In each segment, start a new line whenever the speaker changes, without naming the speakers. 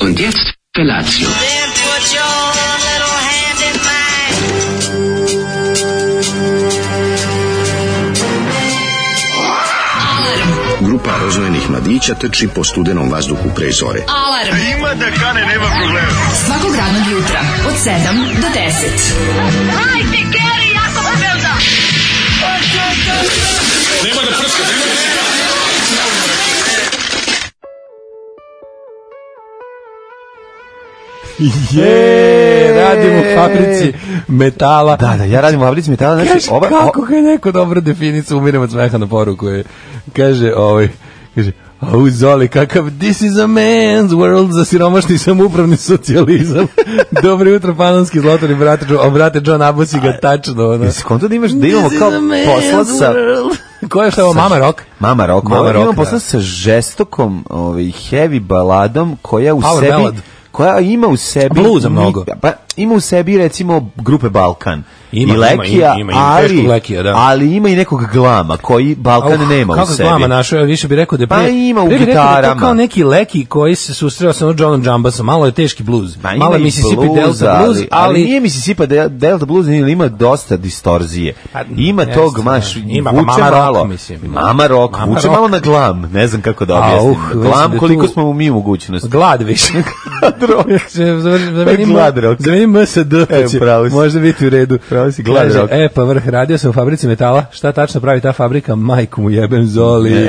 Und jetzt Felatio.
Then put your little hand in mine.
Grupa rozvojenih mladića trči po studenom vazduhu pre zore.
Alarm. Ima da kane, nema problema. Svakog radnog jutra, od 7 do 10.
Je, radim u fabrici metala. ovaj,
Da, da, ja radim u fabrici metala, znači
Kaži,
ova, o-
kako ga je neko dobro definiciju, umirem od smeha na poruku. Je. Kaže, ovaj, kaže, Au, Zoli, kakav this is a man's world za siromašni samoupravni socijalizam. Dobro jutro, panonski zlotori, brate, Jo- a brate John Abbas i ga tačno. Ono.
jesi skonto da imaš da imamo kao posla sa
Ko je šta ovo, Mama Rock?
Mama Rock,
Mama
Mama
Rock,
imam
da.
posla sa žestokom, ovaj heavy baladom koja u
Power
sebi
ballad.
koja ima u sebi
Bluza
mi-
mnogo.
Pa ima u sebi recimo grupe Balkan.
Ima,
I
ima,
Lekija,
ima, ima, ima,
ali,
teškog Lekija, da.
ali ima i nekog glama koji Balkan
Au,
nema u
Uh, kako
sebi.
glama našao, ja više bih rekao da je
Pa
pre,
ima u
pre bih rekao da je to
gitarama.
kao neki leki koji se susreo sa ono Johnom Jambasom, malo je teški bluz.
Ma, Pa ima
malo je
i
Mississippi
bluza,
Delta blues,
ali, ali
ali
nije Mississippi Del- Delta blues, ali ima dosta distorzije.
Pa,
Ima
jeste,
tog,
da.
maš,
Ima, pa
vuče
Mama Rock,
malo.
mislim.
Mama rock,
Mama
vuče
Rock.
malo na glam, ne znam kako da
A,
objasnim.
uh, mislim
glam
da
koliko
tu-
smo mu mi u mogućnosti.
glad više. Zamenim
Glad rock.
Zamenim MSD,
E,
pa će
pravo si.
možda biti u redu.
Pravo si, glad
Kaže,
rock.
E, pa vrh, radio sam u fabrici metala, šta tačno pravi ta fabrika? Majku mu jebem zoli.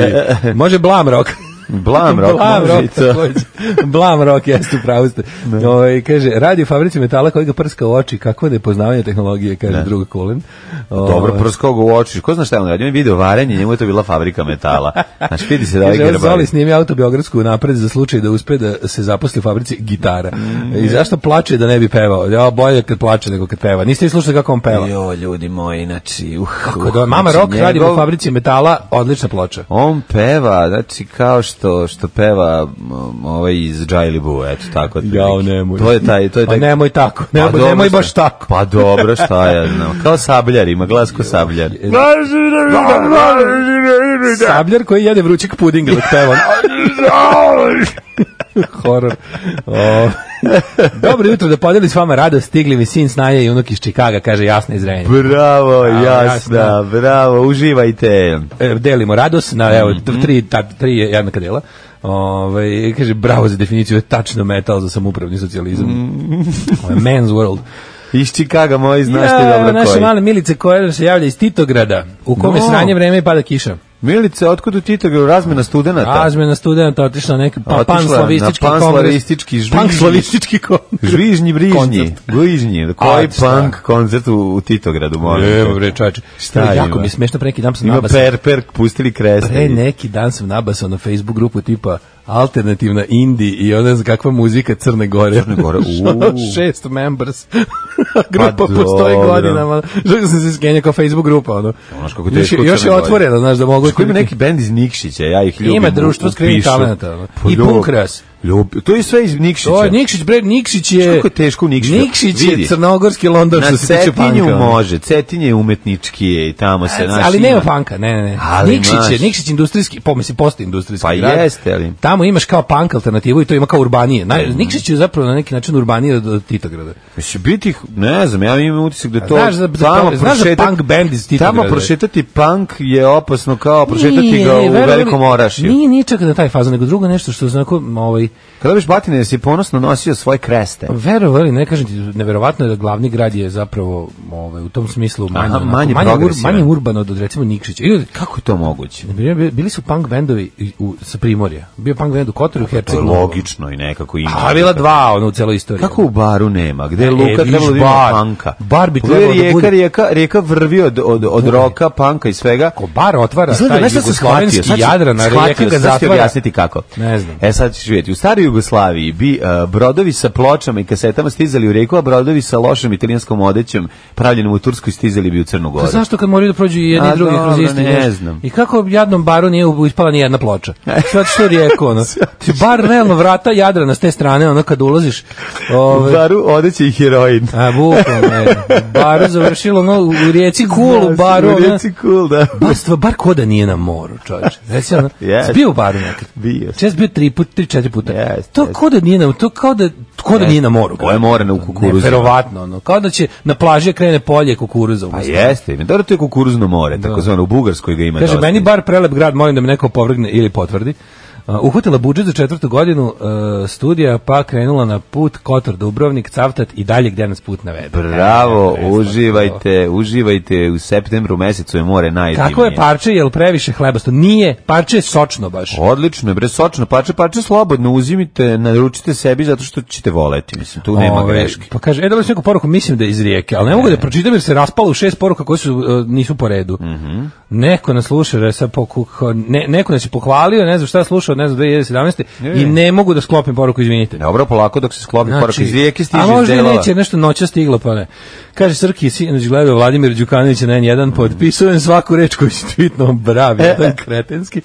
Može blam rock.
E, Blam rock,
Blam
može i
rock,
to.
takođe. Blam rock, jeste, pravo ste. Ovaj, kaže, radi u fabrici metala koji ga prska u oči, kako da je poznavanje tehnologije, kaže Ovaj,
Ne.
druga Kulen.
Dobro, prskao ga u oči. Ko zna šta je on radio? On je video varenje, njemu je to bila fabrika metala. Znači, vidi se da ovaj
Kaže, evo
grbar.
Zoli snimi autobiografsku napred za slučaj da uspe da se zaposli u fabrici gitara.
Mm.
I zašto plače da ne bi pevao? Ja, bolje kad plače nego kad peva. Niste li slušali kako on peva?
Jo, ljudi moji, znači... Uh,
Kod ove Mama
znači,
Rock radi u
njegov-
fabrici metala, odlična ploča.
On peva, znači kao što što peva m, ovaj iz Jaili Boo, eto tako otprilike.
Jao, nemoj.
To je taj, to je
Pa
taj.
nemoj tako,
Pa
nemoj,
dobro,
nemoj
šta-
baš tako.
Pa dobro, šta ja znam. Kao sabljar, ima glas ko sabljar.
Sabljar koji jede vrućeg pudinga dok peva. ono, Horor. O. Dobro jutro, da podeli s vama radost, stigli mi sin snaje i unuk iz Čikaga, kaže jasno iz Renja.
Bravo, jasna,
jasna.
bravo, uživajte.
E, delimo radost na evo
Mhm.
t- tri ta, tri je jednaka dela. Ovaj kaže bravo za definiciju je tačno metal za samoupravni socijalizam. Ovo je Man's world.
Iz Čikaga, moji, Mhm. znaš ti
Ja,
dobro
naše
koji.
male milice koja se javlja iz Titograda, u kome
No.
je sranje vreme i pada kiša.
Milice, otkud u Titogradu razmena studenta?
Razmena studenta otišla na neki pa,
Otišla na
panslavistički
panslavistički žvižd.
panslavistički kongres.
Žvižnji, brižnji,
Koncert.
bližnji. Koji
A, šta?
punk koncert u, u Titogradu, molim. te.
Evo bre čače.
Šta
Šta jako
ima?
mi je smešno pre neki dan sam
Ima
nabasao.
per, per, pustili kreste.
Pre neki dan sam nabasao na Facebook grupu tipa alternativna indie i ona znam kakva muzika Crne Gore.
Crne Gore, uuu.
Ono, Šest members. grupa
Pa
postoji
dobro.
godinama. Želio sam se skenja kao Facebook grupa. Ono.
Znaš kako
još, je-
teško
još
Crne
je
Gore.
otvorena, znaš da mogu...
Kako ima neki bend iz Nikšića, ja ih ljubim.
Ima društvo skrivenih
upišu.
talenata, ono. I
ljub-
Punkras.
ljub- To je sve iz Nikšića.
To je Nikšić, bre, Nikšić je...
Kako je teško u Nikšiću?
Nikšić je
Vidi.
crnogorski London
Na
što se tiče panka.
Cetinju
ono. E,
može, Cetinje je umetnički je i tamo se naš
ali
ima.
nema panka, ne, ne, ne.
Ali
Nikšić je,
znaš-
Nikšić industrijski, pa mislim postoji industrijski
Pa
grad.
jeste, ali-
Tamo imaš kao punk alternativu i to ima kao urbanije. Naj, Nikšić je zapravo na neki način urbanije od, od Titograda.
Mislim, biti, ih- ne znam, ja imam utisak da to...
pa- znaš za- za-
tamo
znaš za
prošetat-
punk band iz Titograda?
Tamo prošetati punk je opasno kao prošetati
Nije,
ga u
verujem,
velikom orašju.
Nije, nije čak na taj fazon, nego drugo nešto što znako, ovaj,
Kada biš batine, jesi ponosno nosio svoje kreste.
verovali, ne kažem ti, neverovatno je da glavni grad je zapravo ovaj, u tom smislu manje,
Aha,
onako,
manje
ur,
progresivan.
manje urbano od recimo Nikšića. Ili,
Kako je to moguće?
bili- bili su punk bendovi i- u, sa Primorja. Bio punk bend u Kotoru, u
To je
Hercegu.
logično i nekako ima.
A bila dva ono u celoj istoriji.
Kako u baru nema? Gde je Luka
E, vidiš,
trebalo da ima
bar.
panka?
Bar bi
Pogledaj,
trebalo da
rijeka,
bude.
Rijeka, rijeka vrvi od, od, od roka, panka i svega.
Ko bar otvara
Izgleda,
taj
znaš šta sam
jugoslovenski
shvatio? Sad ću-
Jadran, a
shvatio
rijeka
sam,
ga
sad ću ti
zatvara.
objasniti kako.
Ne znam.
E sad ćeš vidjeti. U staroj Jugoslaviji bi e, brodovi sa pločama i kasetama stizali u rijeku, a brodovi sa lošom italijanskom odećom pravljenom u Turskoj stizali bi u Crnu
Pa
Goru.
zašto kad moraju da prođu i jedni
A,
i drugi kroz
dobro,
isti
ne
nešto?
znam.
I kako jadnom baru nije u- ispala ni jedna ploča? Sve što je rijeko, ono. Ti bar realno vrata Jadrana s te strane, ono kad ulaziš.
U
Ove,
baru odeće i heroin.
ovaj- a, bukvalno, ne. Baru završilo, ono, u rijeci Kulu, baru,
U
ono.
rijeci cool, da.
Bar, stva, bar ko da nije na moru, čovječe. Reci, ono,
Yes.
yes. bio u baru nekad.
Bio sam.
Čest bio tri put, tri, četiri puta. života.
Jest,
to
jest.
kao da nije na, to kao da, kao da
Jest.
nije na moru.
Ovo je more na kukuruzu.
Verovatno, ono. Kao da će na plaži krene polje kukuruza.
Pa jeste, ima. dobro to je kukuruzno more, takozvano u Bugarskoj ga ima
Kaže,
dosta.
meni bar prelep grad, molim da me neko povrgne ili potvrdi. Uh, uhvatila budžet za četvrtu godinu uh, studija, pa krenula na put Kotor, Dubrovnik, Cavtat i dalje gdje nas put navede.
Bravo,
E,
uživajte, uživajte, u septembru mesecu je more najdivnije.
Kako je pa- parče, jel previše hlebasto? Nije, parče je sočno baš.
Odlično, je, bre, sočno, pače, pače, slobodno, uzimite, naručite sebi zato što ćete voleti, mislim, tu nema
Ove,
greške. E.
Pa kaže, e, dobili smo neku poruku, mislim da je iz rijeke, ali ne mogu da je pročitam jer se raspalo u šest poruka koje su, e, nisu po redu.
Mhm.
Neko nas sluša, da je sad poku- ko- ne, neko nas je pohvalio, ne znam šta je slušao, ne znam, 2017.
Je.
I ne mogu da sklopim poruku, izvinite.
Dobro, polako dok se sklopi korak iz rijeke, stiže
Znači, a
iz
možda
delova.
neće, nešto noća stiglo, pa ne. Kaže, Srki, sinoć gledao Vladimir Đukanović na
Mhm.
N1, potpisujem svaku reč koju si tweetno brav,
E.
jedan kretenski.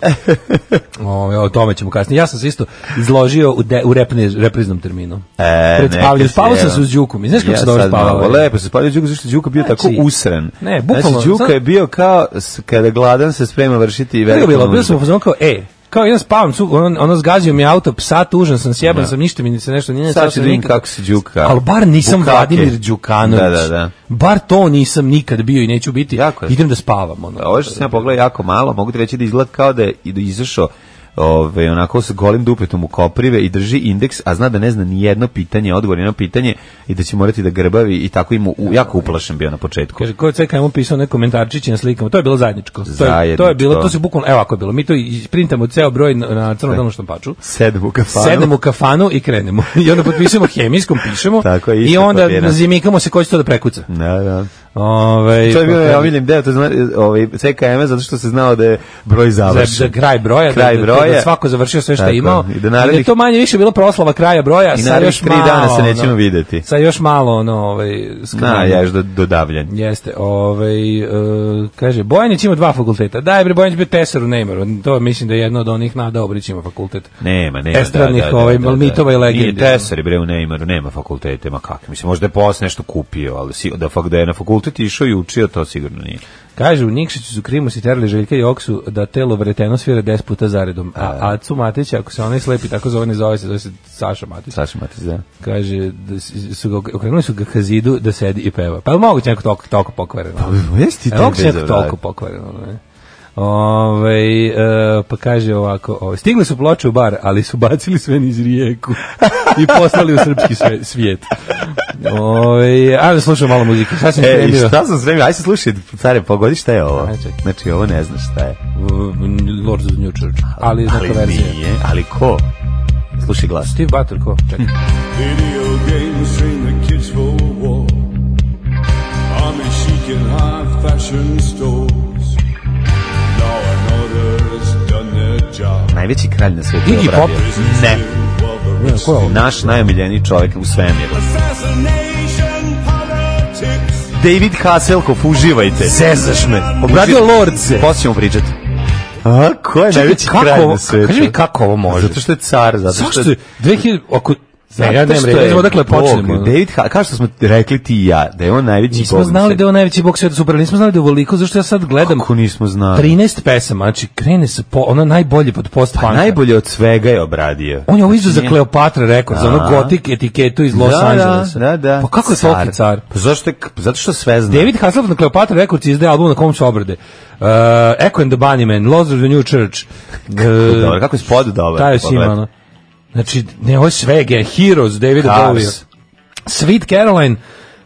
O, o tome ćemo kasnije. Ja sam se isto izložio u, de, u repne, repriznom terminu.
E,
Pred
neka
spavljanjem. Spavao
si,
sam
evo.
se uz Đukom i znaš kako
Ja
se dobro
sad
spavalo?
malo, Lepo se spavio Đuka, zašto je Đuka bio tako
Znači,
usren.
ne, bukvalno,
Znači, Đuka
znam-
je bio kao, s- kada gladan se sprema vršiti
Kako je
veliku
bilo, bilo
nuždu.
sam u fazonu kao, e, kao jedan spavam, su, ono, ono zgazio mi auto, psa tužan sam, sjeban sam, ništa mi se nešto, nije nešto.
Sad ću da vidim kako se Đuka.
Ali bar nisam
Bukake.
Vladimir Đukanović.
Da, da, da.
Bar to nisam nikad bio i neću biti.
Jako je.
Idem da spavam. Ono.
Ovo što sam ja pogledao jako malo, mogu ti reći da izgleda kao da je i- da je izašao ove, onako sa golim dupetom u koprive i drži indeks, a zna da ne zna ni jedno pitanje, odgovor na jedno pitanje i da će morati da grbavi i tako ima, u, jako uplašen bio na početku.
Kaže, ko je CKM mu pisao neke komentarčiće na slikama, to je bilo zajedničko. To je, to je
Zajedničko.
bilo, to se bukvalno, evo ako je bilo, mi to isprintamo ceo broj na, na crno-belom štampaču.
Sedem u kafanu.
Sedemo u kafanu i krenemo. I onda potpisujemo hemijskom, pišemo
Tako je,
i
isto
onda
papira.
zimikamo se ko će to da prekuca. Ovaj, pa
Da, da.
Ove,
To je bio, ja vidim, deo, to zna, ovaj, CKM, zato što se znao da je broj
za,
završen.
za kraj broja,
Kraj
da, da-
broja.
da svako završio sve što
Tako
je
je.
imao.
I da
I da je
narednih-
to manje više bilo proslava kraja broja,
I
sa
narednih
još
tri
malo.
dana se
ono,
nećemo videti.
Sa još malo ono, ovaj
Na,
skrnavljenja.
ja još do, dodavljan.
Jeste, ovaj e, kaže Bojanić ima dva fakulteta. Daj bre Bojanić bio tesar u Neymaru. To mislim da je jedno od onih nada Obrić ima fakultet.
Nema, nema.
Estradnih, ovaj, mitova i legendi.
Nije tesari, bre, u Neymaru, nema fakultete, ma kakve. Mislim, možda je posle nešto kupio, ali si, da, fak, da je na fakultet išao i učio, to sigurno nije.
Kaže u Nikšiću su Krimus i terali Željka i Oksu da telo vreteno svira 10 puta zaredom. A Acu Matić, ako se onaj slepi tako zove, ne zove se, zove se Saša Matić.
Saša Matić, da.
Kaže da s- su ga okrenuli su ga ka zidu da sedi i peva. Pa je li moguće neko toliko, toliko pokvareno?
Pa, Jesi ti
E, moguće neko toliko pokvareno, ne? Ove, e, pa kaže ovako, ove, stigli su ploče u bar, ali su bacili sve niz rijeku i poslali u srpski sve, svijet. Ove, ajde slušam malo muzike, šta sam
E, i
spremio?
šta sam sremio? Ajde se slušaj, care, pogodi šta je ovo.
Ajde, čekaj.
Znači, ovo ne znaš šta je.
V- Lords of New Church, ali je neka
Ali
verzija.
nije, ali ko? Slušaj glas.
Steve Butler, ko? Čekaj.
Video games train the kids for war. Army chic in high fashion stores. Law and order has done their job.
Najveći kralj na svijetu
Iggy
je obradio.
Pop?
Ne.
Ne, ko je ovo?
Naš najomiljeniji čovjek u svemiru.
Assassination politics.
David Hasselhoff, uživajte.
Zezaš me.
Uživajte.
Obradio Lordze.
Poslije ćemo pričati. A, ko je najveći
kako
kralj
ovo-
na svijetu?
kaži mi kako ovo može?
Zato što je car, zato što
Zašto je 2000... Ako, ne, ja nemam
je
reći, odakle
Bog.
počnemo. ono.
David, Ha- kao što smo rekli ti i ja, da je on najveći
Nismo
bog na
znali
svijetu.
da je on najveći bog sveta super, nismo znali da je ovoliko, zašto ja sad gledam
Kako nismo znali?
13 pesama, znači krene se po, ono najbolje pod post
Pa najbolje od svega je obradio.
On je ovo izu za
Nije-
Kleopatra rekord, za ono
Da.
gotik etiketu iz Los
da,
Angelesa.
Da, da.
Pa kako je toliki car?
Pa zašto je, k- zato što sve zna.
David Hasselhoff na Kleopatra Records izdaje album na kom su obrade. Uh, Echo and the Bunnymen, Lords of the New Church.
Kako
uh,
Dobro, kako je spod dobro.
Taj si ima, ono. Znači, ne, ovo je svega, Heroes, Davida Bowie.
Cars.
Sweet Caroline,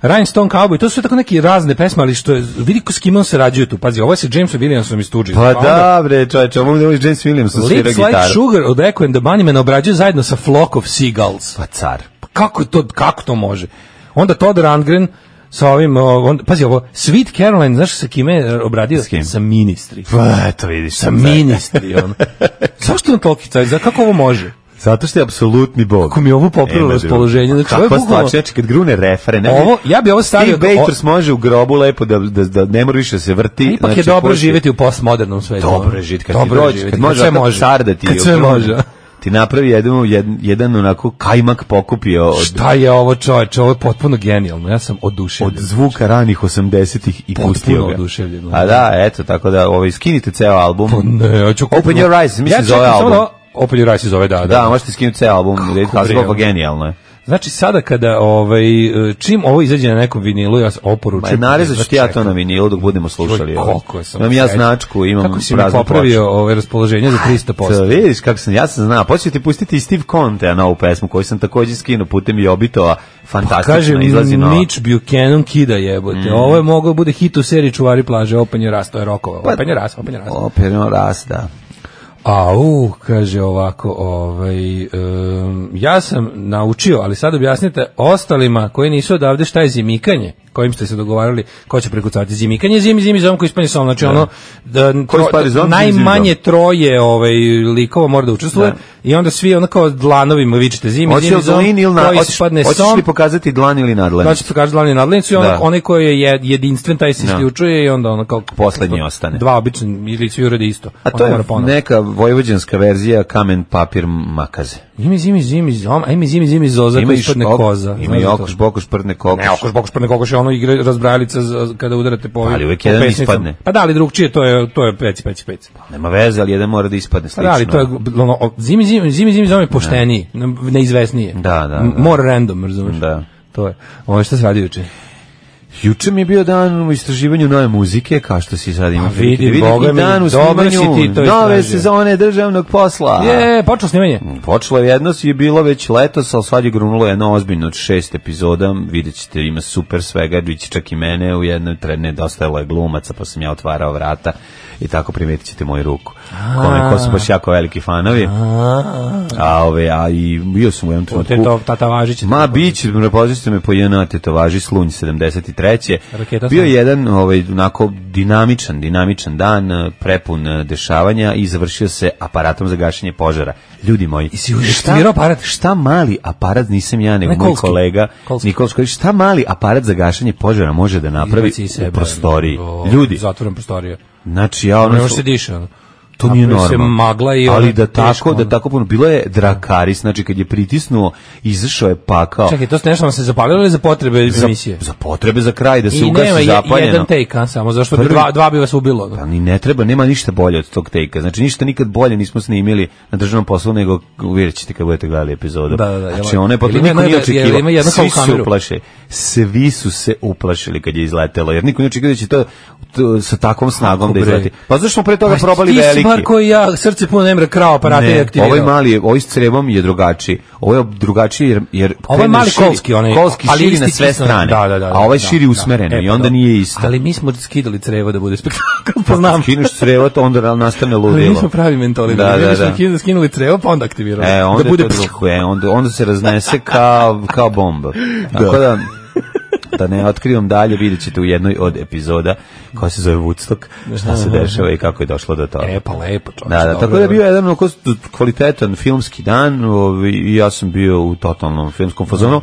Rhinestone Cowboy, to su tako neke razne pesme, ali što je, vidi ko s kim on sarađuje tu, pazi, ovo je sa Jamesom Williamsom iz Stooges.
Pa da, bre, čovječe, ovo je James Williams svira
Lips Like
gitaru.
Sugar od Echo and the Bunnymen obrađuje zajedno sa Flock of Seagulls.
Pa car.
Pa kako to, kako to može? Onda Todd Rundgren sa ovim, o, on, pazi ovo, Sweet Caroline, znaš sa kime je obradio?
S kim?
Sa ministri.
Pa, eto vidiš.
Sa
sam zajedno.
ministri, on. Zašto on toliki car? Za kako ovo može?
Zato što je apsolutni bog.
Kako mi je ovo poprilo
Nema
raspoloženje,
drugog.
znači, ovo je
Kakva
bukvalno-
stvar, znači, kad grune refere. Ne,
Ovo- ja bi ovo stavio-
Steve Bators može u grobu lepo da, da, da ne mora više da se vrti. znači,
Ipak je dobro živjeti u postmodernom svetu.
Dobro je
ono.
živjeti. Kad
Dobro je
ti dođe,
živjeti,
kad može
sve
ovakav
može.
car da ti
Kad sve
ogromno-
može.
Ti napravi jedan, jedan, jedan onako kajmak pokupio od,
Šta je ovo čoveče, ovo je potpuno genijalno, ja sam oduševljen.
od zvuka ranih 80-ih i
Potpuno
pustio ga.
oduševljen.
A da, eto, tako da, ovaj, skinite ceo album.
Ne, ja ću
Open
kupno-
Your Eyes, mislim,
ja
zove
čekam samo ono-
album.
da ovo- Opalju Raj se zove, da, da.
Da, možete skinuti ceo album,
bre,
Glazgova, pa
ono.
genijalno je.
Znači sada kada ovaj e, čim ovo izađe na nekom vinilu ja s-
Ma,
oporučujem. znači,
narezat ću ti znači ja to
Pa Čekaj.
na vinilu dok budemo slušali.
Joj,
ovo.
koliko sam
Imam ja
srećan.
značku, imam
Kako si mi
praznu
popravio
ploču.
ove raspoloženje za 300%.
Sad vidiš kako sam, ja sam znao, počeo ti pustiti i Steve Conte na ovu pesmu koju sam takođe skinuo putem Jobitova, fantastično
Pa Kažem,
izlazi nova. Mhm.
Mitch Buchanan kida jebote. Ovo je mogao bude hit u seriji Čuvari plaže, opanje rast, to je rokova.
Pa-
Opanje rast, opanje rast.
Operno rasta.
Au, uh, kaže ovako, ovaj, em, ja sam naučio, ali sad objasnite ostalima koji nisu odavde šta je zimikanje, kojim ste se dogovarali, ko će prekucavati zimikanje, je zimi, zimi, zom, koji ispanje som, znači ono, da, tro-
ispari zom, zimi,
najmanje
zimi,
troje ovaj, likova mora da učestvuje i onda svi ono kao dlanovima vičete zimi,
Hoće
zimi,
li
zom,
dlan ili na,
koji
hoćeš,
ispadne
hoćeš
som,
li pokazati dlan ili nadlan?
Znači se kaže glavni nadlenicu i ono,
Da.
onaj koji je jed- jedinstven, taj se
Da.
isključuje i onda ono kao...
Poslednji ostane.
Dva obični ili svi urede isto.
A to
Ono
je
mora ponovo.
neka vojvođanska verzija kamen, papir, makaze.
Imi zimi zimi zom, ajme zimi zimi zoza koji
Ima i
ispadne
škop,
koza.
Ima i
Znaš
okuš,
to?
bokuš, prdne kokuš.
Ne, okoš bokoš pa nekokoš je ono igra razbrajalica za- kada udarate po ovim
Ali uvek
po
jedan
pesnicama.
ispadne.
Pa da, ali drugčije to je to je peci peci peci.
Nema veze, ali jedan mora da
Pa
ispadne slično.
da, ali to je ono, o- zimi zimi zimi zimi zom je pošteniji, ne- neizvesnije.
Da, da, da.
M- More random, razumeš?
Da.
To je. Ono šta se radi juče?
Juče mi je bio dan u istraživanju nove muzike, kao što si sad imao.
A vidim, Boga mi,
dan u
dobro si
snimanju
ti to
nove
istražio.
sezone državnog posla.
Je, počelo snimanje.
Počelo je jedno, je bilo već letos, ali sad je grunulo jedno ozbiljno od šest epizoda, vidjet ćete, ima super svega, vidjet će čak i mene, u jednoj trene nedostajalo je glumaca, pa sam ja otvarao vrata i tako primetit ćete moju ruku. Kome, ko su baš jako veliki fanovi, a, ove, a i bio sam u jednom
Te
trenutku.
to tata Važić.
Ma bić, prepoznali ste me po JNA tetovaži Slunj 73.
Raketa
Bio
sam.
je jedan ovaj onako dinamičan, dinamičan dan, eh, prepun eh, dešavanja i završio se aparatom za gašenje požara. Ljudi moji,
si užestimirao aparat?
Šta mali aparat nisam ja, nego
Ne,
moj
Kolski.
kolega
Kolski.
Nikolsko, šta mali aparat za gašenje požara može da napravi
Izbaci iz
u
sebe,
prostoriji?
o,
Ljudi,
Zatvoren prostorija.
znači ja ono
Ne može
što-
se diše. ono.
to nije
Napravi se
normalno.
magla i ono
ali da
teško,
tako, da
ono.
tako puno bilo je Drakaris, znači kad je pritisnuo, izašao je pakao.
Čekaj, to ste nešto vam se zapalilo ili za potrebe
za,
emisije?
za potrebe za kraj da se
I nema
ugasi
je-
zapaljeno.
jedan take, a, samo zašto
Prvi-
bi dva, dva bi vas ubilo. ono.
Pa ni ne treba, nema ništa bolje od tog tejka. Znači ništa nikad bolje nismo snimili na državnom poslu nego uvjerit ćete kad budete gledali epizodu.
Da, da, da,
znači
jel-
ono je
jel
potpuno
ima
niko nije
jedna- jel ima
očekivao.
jedna kao
Svi
u
su
kameru?
uplaše. Svi su se uplašili kad je izletelo, jer niko nije očekivao da će to, to sa takvom snagom
Kako
da
bre?
izleti. Pa zašto smo pre toga probali
ti si,
veliki?
Marko i ja, srce puno nemre, krao aparate i
Ne,
aktivirao.
ovaj mali, je- ovaj s crevom je drugačiji. Ovo je drugačiji jer jer
Ovaj
krene
mali
širi-
kolski, onaj-
kolski
ali
širi
isti
na sve
kisno-
strane.
da, da, da,
a ovaj
da,
širi
da.
usmereno
E,
i
pa
onda
da.
nije isto.
Ali mi smo skidali crevo da bude spektakl, pa znam.
Skineš crevo, to onda nastane
Ali
ludilo.
mi smo pravi mentali.
Da, da, da.
Mi smo skinuli crevo, pa onda aktivirali.
E, onda
da
bude
bude...
to drugo, e, onda, onda se raznese kao, kao bomba. Tako da, da ne otkrivam dalje, vidjet ćete u jednoj od epizoda koja se zove Woodstock, šta se dešava i kako je došlo do toga.
E, pa lepo, čovječe.
Da, da,
dobro,
tako da je
dobro.
bio jedan onako kvalitetan filmski dan ovaj, i ja sam bio u totalnom filmskom fazonu.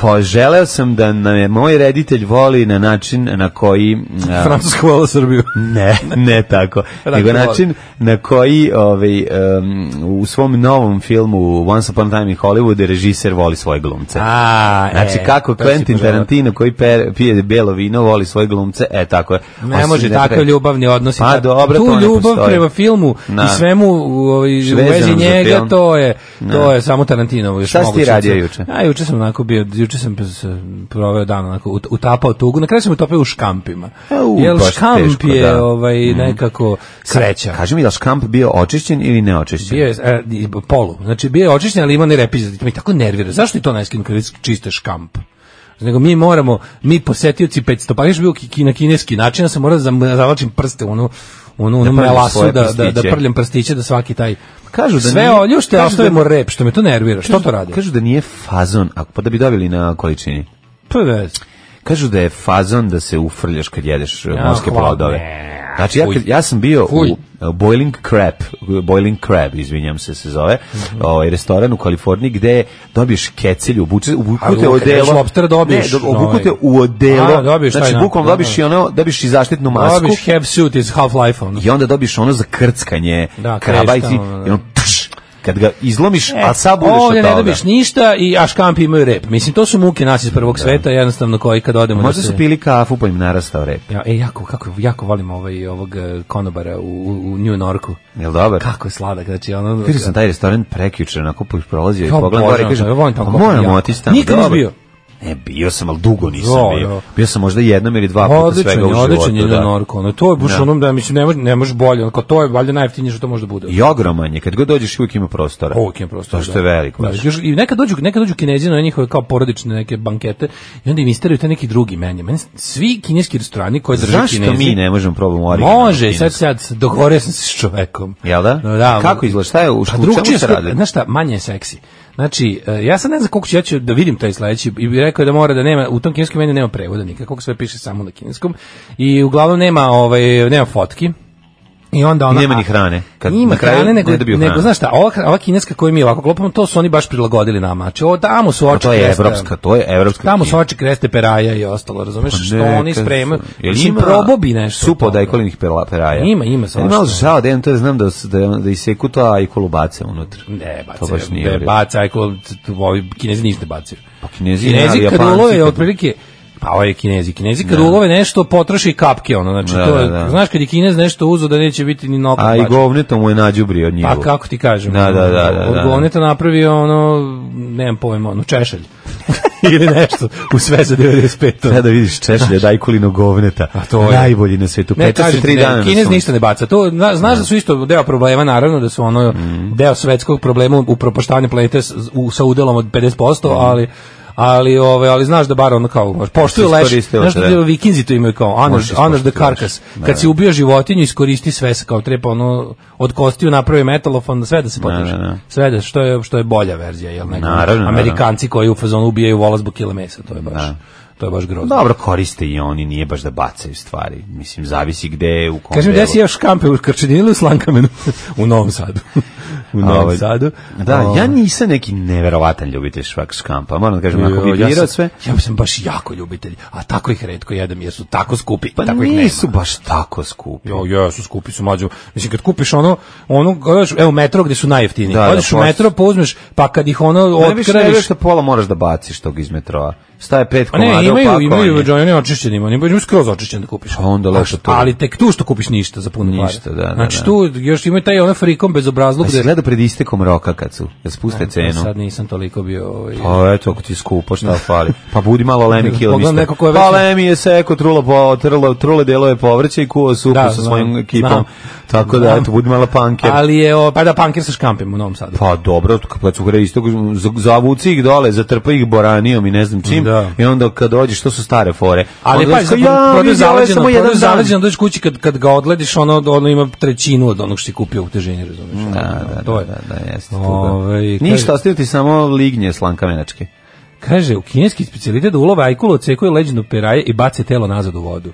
Pa želeo sam da me moj reditelj voli na način na koji... a,
Francuska hvala Srbiju.
ne, ne tako.
Dakle,
Nego
volim.
način na koji ovaj, um, u svom novom filmu Once Upon a Time in Hollywood režiser voli svoje glumce.
A, e,
Znači kako
to si
Quentin
poželeo.
Tarantino koji per, pije belo vino voli svoje glumce, e tako je.
Ne
Osim
može
da
takav
pre-
ljubavni odnos. i
Pa
ta-
dobro,
tu
to ne
ljubav
postoji.
prema filmu
Na.
i svemu u, ovaj, u
Vezano
vezi
za
njega,
film.
to je, to je samo Tarantinovo. još
Šta si ti
moguće.
radio juče?
A juče sam onako bio, juče sam se proveo dan onako ut- utapao tugu. Na kraju sam utopio u škampima.
E, u,
Jel
baš
škamp
teško,
je
da. Mhm.
ovaj, nekako sreća.
Kaži mi, da li škamp bio očišćen ili neočišćen?
Bio je e, i polu. Znači bio je očišćen, ali ima ne repiz. To me tako nervira. Zašto je to najskinu kad već čiste škamp? Nego mi moramo, mi posetioci 500, pa još bio ki, ki- na kineski način, ja sam morao da zam- zavlačim prste u onu u onu, onu
prljam
melasu,
svoje
da, da, da
prstiće.
prljam prstiće, da svaki taj...
Kažu da
Sve
nije-
oljušte, a
kažu da-
ostavimo rep, što me to nervira. Što to radi?
Kažu da nije fazon, a pa da bi dobili na količini.
To je vez.
Kažu da je fazon da se ufrljaš kad jedeš ja,
Ja,
morske
hvala,
plodove.
ne.
Znači, ja,
Fuj.
kad- ja sam bio
Fuj.
u uh, Boiling Crab, Boiling Crab, izvinjam se, se zove,
Mhm.
ovaj restoran u Kaliforniji gde dobiješ kecelju, obuče,
Ali
obukute
kad jedeš
odelo.
lobstera dobiješ,
Ne, do- obukute
ovaj.
u odelo.
A, dobiješ taj,
znači,
da,
bukvalno
da,
dobiš
da.
i ono, dobiš i zaštitnu masku.
Dobiš have suit iz Half-Life, ono.
I onda dobiš ono za krckanje
Da,
kraba i
krešta,
ti,
ono, da. E,
i ono, pš, Kad ga izlomiš, a sad budeš
Ovdje
od
ne
toga.
dobiš ništa i Aškampi imaju rep. Mislim, to su muke nas iz prvog sveta, jednostavno koji kad odemo... da
Možda
se-
su pili kafu pa im narastao rep.
Ja, e, jako, kako, jako volim ovaj, ovog eh, konobara u, u, u New Norku.
Jel dobar?
Kako je sladak, znači ono... e,
Vidio sam taj restoran prekjuče, onako po- prolazio i
Ja
pogledam gore i
obožavam
kažem,
to, ja volim
pa
tako
moram
jako.
otići tamo.
Nikad nisi
dobro.
bio?
Ne, bio sam, ali dugo nisam
Jo,
bio.
jo.
Bio sam možda jednom ili dva puta
Odličan
pa svega
je,
u
odličan je
životu.
New
Da.
Norku. Ono, to je baš
Da.
ono da, mislim, ne može, ne može bolje. Onako, to je valjda najjeftinije što to može da bude.
I ogroman je, kad god dođeš uvijek ima prostora.
Uvijek ima prostora,
To što
da.
je veliko.
Da,
baš.
još, I nekad dođu, nekad dođu kinezi na njihove kao porodične neke bankete i onda im isteraju te neki drugi menje. Meni s- svi kineski restorani koje drže
Zašto
kinezi...
mi ne možemo probamo originalno?
Može,
kinesko?
sad sad dogovorio sam se s čovekom.
Jel da?
da
Kako izgleda? Šta je, u
Pa
čemu
drugčije
se
skro-
radi?
Znaš šta, manje je seksi. Znači, e, ja sad ne znam koliko ću, ja ću da vidim taj sledeći i bih rekao da mora da nema, u tom kineskom meni nema prevoda nikakvog, sve piše samo na kineskom i uglavnom nema, ovaj, nema fotki. I onda ona,
Nema ni hrane. Kad
Ima
na kraju
hrane, nego,
ne dobiju
nego
hranu.
znaš šta, ova, hra- ova kineska koju mi ovako klopamo, to su oni baš prilagodili nama. Znači, ovo tamo su oči
Pa To je
kresta-
evropska, to je evropska.
Tamo su
knjiga.
oči kreste peraja i ostalo, razumeš? što
Neka
oni spremaju.
Pa su. Jel
Mislim,
ima
probobi nešto.
Supod
od toga.
ajkolinih pela- peraja.
Ima, ima,
Meni je
svašta.
Malo žao da imam to, da znam da, da, da iseku to ajkolu bace unutra.
Ne, baca,
To baš nije.
ne,
u redu.
baca, ajko, t- t- ovi kinezi ništa ne bacaju.
Pa kinezi,
Kinezi
ne, ali
kad
Japanci
ulove,
kad-
otprilike, pa ovo je kinezi, kinezi kad ulove nešto, potroši kapke, ono, znači,
Da,
to, je-
da, da.
znaš, kad je kinez nešto uzo da neće biti ni nokat
A i
bačen.
govneto mu je nađubrio od njivu.
Pa kako ti kažem?
Da, da, da, da, da.
Od govneta napravio ono, nemam pojma, ono, češelj. Ili nešto, u sve za 95.
Sada vidiš češlje dajkulino govneta. A
to je-
Najbolji na svetu.
Ne,
Petar se
kažem
tri
ti,
dana
ne,
na
Kinez
suncu.
ništa ne baca. To, zna- znaš da su isto deo problema, naravno, da su ono
Mhm.
deo svetskog problema u propaštanju planete s- u, sa udelom od 50%,
Mhm.
ali ali ove ali znaš da bar ono kao baš poštuju
Iskoriste
leš
ovo,
znaš da
Pa da.
vikinzi to imaju kao
Možeš
honors honors the
iskoristiti leš,
carcass
da,
kad
da.
si ubio životinju iskoristi sve se kao trepa ono od kostiju napravi metalofon sve da se potroši
da, da.
sve da što je što je bolja verzija jel nego
Naravno, naravno.
Amerikanci koji u fazonu ubijaju vola zbog kile mesa to je baš
Da.
to je baš grozno
Dobro, koriste i oni, nije baš da bacaju stvari. Mislim, zavisi gde je, u kom
Kaži mi, gde
delu.
si jeo škampe u Krčedini ili u Slankamenu? u Novom Sadu. u
A,
Novom
ovaj,
Sadu. Ovaj.
Da,
O,
ja nisam neki neverovatan ljubitelj švak škampa. Moram da kažem, ako
jo,
bi
Ovaj, ja
birao
sam-
sve...
Ja sam baš jako ljubitelj, a tako ih redko jedem jer su tako skupi.
Pa
tako ih nema.
nisu baš tako skupi.
Jo, jo, su skupi su mlađu. Mislim kad kupiš ono, ono, odeš, evo metro gde su najjeftiniji.
Da, da,
Odeš u
posle.
metro, pouzmeš, pa kad ih ono
Ne biš ne
otkraviš,
da pola moraš da baciš tog iz metroa. Staje pet
Pa ne,
komada u
imaju,
pakovanje.
imaju, imaju, oni očišćeni, imaju, imaju skroz očišćen da kupiš.
Pa onda
A
lepo
što-
to.
Ali tek tu što kupiš ništa za puno para.
Ništa, da, da,
Znači
da.
tu još imaju taj ono onaj frikom bezobrazluk
Pa si gledao pred istekom roka kad su, da spuste cenu.
Sad nisam toliko bio... Ovaj,
Pa eto, ako ti je skupo, šta fali? Pa budi malo lemi kilo,
Pogledam
mister.
neko ko je već-
Pa lemi je seko, trulo, po, trlo, trule delove povrća i kuo supu
Da,
sa
znam,
svojim ekipom.
znam.
Tako da,
Znam.
eto, budi malo panker.
Ali je, o, pa da, panker sa škampim u Novom Sadu.
Pa dobro, kad su gre istog, z- zavuci ih dole, zatrpa ih boranijom i ne znam čim,
Da.
i onda kad dođeš, to su stare fore.
Ali
Onda
pa,
dođeš
za
kao, ja,
prodaju
vidi, ovo je
zaleđeno,
samo jedan
prodaju
dan.
zaleđeno, dođeš kući kad, kad ga odlediš, ono, ono ima trećinu od onog što si kupio u težini, razumiješ?
Da, da,
to
da,
je.
da, da, jeste.
Ovaj,
Ove,
kaže-
Ništa, ostaju ti samo lignje slankamenačke.
Kaže, u kineski specijalitet da ulove ajkulu, ocekuje leđinu peraje i bace telo nazad u vodu.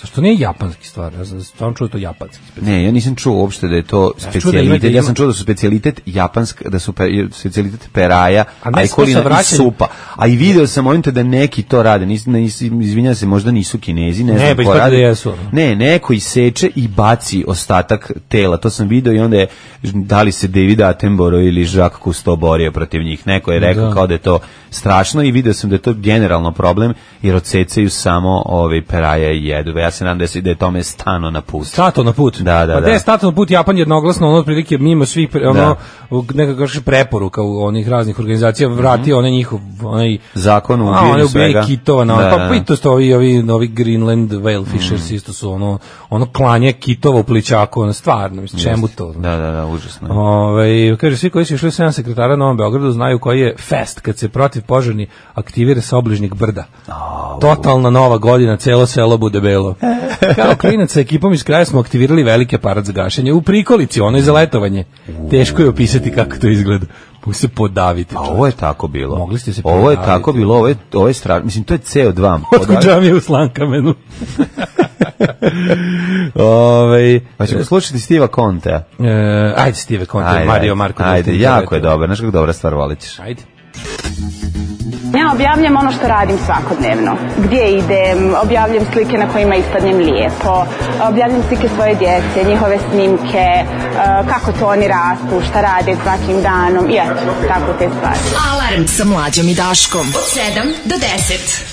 Zašto nije japanski stvar? Ja sam stvarno čuo da je to japanski specijalitet.
Ne, ja nisam čuo uopšte da je to
čuo da ima- da
specijalitet.
ima-
Ja sam čuo da su specijalitet japansk, da su pe- specijalitet peraja,
A ne,
ajkolina
to sa
i
vraćanjem-
supa. A i video sam ovim te da neki to rade. Nis, nis, izvinjam se, možda nisu kinezi, ne,
Ne,
znam
pa
ko
ispada
radi.
da jesu, ono.
Ne, neko iseče i baci ostatak tela. To sam video i onda je da li se David Attenborough ili Jacques Cousteau borio protiv njih. Neko je rekao
Da.
kao da je to strašno i video sam da je to generalno problem jer odsecaju samo ove peraja i jedu. Ja se nadam da, se, da je tome stano na pustu.
Stato na put.
Da, da,
pa
da.
je stato na put Japan jednoglasno, ono otprilike mimo svih pre- ono
Da.
u- nekako kaže, preporuka u onih raznih organizacija
Mhm.
vratio onaj njihov onaj
Zakon o
A, ono
ubijanju
one ubijaju
svega.
kitova na
Da,
pa
da. Mm.
pa i to su ovi ovi novi Greenland whalefishers isto su ono ono klanje kitova u plićaku, ono stvarno, mislim čemu to?
Da, da, da, užasno. je.
Ove, kaže, svi koji su išli u 7 sekretara na Novom Beogradu znaju koji je fest kad se protiv požarni aktivira sa obližnjeg brda. Totalna nova godina, celo selo bude belo. Kao klinac sa ekipom iz kraja smo aktivirali veliki aparat za gašenje u prikolici, ono je za letovanje. Teško je opisati kako to izgleda. Mogu se podaviti.
A
čovječe.
ovo je tako bilo.
Mogli ste se
Ovo je
prijaviti.
tako bilo, ovo je, ovo je strašno. Mislim, to je CO2.
Otkud džamija u Slankamenu? Ove,
Pa ćemo slušati Stiva Kontea.
e, ajde Steve Conte, Mario Marko.
Ajde,
Delfin,
jako
čovječe.
je dobro. Znaš kako dobra stvar volit ćeš.
Ajde.
Ja objavljam ono što radim svakodnevno. Gdje idem, objavljam slike na kojima ispadnem lijepo, objavljam slike svoje djece, njihove snimke, e, kako to oni rastu, šta rade svakim danom i eto, tako te stvari.
Alarm sa mlađom i Daškom. Od 7 do 10.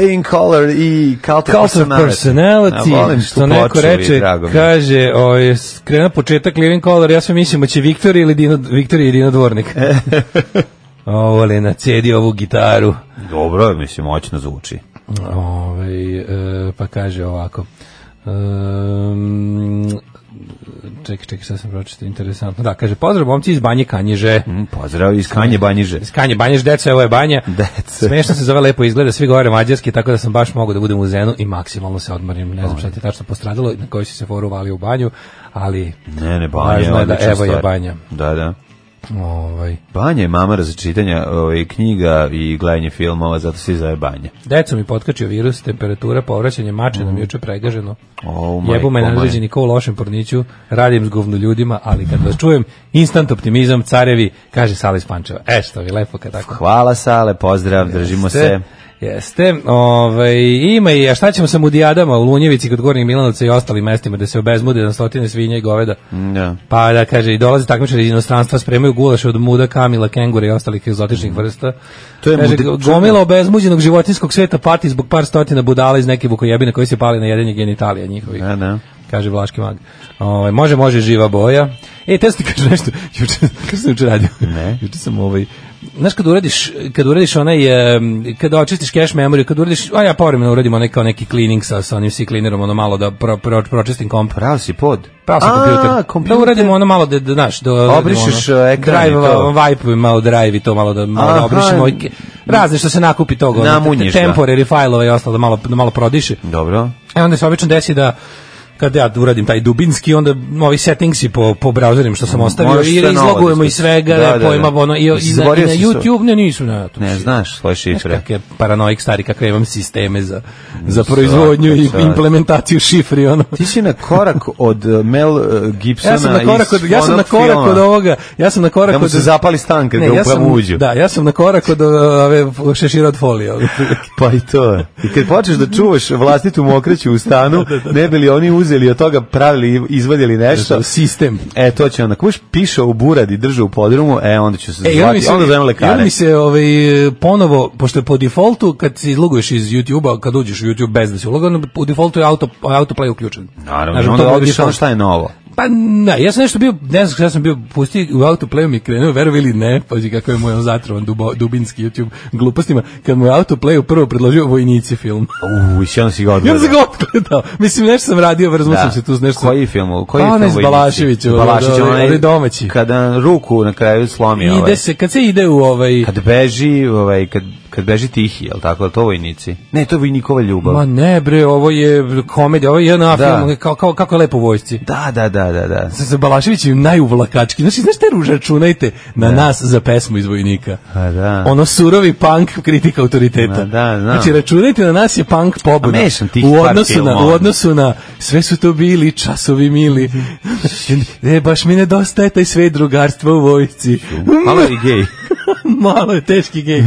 Living Color i Cult of
Cult of personality,
A, volim
što
tu
neko
ploču i
reče,
drago mi je.
kaže, ovaj, s- krena početak Living Color, ja sve mislim, će Viktor ili Dino, Viktor i Dino Dvornik. Ovo li nacedi ovu gitaru.
Dobro, je, mislim, moćno zvuči.
Ovaj, e, pa kaže ovako. Um, čekaj, čekaj, sad sam pročitao, interesantno. Da, kaže, pozdrav momci iz Banje Kanjiže.
Mm, Pozdrav iz Kanje Banjiže.
Iz Kanje Banješ, deca, ovo je banja.
Deca.
Smešno se zove, lepo izgleda, svi govore mađarski, tako da sam baš mogao da budem u zenu i maksimalno se odmorim. Ne znam šta ti je tačno postradalo, i na kojoj si se foru valio u banju, ali
Ne, ne, Banja je
važno je da
odlična
evo je
stvar.
banja.
Da, da.
Ovaj.
Banja je mamara za čitanje ovaj, knjiga i gledanje filmova, zato se i zove Banja.
Deco mi potkačio virus, temperatura, povraćanje mače nam juče pregaženo.
Oh,
Jebu me
Mm. majko moja.
nadređeni ko u lošem porniću, radim s govno ljudima, ali kad vas čujem, instant optimizam, carevi, kaže Sala iz Pančeva. E, što vi lepo kad tako
Hvala Sale, pozdrav, držimo se.
Jeste, ovaj, ima i, a šta ćemo sa mudijadama u Lunjevici kod Gornjeg Milanovca i ostalim mestima da se obezmude na stotine svinja i goveda?
Da.
Pa da kaže, i dolaze takmičari iz inostranstva, spremaju gulaš od muda, kamila, kengura i ostalih egzotičnih vrsta.
Mm. To je
kaže,
mudi-
go- gomila obezmuđenog životinskog sveta pati zbog par stotina budala iz neke bukojebine koji se pali na jedenje genitalija njihovih.
Da, da.
Kaže Vlaški mag. Ovaj, može, može, živa boja. E, te ti kaže nešto, juče, kako sam juče radio?
Ne.
Juče sam ovaj, Znaš kad uradiš, kad uradiš onaj, em, kada očistiš cache memory, kad uradiš, a ja povremeno uradim onaj kao neki cleaning sa, sa onim C-cleanerom, ono malo da pro, pro, pročistim komp.
Pravo si pod.
Pravo sam
A,
kompjuter. Da
kompjuter.
uradimo ono malo da, da znaš, da uradimo
Obrišeš,
ono,
e, ekran i
drive,
to.
vibe malo drive i to malo da malo da
Aha.
obrišemo i ke- razne što se nakupi toga, ono,
Namunjiš, da.
temporary fajlova i ostalo da malo da malo prodiše.
Dobro.
E onda se obično desi da kad ja uradim taj dubinski, onda ovi settingsi po, po brauzerima što sam ostavio
Moraš
i
sve novo
izlogujemo
da
i svega, da,
da, da.
pojma, ono, i, i, na, i na
Zaboravio si
YouTube, ne, nisam, ne, to
Ne
si-
Znači, znaš svoje
Znaš
šifre.
kakve paranoik stari, kakve imam sisteme za, za proizvodnju i
svaka čast.
implementaciju šifri, ono.
Ti si na korak od eh, Mel eh, Gibsona
Ja sam na korak
iz
od, ja sam na
onog
korak
filma.
od ovoga, ja sam na korak
Da mu
od...
se zapali stan kad
Ne,
ga
ja
upravo
sam-
uđu.
Da, ja sam na korak od uh, ove šešira od folije. ono.
Pa i to. je. I kad počneš da čuvaš vlastitu mokraću u stanu, ne bi li oni uzeli od toga, pravili, izvadili nešto.
Sistem.
E, to će onda. Kuš piša u buradi, drža u podrumu, e, onda ću se
E, i onda mi
zvati,
se,
onda zovem
i onda
lekare.
mi se ovaj, ponovo, pošto je po defaultu, kad se izloguješ iz YouTube-a, kad uđeš u YouTube bez da se uloga, onda po defaultu je auto, autoplay uključen. Znaš,
Naravno,
to
onda
bude
odiš ono
default.
šta je novo.
Pa ne, ja sam nešto bio, ne znam šta sam bio, pusti u autoplayu mi krenuo, verovi ili ne, pazi kako je moj on zatrovan dubo, dubinski YouTube glupostima, kad mu je autoplayu prvo predložio vojnici film.
Uuu, i si onda si ga
Ja
odgledao.
sam ga odgledao. Mislim, nešto sam radio, vrzmo sam se tu s nešto.
Koji film? Koji
Pa
film?
onaj s
vojnici?
Balaševićem,
Balašević,
onaj-
onaj
onaj ovaj, domaći.
Kada ruku na kraju slomi. ovaj.
Ide se, kad se ide u ovaj...
Kad beži, ovaj, kad, kad beži tihi, jel tako, to vojnici? Ne, to je vojnikova ljubav.
Ma ne bre, ovo je komedija, ovo je jedna
Pa. Da.
film, kao, kao, kako je lepo u vojsci.
Da, da, da, da, da.
Sa, sa Balaševićem najuvlakački. Znači, znaš te ruža, čunajte na nas za pesmu iz Vojnika.
A da.
Ono surovi punk kritika autoriteta.
Ma da, znam.
Znači, računajte na nas je punk pobuda.
A mešam tih
u
par
odnosu, na,
filmova.
u odnosu na sve su to bili časovi mili. e, baš mi nedostaje taj sve drugarstvo u vojsci.
Malo je i gej.
Malo je teški gej.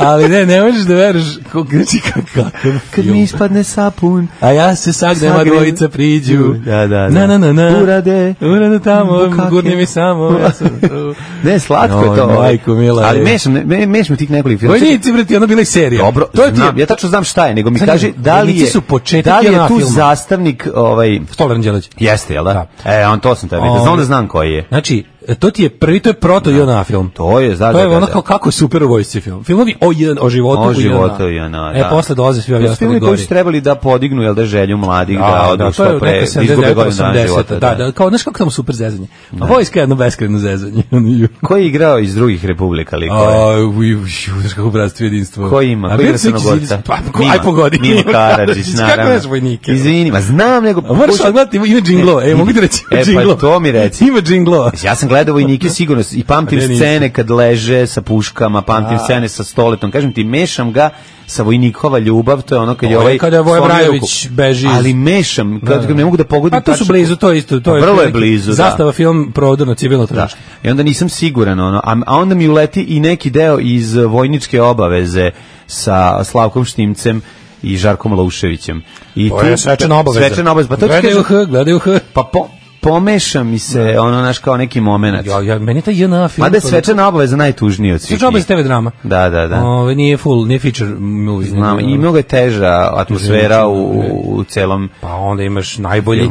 Ali ne, ne možeš da veruješ kako znači kakav
Kad
film.
mi ispadne sapun,
A ja se sagnem, a
Sagnem.
dvojica priđu.
Da, da, da.
Na, na, na, na.
Urade.
Urade tamo,
Bukake.
gurni mi samo. Ja sam tu.
Ne, slatko je to.
Joj,
ovaj.
majko mila,
Ali
je.
mešam, ne- me, mešam tih nekoliko filmova.
Vojnici, brati, ona bila i serija.
znači- Dobro,
to je ti
znam, ja tačno znam šta je, nego mi
Sad
kaže
vidim,
da li
vojnici
je,
su početak
da li
JNA
je tu
filma.
zastavnik ovaj,
Stolar Anđelić.
Jeste, jel da? E, on to sam tebi,
Onda-
da onda znam koji je.
Znači, to ti je prvi, to je proto Jona film.
To je, da,
To je
da, da,
ono
da.
kao kako je super u vojsci film. Filmovi o, jedan, o životu
O
u JNA.
životu u JNA,
E,
da.
posle dolaze svi ovi
To su
ostali
filmi koji
gori.
su trebali da podignu, jel da, želju mladih, da, odu
to je
što pre,
neka
da izgube
79,
godinu dana
80,
života.
Da, da, kao, znaš kako tamo super zezanje. A vojska je jedno beskreno zezanje. Ono, ju.
Koji je igrao iz drugih republika, lik?
A, uj, uj, znaš kako bratstvo i jedinstvo.
Ko ima?
A
Ko igra
Mircić iz-
Crnogorca?
Pa, ko- aj pogodi.
Mimo Karadžić, naravno.
Kako znaš vojnike?
Izvini, ma znam, nego...
A moraš
pokušaj-
odgledati, ima, ima džinglo. E,
Ne,
mogu ti reći,
e, pa
džinglo.
to mi reci.
Ima džinglo.
Ja sam gledao vojnike sigurno i pamtim
A ne, nisam.
scene kad leže sa puškama, pamtim
A.
scene sa stoletom. Kažem ti, mešam ga sa vojnikova ljubav, to je ono kad je
To je
ovaj...
kada je Voja
slomio
Brajović
ruku.
beži iz-
Ali mešam, kad
Da.
ne mogu da pogodim
A to su
tačno-
blizu, to je isto. To je
Vrlo je
otprilike
blizu, da.
Zastava film Prodorno civilno
Da.
tržište.
I onda nisam siguran, ono, a, a onda mi uleti i neki deo iz eh, vojničke obaveze sa Slavkom Štimcem i Žarkom Lauševićem. I
To je
tu-
svečana obaveza.
Svečana obaveza. Pa to ti
gledaju H,
kažem,
gledaju H.
pa po, pomeša mi se, ono, naš, kao neki moment.
Ja, ja, meni je taj JNA film...
Mada je
toliko-
svečana obaveza najtužniji od svih.
Svečana obaveza
njih.
TV drama.
Da, da, da.
Ove, nije full, nije feature movie.
Znam,
nego-
i mnogo je teža atmosfera u, u- u celom...
Pa onda imaš najbolji...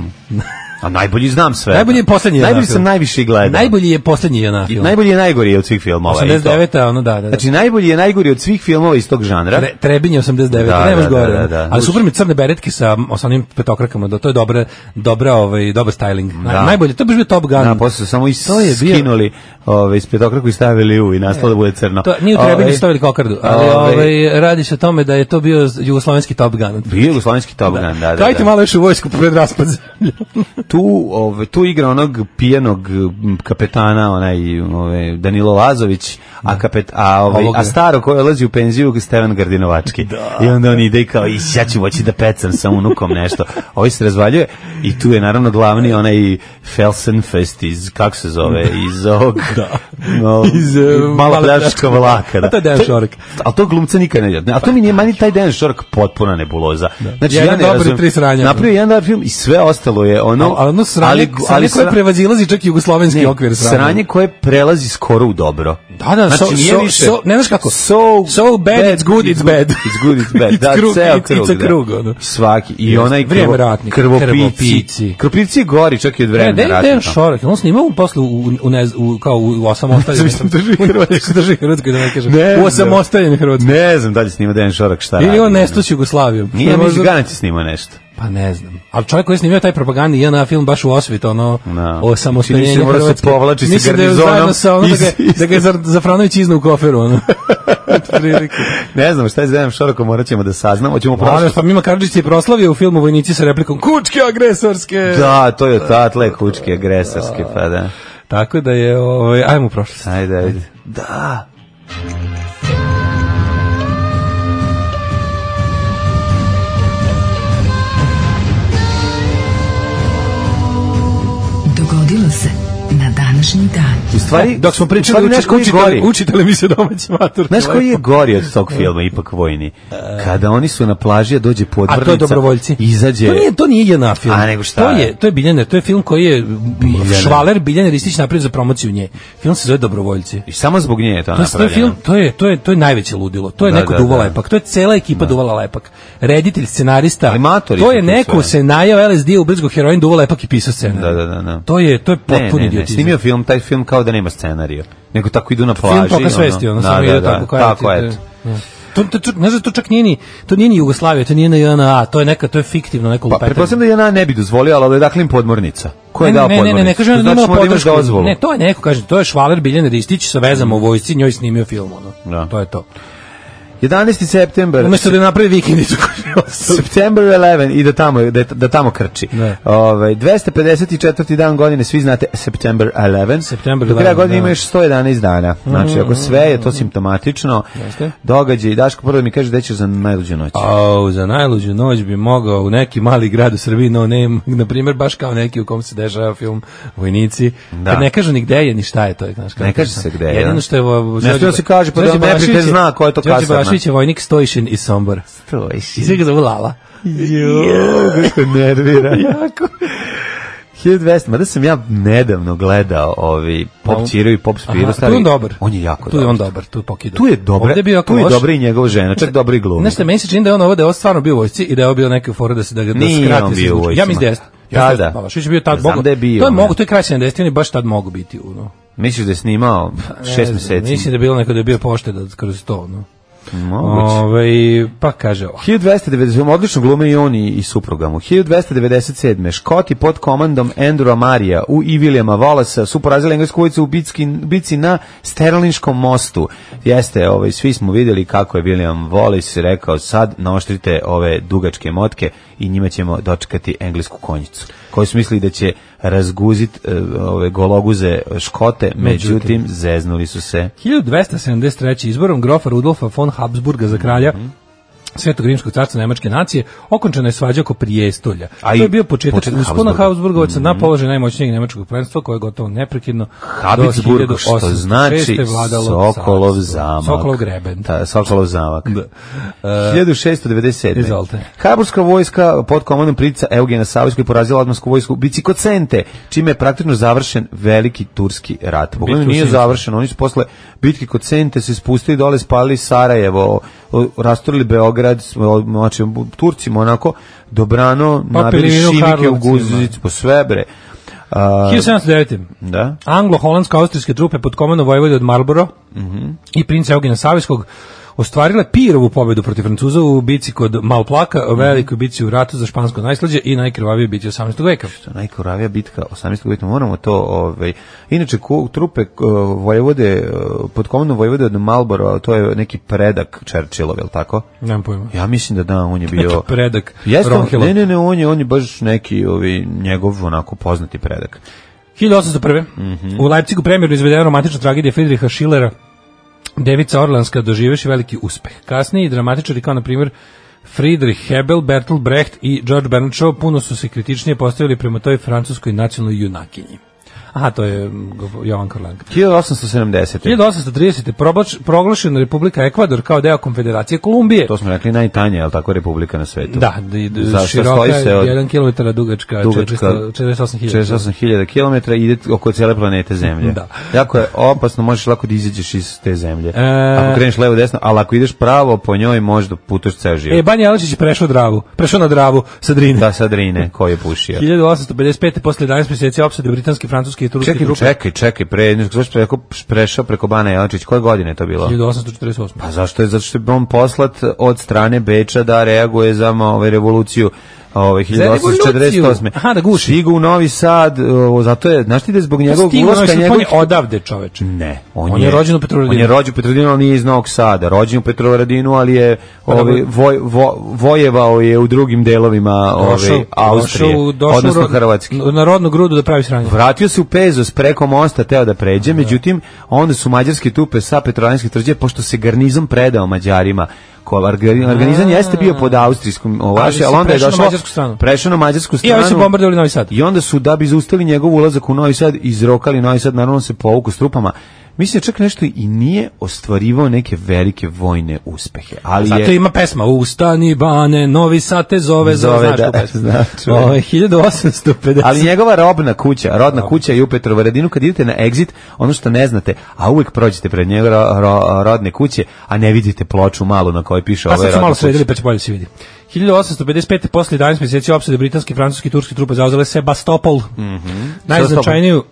A najbolji znam sve.
Najbolji je poslednji
Najbolji
JNA
sam
film.
najviše gledao.
Najbolji je poslednji JNA
I
film.
najbolji je najgori od svih filmova. Ovaj, i to.
89. ono, da, da, da.
Znači, najbolji je najgori od svih filmova iz tog žanra.
Tre, Trebinje 89.
Da,
Da, ne
da,
može
da,
gore.
da,
Da,
da.
Ali super mi crne beretke sa osanim petokrakama, ono, da to je dobra, dobra, ovaj, dobar styling. Na-
Da.
Najbolje, to bi bio Top Gun.
Da, posle su samo i
pa, To je bio- E,
skinuli ove, iz petokraku i stavili u i nastalo da bude crno.
To, nije u Trebinju
Ovaj,
stavili kokardu, ali
ovaj,
ovaj, radi se o tome da je to bio jugoslovenski Top Gun.
Bio jugoslovenski Top Gun, da, da, da.
Trajte malo još u vojsku pred raspad zemlje.
Tu, ove, tu igra onog pijenog m, kapetana, onaj ove, Danilo Lazović, a, kapet, a, ove,
Ovoga.
a staro koji odlazi u penziju Stevan Gardinovački. I onda on ide i kao, "Is, ja ću moći da pecam sa unukom nešto. Ovi se razvaljuje i tu je naravno glavni onaj Felsenfest iz, kako se zove, iz ovog... no,
Iz, eh,
malo
Malopljačka.
vlaka. Da.
A Pa to je Dejan Šorek.
Ali to glumca nikad ne vidim. A to mi nije mani taj Dejan Šork potpuna nebuloza. Znači,
Jedan
ja ne
dobar i
razumem.
tri sranja.
Napravio je jedan dobar film i sve ostalo je ono...
ali ono sranje, ali, sranje koje
sra-
prevazilazi čak i jugoslovenski
ne,
okvir sranja.
sranje koje prelazi skoro u dobro.
Da, da, so, so, so, ne znaš kako?
So,
So bad, it's good, it's bad.
It's good, it's bad. Da,
It's krug,
ceo
it's-
krug.
it's a
da.
krug, ono.
Svaki. I
Jeste.
onaj
Vrijeme
krvo-
ratnika.
Krvopici.
Krvopici.
Krvopici je gori čak i od vremena
Ne, Dejan- Dejan
ratnika.
Šorek, on snima u poslu u, u, ne, znam, u kao u, u osamostaljenom.
Mislim, drži Hrvatsku.
drži Hrvatsku, da ne kažem.
Ne znam.
u osamostaljenom Hrvatsku.
Ne znam da li snima Dejan Šorak šta radi.
Ili on nesto s Jugoslavijom.
Nije,
Možda-
mislim, Ganac je snimao nešto.
Pa ne znam. Ali čovjek koji je snimio taj propagandni JNA film baš u osvit, ono,
Da.
o samostaljenju
Čini se, mora se
Hrvatske.
povlači sa
Mislim da je
garnizonom
zajedno sa ono da
iz-
ga, da ga je Zar- Zafranović iznao u koferu, ono.
Ne znam šta je s Dejanom Šorakom, morat ćemo da saznamo. Hoćemo
Ono
prošlo.
što Mima Karadžić je proslavio u filmu Vojnici sa replikom Kučke agresorske!
Da, to je odatle kučke agresorske, pa da.
Tako da je, ovaj, ajmo u prošlost.
Ajde, ajde. Da.
Dogodilo se na današnji dan.
U stvari,
Dok smo pričali
u stvari,
učitelj,
znaš koji je
učitelj,
gori?
učitelj mi se domaći matur.
Znaš koji je gori od tog filma, ipak vojni? Kada oni su na plaži, a dođe podmornica.
A to je dobrovoljci.
Izađe...
To nije, to nije jedna film.
A, nego šta
To
je?
je, to je Biljana, to je film koji je Švaler Biljana Ristić napravio za promociju nje. Film se zove Dobrovoljci.
I samo zbog nje je
To
to
je, to je
napravljeno.
film, to je, to je, to je najveće ludilo. To je
Da,
neko
da,
da, duvao
da.
lepak. To je cela ekipa duvala lepak. Reditelj, scenarista.
Ali matori
to
su
je
tu
neko
sve.
se najao LSD u brzgo heroin duvao lepak i pisao
Da,
scenarij.
da, da. da.
To je, to je
Ne,
potpuni
ne, ne,
idiotizam.
snimio film, taj film kao da nema scenarija. Nego tako idu na plaži.
film toka svesti, ono,
da,
samo
da,
ide
da,
tako kao
Tako, Pa,
eto.
eto.
Da. To, to, to, ne znam, to čak nije ni, to nije ni Jugoslavija, to nije ni JNA, to je neka, to je fiktivno neko
Pa,
lupetanje.
pretpostavljam da je na ne bi dozvolio, ali odakle im podmornica? Ko je
Ne,
dao
ne, ne,
podmornicu?
ne, ne, kažem
To
da nije imala
znači, mora da imaš
podršku.
dozvolu.
Ne, to je neko, kažem, to je Švaler Biljan Ristić sa vezama u vojsci, njoj snimio film, ono.
Da.
To je to.
11. september.
Umesto da je napravi vikendicu koju je ostalo.
September 11 i da tamo da, da tamo krči.
Ne.
Ovaj 254. dan godine svi znate September 11.
September
Do kraja
11,
godine
da. Mm.
ima još 111 dana. Znači ako sve je to simptomatično.
Jeste.
Događaj Daško prvo da mi kaže da će za najluđu noć.
Au, za najluđu noć bi mogao u neki mali grad u Srbiji, no name, na primjer, baš kao neki u kom se dešava film Vojnici.
Da.
Kad ne kažu ni gde je, ni šta je to. Znaš, kao
Ne kaže
to.
se gde je, da.
Jedino što je... vo-
Ne smije se kaže, pa da
Đorđe
neprijatelj
Balašević je-
zna ko je to
Đorđe
kasarna.
Balašević je vojnik Stojišin iz Sombora. I sve ga zovu Lala.
Kako nervira. jako. 1200, mada sam ja nedavno gledao ovi Pop Ciro i Pop Spiro.
Aha,
stari-
tu je on dobar.
On je jako
Tu je
dobar.
on dobar, tu pokida.
Tu je dobro,
Ovde je bio jako
tu je
loš.
dobro i njegova žena, čak dobro i glumi.
Nešto meni se čini da je on ovo da je on stvarno bio u vojsci i da je ovo bio neka fora da se da ga da
Nije
skrati
on
se
bio u
zvuči.
vojsci,
Ja mislim da
ma.
jeste.
Da,
Ja mislim
da.
Balašević je bio tad
Znam
mogu.
da je bio,
To je
ne.
mogu, to je kraj 70 oni baš tad mogu biti ono.
Misliš da je snimao šest meseci?
Pa, Mislim da je bilo neko da je bio pošteda kroz to, ono.
Moguće.
Ovaj pa kaže, oh,
1290, odlično glume i on i, i supruga mu. 1297. Škoti pod komandom Andrewa Marija u i Williama Wallace su porazili englesku ulicu u bitski, bitci na Sterlinškom mostu. Jeste, ovaj, svi smo vidjeli kako je William Wallace rekao sad naoštrite ove dugačke motke i njima ćemo dočekati englesku konjicu. Koju su mislili da će razguzit e, ove gologuze škote, međutim, zeznuli su se.
1273. izborom grofa Rudolfa von Habsburga za kralja
Mhm.
Svetog rimskog carstva nemačke nacije, okončena je svađa oko prijestolja.
A
to
i
je bio početak
početak
uspona
Habsburga. Mhm.
Habsburgovaca na položaj najmoćnijeg nemačkog prvenstva koje je gotovo neprekidno
Habsburg,
do
što
1806.
znači
vladalo
Sokolov
carstvo.
zamak.
Sokolov greben.
Ta, Sokolov zamak.
Da.
E, 1697.
izvolite.
Habsburgska vojska pod komandom prica Eugena Savojskog je porazila odmansku vojsku Bicikocente, čime je praktično završen veliki turski rat. Pogledaj,
Bitka u
nije
Sinju.
završen, oni su posle bitke kod Cente se spustili dole, spalili Sarajevo, o- rastorili Beograd, s- o- znači Turcima onako dobrano
Pa
nabili
Pilivinu
šimike u
Karlovcima.
guzicu, po sve bre. A,
1709.
da?
Anglo-holandsko-austrijske trupe pod komandom vojvode od Marlboro i princa Eugena Savijskog ostvarile Pirovu pobedu protiv Francuza u bici kod Malplaka,
Mhm.
u velikoj bici u ratu za špansko najslađe i najkrvavije bici 18. veka.
to je najkoravija bitka 18. veka moramo to ovaj inače ku, trupe k- vojvode eh, pod komandom vojvode od Malbora to je neki predak Churchillov jel tako
Nemam pojma.
ja mislim da da on je bio
Neki predak
Jeste on-
Ronhillov.
ne ne ne on je on je baš neki ovi njegov onako poznati predak
1801.
Mhm.
U Leipzigu premjeru izvedena romantična tragedija Friedricha Schillera Devica Orlanska doživeši veliki uspeh. Kasnije dramatičari kao na primjer Friedrich Hebel, Bertolt Brecht i George Bernard Shaw puno su se kritičnije postavili prema toj francuskoj nacionalnoj junakinji. Aha, to je mm, gov- Jovan Korlanka.
1870
1830. Problač, proglašena Republika Ekvador kao deo Konfederacije Kolumbije.
to smo rekli najtanja jel tako republika na svetu
Da, d- d-
Zašto
široka
stoji se
je
od
1 km dugačka,
Dugačka-
400 48.000.
48.000 km ide oko cijele planete Zemlje.
Da.
Jako je opasno, možeš lako da izađeš iz te zemlje.
E.
Ako kreneš levo desno, ali ako ideš pravo po njoj možeš da putuješ ceo život.
E, Banja Jelačić je prešao dravu, prešao na dravu sa Drine.
Da, sad Rine, ko je pušio.
1855. posle 11 mjeseci opsade britanske, francuske i turske
Čekaj,
trupe.
čekaj, čekaj, pre, znaš, zašto je rekao prešao preko Bana Jelačić, koje godine je to bilo?
1848.
Pa zašto je, zato što je on poslat od strane Beča da reaguje za ovaj, revoluciju ovaj,
revoluciju.
1848.
Aha, da guši. Pa
Stigu u Novi Sad, o, zato je, znaš ti da je zbog njegovog
Stigao
ulaska, Mm,
je
njegovog
on je odavde, čoveče.
Ne, on,
On je rođen u Petrovaradinu.
On je rođen u Petrovaradinu, ali nije iz Novog Sada. Rođen u Petrovaradinu, ali je
Pa
ovaj, voj, vo, vojevao je u drugim delovima ovaj, Austrije,
došao u- došao
odnosno
u rod-
Hrvatske.
Na rodnu grudu da pravi sranje.
Vratio se u Pezos preko mosta, teo da pređe, međutim, onda su mađarske tupe sa petrovanske tvrđe, pošto se garnizom predao Mađarima, ko, organi- organizam jeste bio pod austrijskom
Ali
ovaši,
se
ali onda je
prešao na
došao
mađarsku stranu.
prešao na mađarsku
I
stranu.
ovi su bombardovali Novi Sad.
I onda su, da bi zaustavili njegov ulazak u Novi Sad, izrokali Novi Sad, naravno se povuku s trupama. Mislim da čak nešto i nije ostvarivao neke velike vojne uspehe. Ali
Zato
je,
ima pesma Ustani bane, novi sat te zove, zove,
Zove,
znaš
da,
tu pesmu.
znam, čujem.
Ovo je Ovaj, 1850.
ali njegova robna kuća, rodna kuća je u Petrovaradinu, kad idete na exit, ono što ne znate, a uvek prođete pred njegove ro- ro- rodne kuće, a ne vidite ploču malu na kojoj piše
Pa
ove
sad su malo
rodne kuće.
sredili, pa će bolje se vidi. 1855. posle 11 mjeseci opsade britanske, francuske i turske trupe zauzele Sebastopol,
Mhm.
najznačajniju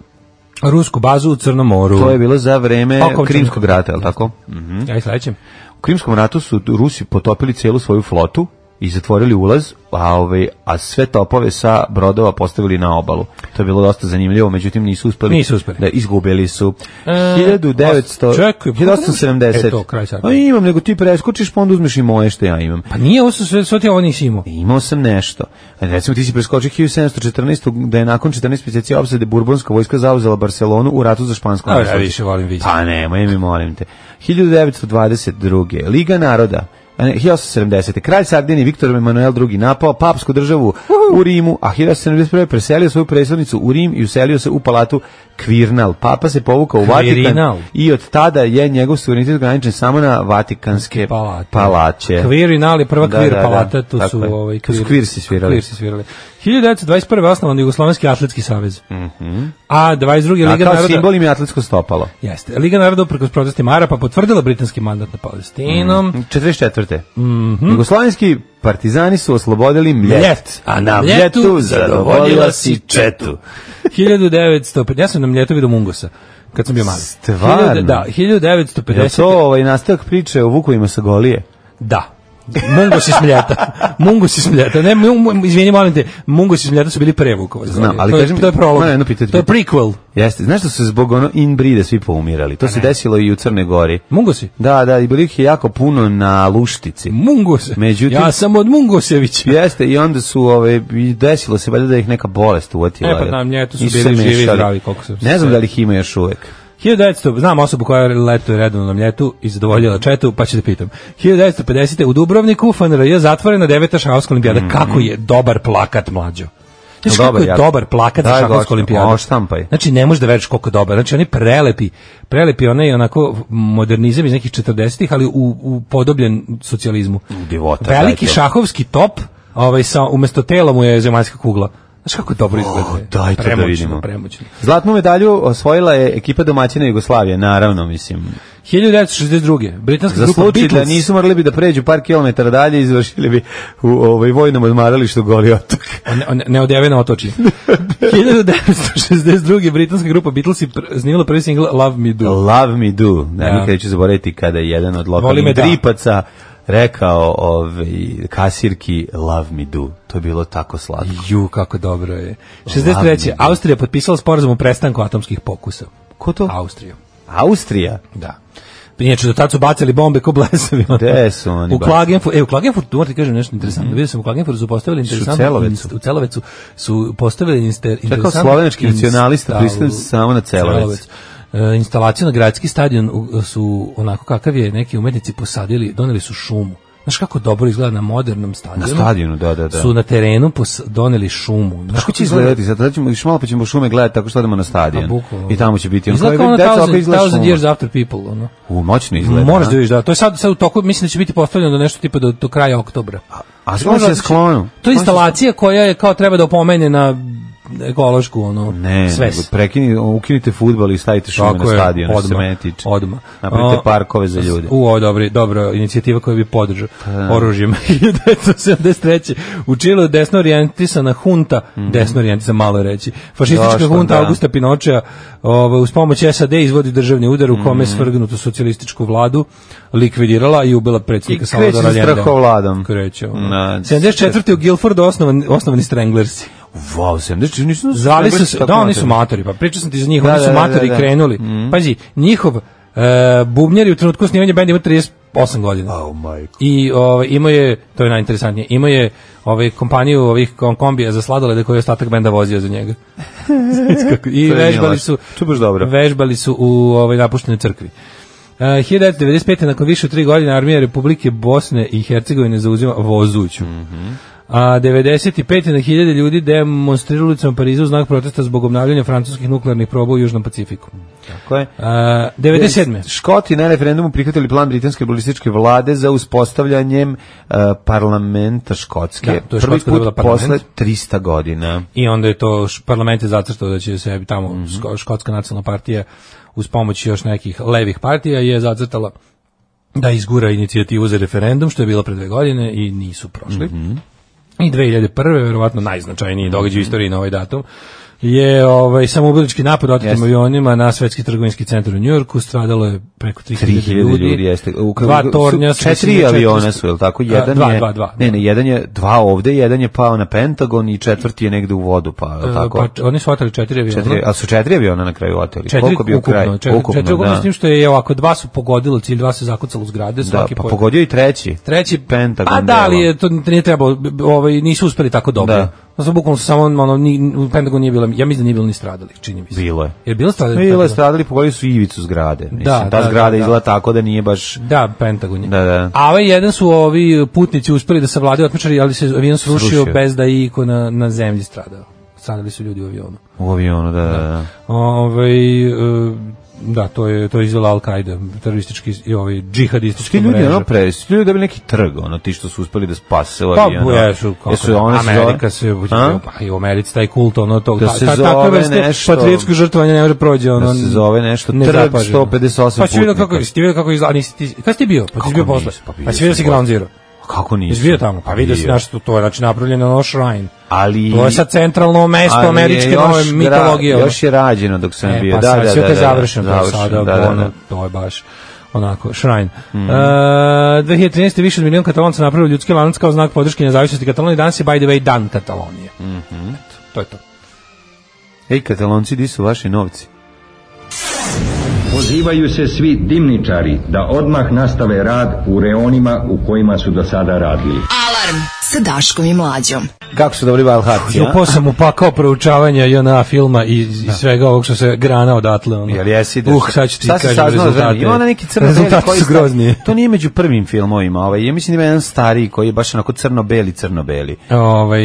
rusku bazu u Crnom moru.
To je bilo za vreme
Okončan.
Krimskog rata, je li tako? Mhm.
Ja i sledećem.
U Krimskom ratu su Rusi potopili celu svoju flotu i zatvorili ulaz, a, ovaj, a sve topove sa brodova postavili na obalu. To je bilo dosta zanimljivo, međutim nisu uspeli.
Nisu uspeli.
Da, izgubili su.
E,
1900...
čekaj, pa kako ne-
1870.
E, to, kraj sad.
Pa imam, nego ti preskočiš, pa onda uzmeš i moje što ja imam.
Pa nije ovo su sve, sve ti ovo nisi imao.
E, Imao sam nešto. Recimo, ti si preskočio 1714. da je nakon 14 mjeseci opsade Burbonska vojska zauzela Barcelonu u ratu za špansko
A, ja
nasleđe.
više volim vići.
Pa nemoj mi, molim te. 1922. Liga naroda. a ne, 1870. Kralj Sardini Viktor Emanuel II. napao papsku državu u Rimu, a 1871. preselio svoju predstavnicu u Rim i uselio se u palatu Kvirnal. Papa se povukao u
Kvirinal.
Vatikan i od tada je njegov suverenitet ograničen samo na Vatikanske
Palate.
palače.
Kvir i Nali, prva
Da,
kvir
da, da.
palata, tu
Tako
su
je.
ovaj
Tu su kvir si svirali.
Kvir si svirali. 1921. osnovan Jugoslovenski atletski savez. A 22.
Mhm. A
Liga
kao
naroda...
simbol im je atletsko stopalo.
Jeste. Liga naroda uprkos protestima Arapa potvrdila britanski mandat na Palestinom.
Mhm. 44. Jugoslavenski partizani su oslobodili mljet,
Mhm. Mljet.
a na
Mljetu
mljetu
zadovoljila
zadovoljila si četu.
1950. Ja sam na mljetu vidio Mungosa kad sam bio mali.
Stvarno?
Hiljade- Da,
Je li
1950.
to ovaj nastavak priče o Vukovima sa Golije?
Da. Mungos iz Mljeta. Mungos iz Mljeta. Ne, mu- mu- izvini, molim te, Mungos iz Mljeta su bili pre Vukovar.
Znam, ali
to, je-
kažem-
to je prolog.
Moram jedno pitanje.
To je prequel.
Jeste, znaš da su zbog ono inbrida svi poumirali?
Pa
To se desilo i u Crnoj Gori.
Mungosi.
Da, da, i bilo ih je jako puno na luštici.
Mungose.
Međutim-
ja sam od Mungosevića.
Jeste, i onda su ove, i desilo se valjda da ih neka bolest uvatila.
E, pa znam, nje, tu su bili živi i zdravi, koliko sam se
Ne znam da li ih ima još uvek.
1900, znam osobu koja je letuje redovno na mljetu i zadovoljila četu, pa ću da pitam. 1950. u Dubrovniku FNRJ je zatvorena deveta šahovska olimpijada. Kako je dobar plakat mlađo? Znaš
Mhm. Dobar,
kako je
ja.
dobar plakat
Da,
za
je
šahovsku
gotovo.
olimpijadu?
O, štampaj.
Znači, ne možeš da veriš koliko je dobar. Znači, oni prelepi, prelepi onaj onako modernizam iz nekih 40-ih, ali u, upodobljen socijalizmu.
divota,
Veliki
dajte.
šahovski top, ovaj, sa, umesto tela mu je zemaljska kugla. Znaš kako dobro izgleda?
O, daj to da
Premoćno,
vidimo.
Premoćno.
Zlatnu medalju osvojila je ekipa domaćina Jugoslavije, naravno, mislim.
1962. Britanska
Za
grupa
slučaj da
Beatles.
nisu morali bi da pređu par kilometara dalje, izvršili bi u ovaj vojnom odmaralištu Goli otok.
Ne, ne odjeveno otoči. 1962. britanska grupa Beatles je pr- snimila prvi singl Love Me Do.
Love me do. Ne,
Da.
nikad neću zaboraviti kada je jedan od
Voli me
lokalnih
da.
dripaca rekao ovaj, kasirki love me do. To je bilo tako slatko.
Ju, kako dobro je.
Love
63.
Me Do.
Austrija potpisala sporazum o prestanku atomskih pokusa.
Ko to?
Austrija.
Austrija.
Da. Inače, do tad su bacali bombe ko blesavi. ono.
Gde su oni
U
baš?
Klagenfurtu, e, u Klagenfurtu, moram ti kažem nešto interesantno. Vidio sam u Klagenfurtu su postavili interesantnu...
Celovecu.
inst- U Celovecu su postavili inste- interesantnu...
slovenački nacionalista
instalu-
pristajem samo na Celovec.
E, instalaciju na gradski stadion u- su onako kakav je neki umetnici posadili, doneli su šumu. Znaš kako dobro izgleda na modernom stadionu?
Na stadionu, da, da, da.
Su na terenu pos, doneli šumu. Znaš
Kako će izgledati? Sad Sad ćemo, još malo pa ćemo šume gledati tako što odemo na stadion.
A, Pa bukvalno.
I tamo će biti. on
Izgleda kao
kao,
ono
deca, ovako
thousand,
izgleda
thousand
šuma.
years after people, ono.
U, moćno izgleda.
Moraš
a?
da vidiš, da. To je sad, sad u toku, mislim da će biti postavljeno do nešto tipa do, do kraja oktobra.
A sklon se sklonu.
To je instalacija koja je kao treba da opomene na ekološku ono
Ne, nego
sves.
prekini, ukinite fudbal i stavite šume
Tako
na
je,
stadion, što se
odmah,
mene tiče.
odmah.
Napravite
O,
parkove za ljude. Pa
U, ovo je dobro, dobro, inicijativa koju bi podržao oružjem. 1973. U Čilu desno orijentisana hunta, desno orijentisana malo je reći, fašistička
Dosta,
hunta
Mhm. da.
Augusta Pinočea ovaj, uz pomoć SAD izvodi državni udar u kome je
Mhm.
svrgnutu socijalističku vladu likvidirala i ubila predsjednika
I kreće
Salvadora
sa
Allende.
strahovladom.
Kreće. ono.
Na-
74. u Guilfordu osnovan, osnovani Stranglersi.
Wow, 74 nisu...
Zvali su se,
Kako
da oni
mater?
su matori, pa pričao sam ti za njih,
Da,
oni
da,
su
da,
matori
da, Mm. da.
krenuli. Pazi, njihov e, bubnjar je u trenutku snimanja benda ima 38 godina.
Oh my God.
I ovaj imao je, to je najinteresantnije, imao je ovaj kompaniju ovih kom- kombija za sladolede koji je ostatak benda vozio za njega. Znači I
To je nije
vežbali
loše.
su
To je baš dobro.
Vežbali su u ovaj napuštenoj crkvi. E, 1995. nakon više od tri godine armija Republike Bosne i Hercegovine zauzima Vozuću. A 95. na hiljade ljudi demonstrirali ulicama Pariza u znak protesta zbog obnavljanja francuskih nuklearnih proba u Južnom Pacifiku.
Tako je.
A, 97.
Škoti na referendumu prihvatili plan britanske balističke vlade za uspostavljanjem eh, parlamenta Škotske.
Da, to je
Prvi
Škotska dobila
put
parlament.
posle 300 godina.
I onda je to š- parlament je zacrtao da će se tamo
Mhm.
Ško- škotska nacionalna partija uz pomoć još nekih levih partija je zacrtala da izgura inicijativu za referendum što je bilo pre dve godine i nisu prošli.
Mhm.
I 2001. verovatno najznačajniji događaj u istoriji na ovaj datum je ovaj samoubički napad otetim
Jeste.
avionima na svetski trgovinski centar u Njujorku, stradalo je preko 3000
3000
ljudi.
ljudi, jeste. U,
dva
u-
tornja
su,
su
četiri
mislim,
aviona
400
su, jel tako?
A,
Jedan
dva,
je,
dva, dva.
Ne, ne, jedan je, dva ovde, jedan je pao na Pentagon i četvrti je negde u vodu pao, jel
E,
tako?
Pa, oni su oteli četiri aviona.
četiri, a su Mhm. četiri aviona na kraju oteli?
Četiri
Koliko je bio
ukupno,
kraj?
četiri,
ukupno,
četiri ukupno
da.
s tim što je ovako dva su pogodilo cilj, dva se zakucalo u zgrade,
da,
svaki
pa
po-
pogodio i treći.
Treći
Pentagon.
A da, ali
delom.
je to nije trebalo, b- b- ovaj nisu uspeli tako dobro.
Da.
Da. Znači, bukvalno su samo ono, ni, u Pentagon nije bilo, ja mislim da nije bilo ni stradalih, čini mi se.
Bilo je.
Jer bilo stradalih?
Bilo je
Pentagon?
stradali, pogodili su ivicu zgrade. Mislim,
Da,
ta
da,
zgrada
da, da.
izgleda tako da nije baš...
Da, Pentagon je.
Da, da.
A ovaj jedan su ovi putnici uspeli da savladaju otmičari, ali se avion srušio,
Srušio.
bez da je iko na, na zemlji stradao. Stradali su ljudi u avionu.
U avionu, da, da, da.
Ovaj e, da, to je to je izvela Al-Qaida, teroristički i ovaj džihadistički
Ti ljudi ono pre, su ljudi dobili neki trg, ono ti što su uspeli da spase u
Pa,
avionu.
jesu, kako
Jesu,
ne,
ono se zove-
Amerika se,
A?
pa i u Americi taj kult, ono, tog,
Da
ta,
se
ta,
zove
takve vrste
nešto-
patriotskog žrtvovanja ne može prođe, ono,
da se zove nešto trg
nezapaženo.
158
Pa si vidio kako,
putnika.
si ti vidio kako izgleda, nisi ti, kada si ti bio? Pa ti
Kako
si bio posle,
nisam,
pa,
pa
si
bio
vidio si
sam
Ground Zero.
Kako
Jesi
nisi?
vidio tamo, pa vidio si
Bio.
naš, to je, znači, napravljeno ono shrine.
Ali...
To je sad centralno mesto
ali je
američke
još
nove
gra-
mitologije. ono.
Još je rađeno dok sam
E,
bio.
pa
da,
sad
da,
sve
da,
to je
da,
završeno,
da,
to je sada,
da, da,
ono,
da.
to je baš. onako, šrajn. Mm. Uh, 2013. više od milion katalonca napravio ljudski lanac kao znak podrške nezavisnosti Katalonije. Danas je, by the way, dan Katalonije. Mm
Mhm.
Eto, to je to.
Ej, katalonci, di su vaši novci?
Pozivaju se svi dimničari da odmah nastave rad u reonima u kojima su do sada radili.
Alarm sa Daškom i Mlađom.
Kako su dobri Valharci, a?
Jopo sam upakao pa proučavanja JNA filma i, i svega ovog što se grana odatle. Ono.
Jel jesi da
Uh, sad ću ti
Šta si
kažem
saznala za
rezultate.
njih? Ima ona neki crno
rezultati su grozni.
To nije među prvim filmovima, ovaj. Ja mislim da ima jedan stariji koji je baš onako crno-beli, crno-beli.
Ovaj,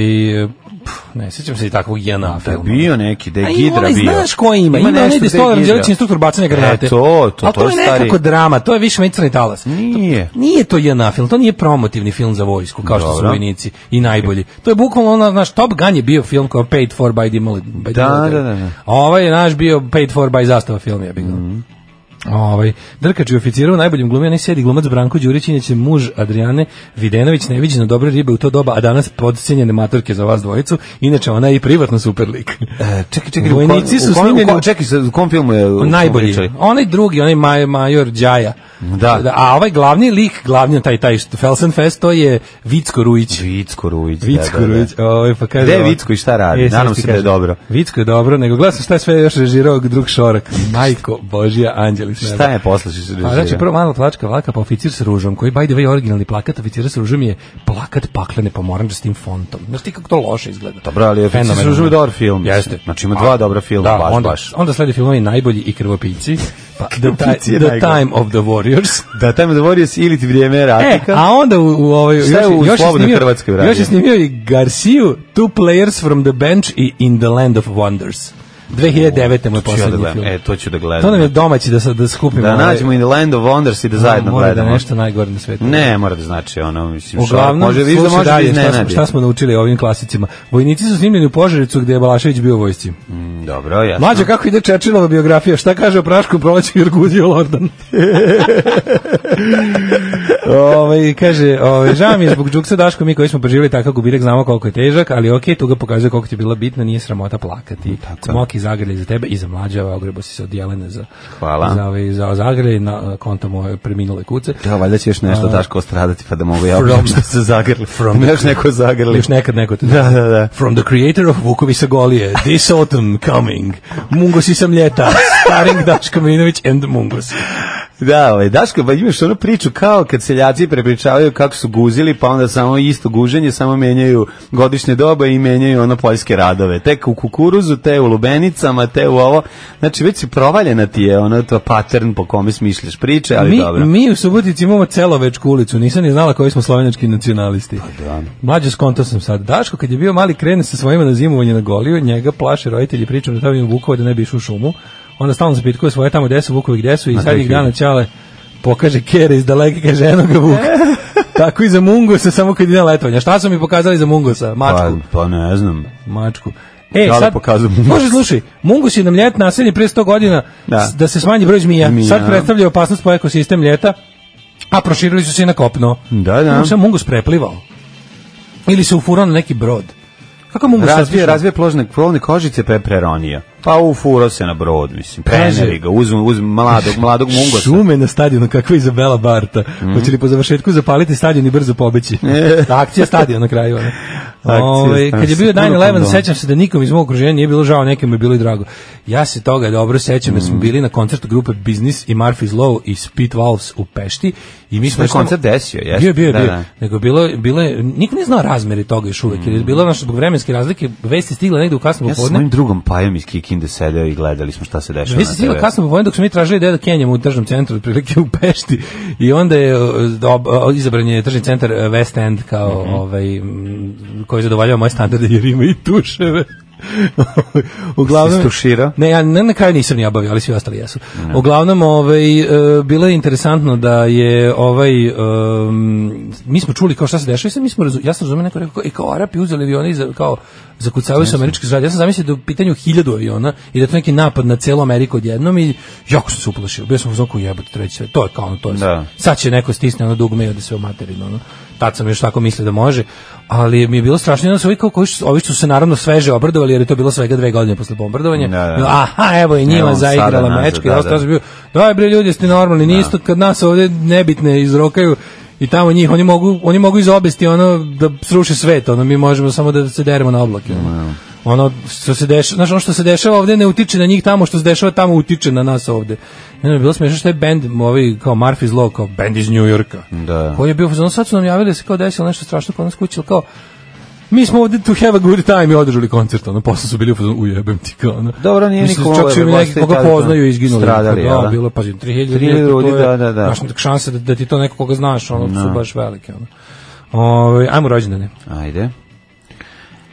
pff, ne, sjećam se i takvog JNA
Da je
filma.
bio neki, da je
A ima
Gidra
onaj,
bio.
Znaš ko ima? Ima, ima
nešto
onaj
gde je
Destolar
Gidra.
Anđelić, instruktor bacanja granate.
E, to, to,
Ali
to,
to,
je
je
stari. Mm.
nekako drama, to je više meni crni talas.
Nije.
To, nije to JNA film, to nije promotivni film za vojsku, kao što su
Dobro.
vojnici i najbolji. To je bukvalno ono, naš Top Gun je bio film koji je paid for by the mili- by the
Da,
military.
da, Mhm. da, da.
A ovaj je naš bio paid for by zastava film, ja bih Ovaj Drkač je oficirao najboljim glumio onaj sedi glumac Branko Đurić inače muž Adriane Videnović neviđeno dobre ribe u to doba a danas podcenjene matorke za vas dvojicu inače ona je i privatno super lik
E, Čekaj, čekaj, u kom-
Vojnici su
u kom- u
snimljeni
kom-
u-
Čekaj, sa- u kom filmu je? u-
najbolji
pričali?
onaj drugi onaj maj, major Đaja
Da.
a ovaj glavni lik glavni taj taj što- Felsenfest to je Vicko Rujić
Vicko Rujić. da,
Vicko
da, da.
Rujić ovaj pa kaže
Gde je
ovako-
Vicko i šta radi?
E, sad
Nadam
ti
se da je
kažem.
dobro.
Vicko je dobro nego gledam šta je sve još režirao drug Šorak majko božja anđeli s neba.
Šta je posle što se
A
režira?
znači prvo mala plačka vlaka pa oficir s ružom koji by the way originalni plakat oficira s ružom je plakat paklene pa pomorandžastim fontom. Znaš ti kako to loše izgleda.
Dobro, ali Oficir s
Fenomenalno.
ružom je dobar film, mislim.
Jeste.
Znači, ima dva
A,
dobra filma,
da,
baš,
onda,
baš.
Onda sledi filmovi najbolji i krvopici. Pa, the,
Krvopici
ti,
je
the
najgori.
Time of the Warriors.
Da, taj me dovorio s ili ti vrijeme
E,
ratika.
a onda u, u ovoj, još,
Šta je u
još, je
Slobodnoj
snimio,
Hrvatskoj uradio?
još je snimio i Garciju, Two Players from the Bench i In the Land of Wonders. 2009. moj
To ću ja da
poslednji
gledam.
film.
E, to ću da gledam.
To nam je domaći da, sa- da skupimo.
Da
ovaj-
nađemo in the land of wonders i da zajedno
Mora
gledamo.
Da je nešto najgore na svetu.
Ne, mora da znači ono, mislim, šta,
Uglavnom,
može više da
slušaj
može da
dalje, šta, smo,
iznenadi.
šta smo naučili o ovim klasicima. Vojnici su snimljeni u Požaricu gde je Balašević bio u vojsci.
Mm, Dobro, jasno.
Mlađe, kako ide Čečilova biografija? Šta kaže o Praškom proleću Jerguzio Lordan? ovaj, kaže, ovaj, žao mi je zbog Đuksa Daško, mi koji smo preživjeli takav gubirak znamo koliko je težak, ali okej, tu ga pokazuje koliko ti je bila bitna, nije sramota plakati.
Tako.
Smoki zagrlje za tebe i za mlađe, ovaj, ogrebo si se od Jelene za,
Hvala.
za, ovaj, za zagrlje na konto moje preminule kuce.
Da, valjda će još nešto
A-
Daško stradati pa da mogu ja
From-
što se zagrli.
From-
još neko zagrli.
Još nekad neko te
Da, da, da.
From the creator of Vukovi sa Golije, This Autumn Coming, Mungosi sam ljeta, starring Daško Milinović and Mungosi.
Da, ovaj, Daško, ba, imaš onu priču kao kad seljaci prepričavaju kako su guzili, pa onda samo isto guženje, samo menjaju godišnje dobe i menjaju ono poljske radove. Te u kukuruzu, te u lubenicama, te u ovo. Znači, već si provaljena ti je ono to pattern po kome smišljaš priče, ali
mi,
dobro.
mi u Subotici imamo celovečku ulicu, nisam ni znala koji smo slovenački nacionalisti. Pa da. Mlađe skonto sam sad. Daško, kad je bio mali krene sa svojima na zimovanje na goliju, njega plaše roditelji pričom da tamo ima Vukova da ne bi išao u šumu. Onda stalno se pitkuje svoje tamo gde su Vukovi, gde su i sad
tek
ih dana ćale pokaže kere iz daleke, kaže eno ga Vuk. Tako i za Mungosa, samo kad ide na letovanje. Šta su mi pokazali za Mungosa?
pa,
Mačku.
pa ne znam.
Mačku. E,
Da li
sad,
pokazao Mungus?
može, slušaj, Mungus je nam ljet naselje pre 100 godina
Da.
da, da se smanji broj zmija.
Zmija.
Sad predstavlja opasnost po ekosistem ljeta, a proširili su se i na kopno.
Da, da.
Kako se Mungus preplivao? Ili se ufurao na neki brod? Kako Mungus
Razvije,
otišao?
razvije pložne, plovne kožice pa je preronio. Pa ufuro se na brod, mislim. Preneri ga, uzmu, uzmu mladog, mladog mungosa.
Šume na stadionu, kakva Izabela Barta.
Mhm.
Hoće li po završetku zapaliti stadion i brzo pobeći? Akcija stadion na kraju. ono.
Akcija
Ove, kad je bio
stadion, sa
9-11,
punom
sećam se da nikom iz mog okruženja nije bilo žao, nekim je bilo i drago. Ja se toga dobro sećam, jer smo
Mhm.
bili na koncertu grupe Business i Murphy's Law i Spit Valves u Pešti. I mi smo
je
išli tamo-
koncert desio, jeste.
Bio, je, bio, je,
Da,
bio.
da.
Nego bilo, je- bilo je, niko ne znao razmeri toga još uvek, jer je bilo naš zbog vremenske razlike, vesti stigla negde u kasno
Mhm. Ja sam s
popodne.
mojim drugom pajom iz Kikinde sedeo i gledali smo šta se dešava
Vi ste
na
stigli
TV.
kasno popodne dok smo mi tražili da Kenjamo u tržnom centru, otprilike u Pešti, i onda je e, dob- o, izabran je tržni centar e, West End kao
Mhm.
ovaj, m, koji zadovoljava moje standarde jer ima i tuševe. Uglavnom,
Si stuširao?
ne, ja na, na kraju nisam ni obavio, ali svi ostali jesu. Uglavnom, ovaj, e, bilo je interesantno da je ovaj, em, mi smo čuli kao šta se dešava, i sad mi smo razu- ja sam razumio neko rekao, kao, i kao Arapi uzeli avioni za, kao zakucavaju se američki zrad. Ja sam zamislio da je u pitanju hiljadu aviona i da je to neki napad na celu Ameriku odjednom i jako sam se uplašio. Bio sam u zoku jebote treći svet. To je kao ono, to je
Da.
sad će neko stisne ono dugme i ode sve u materinu. Ono. Tad sam još tako mislio da može, ali mi je bilo strašno. Jedan ovi, kao, koji su, ovi što su se naravno sveže obradovali, jer je to bilo svega dve godine posle bombardovanja.
Da, da.
Aha, evo i njima
Evo, sada
zaigrala
nazad,
mečka.
da,
ja
da.
sam bio, Daj bre ljudi, ste normalni, nisto kad nas ovde nebitne izrokaju i tamo njih, oni mogu, oni mogu iz obesti ono da sruše svet, ono mi možemo samo da se deremo na oblake. ono. Ono što se dešava, znači ono što se dešava ovde ne utiče na njih tamo, što se dešava tamo utiče na nas ovde. Ne, ne, bilo smešno što je bend, ovaj kao Murphy's Law, kao bend iz New Yorka.
Da.
Koji je bio, ono sad su nam javili da se kao desilo nešto strašno kod nas kući, ali kao Mi smo ovde to have a good time i održali koncert, ono, posle su bili u fazonu, ujebem ti kao, ono.
Dobro, nije
Mislim,
niko
Čak su mi
ovaj,
neki koga
postoji taj
poznaju
dan.
izginuli.
Stradali,
da,
jel da?
bilo, pazi, 3000
3000
ljudi,
ljudi,
to je,
da, da, da.
Znaš, šanse da, da ti to neko koga znaš, ono, su baš velike, ono. Ove, ajmo rođendane.
Ajde.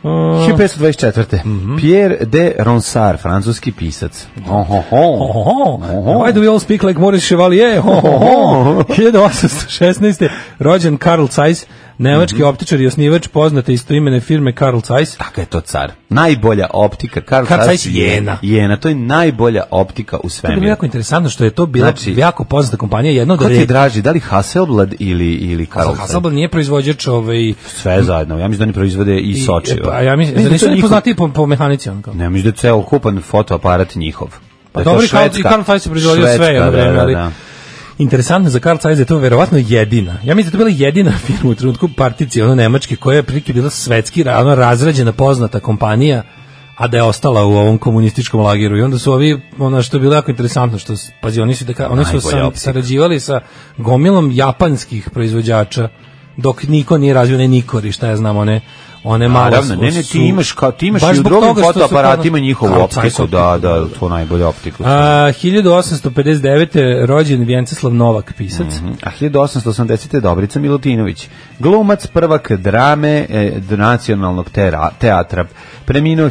1524.
Mhm.
Pierre de Ronsard, francuski pisac. Ohoho.
Oho, why do we all speak like Maurice Chevalier? Ho, ho, ho. 1816. Rođen Karl Zeiss, nemački
Mhm.
optičar i osnivač poznate istoimene firme Karl Zeiss.
Kakav je to car? Najbolja optika. Karl
Karl
Zeiss
Zeiss Jena.
Jena, to je najbolja optika u
To je bilo
svemiru.
jako interesantno što je to bila
Znači-
jako poznata kompanija, jedno od
Ko ti je
retkih-
draži, da li Hasselblad ili, ili Karl Zeiss?
Hasselblad nije proizvođač ovaj
Sve zajedno, ja mislim da oni proizvode i Soči.
Pa ja mislim da
to
nisu
je
ni
njihov-
poznati po, po mehanici on kao.
Ne, mislim da je ceo kupan fotoaparat njihov.
Pa
Da je to
dobro, i Karl- i
Švedska-
Karl Zeiss je proizvodio sve
Švedska,
jedno
da,
vreme,
da,
ali-
da.
Interesantno za Carl Zeiss da je to verovatno jedina. Ja mislim da je to bila jedina firma u trenutku particije, ono nemačke, koja je prilike bila svetski, ra- ono razrađena, poznata kompanija, a da je ostala u ovom komunističkom lageru. I onda su ovi, ono što je bilo jako interesantno, što, s- pazi, oni su, da, ka- oni su
Najbolja
sam-
optika.
sarađivali sa gomilom japanskih proizvođača, dok niko nije razvio ne nikori, šta ja znam, one one malo
Naravno,
su-
ne, ne,
su-
ti imaš, kao, ti imaš
Baš
i u
zbog
drugim
toga što su
fotoaparatima
kao-
njihovu
Carl Zeiss
optiku,
optiku,
da, da, to najbolja optika.
A, 1859. rođen Vjenceslav Novak, pisac.
A 1880. Dobrica Milutinović, glumac prvak drame e, nacionalnog tera, teatra, preminuo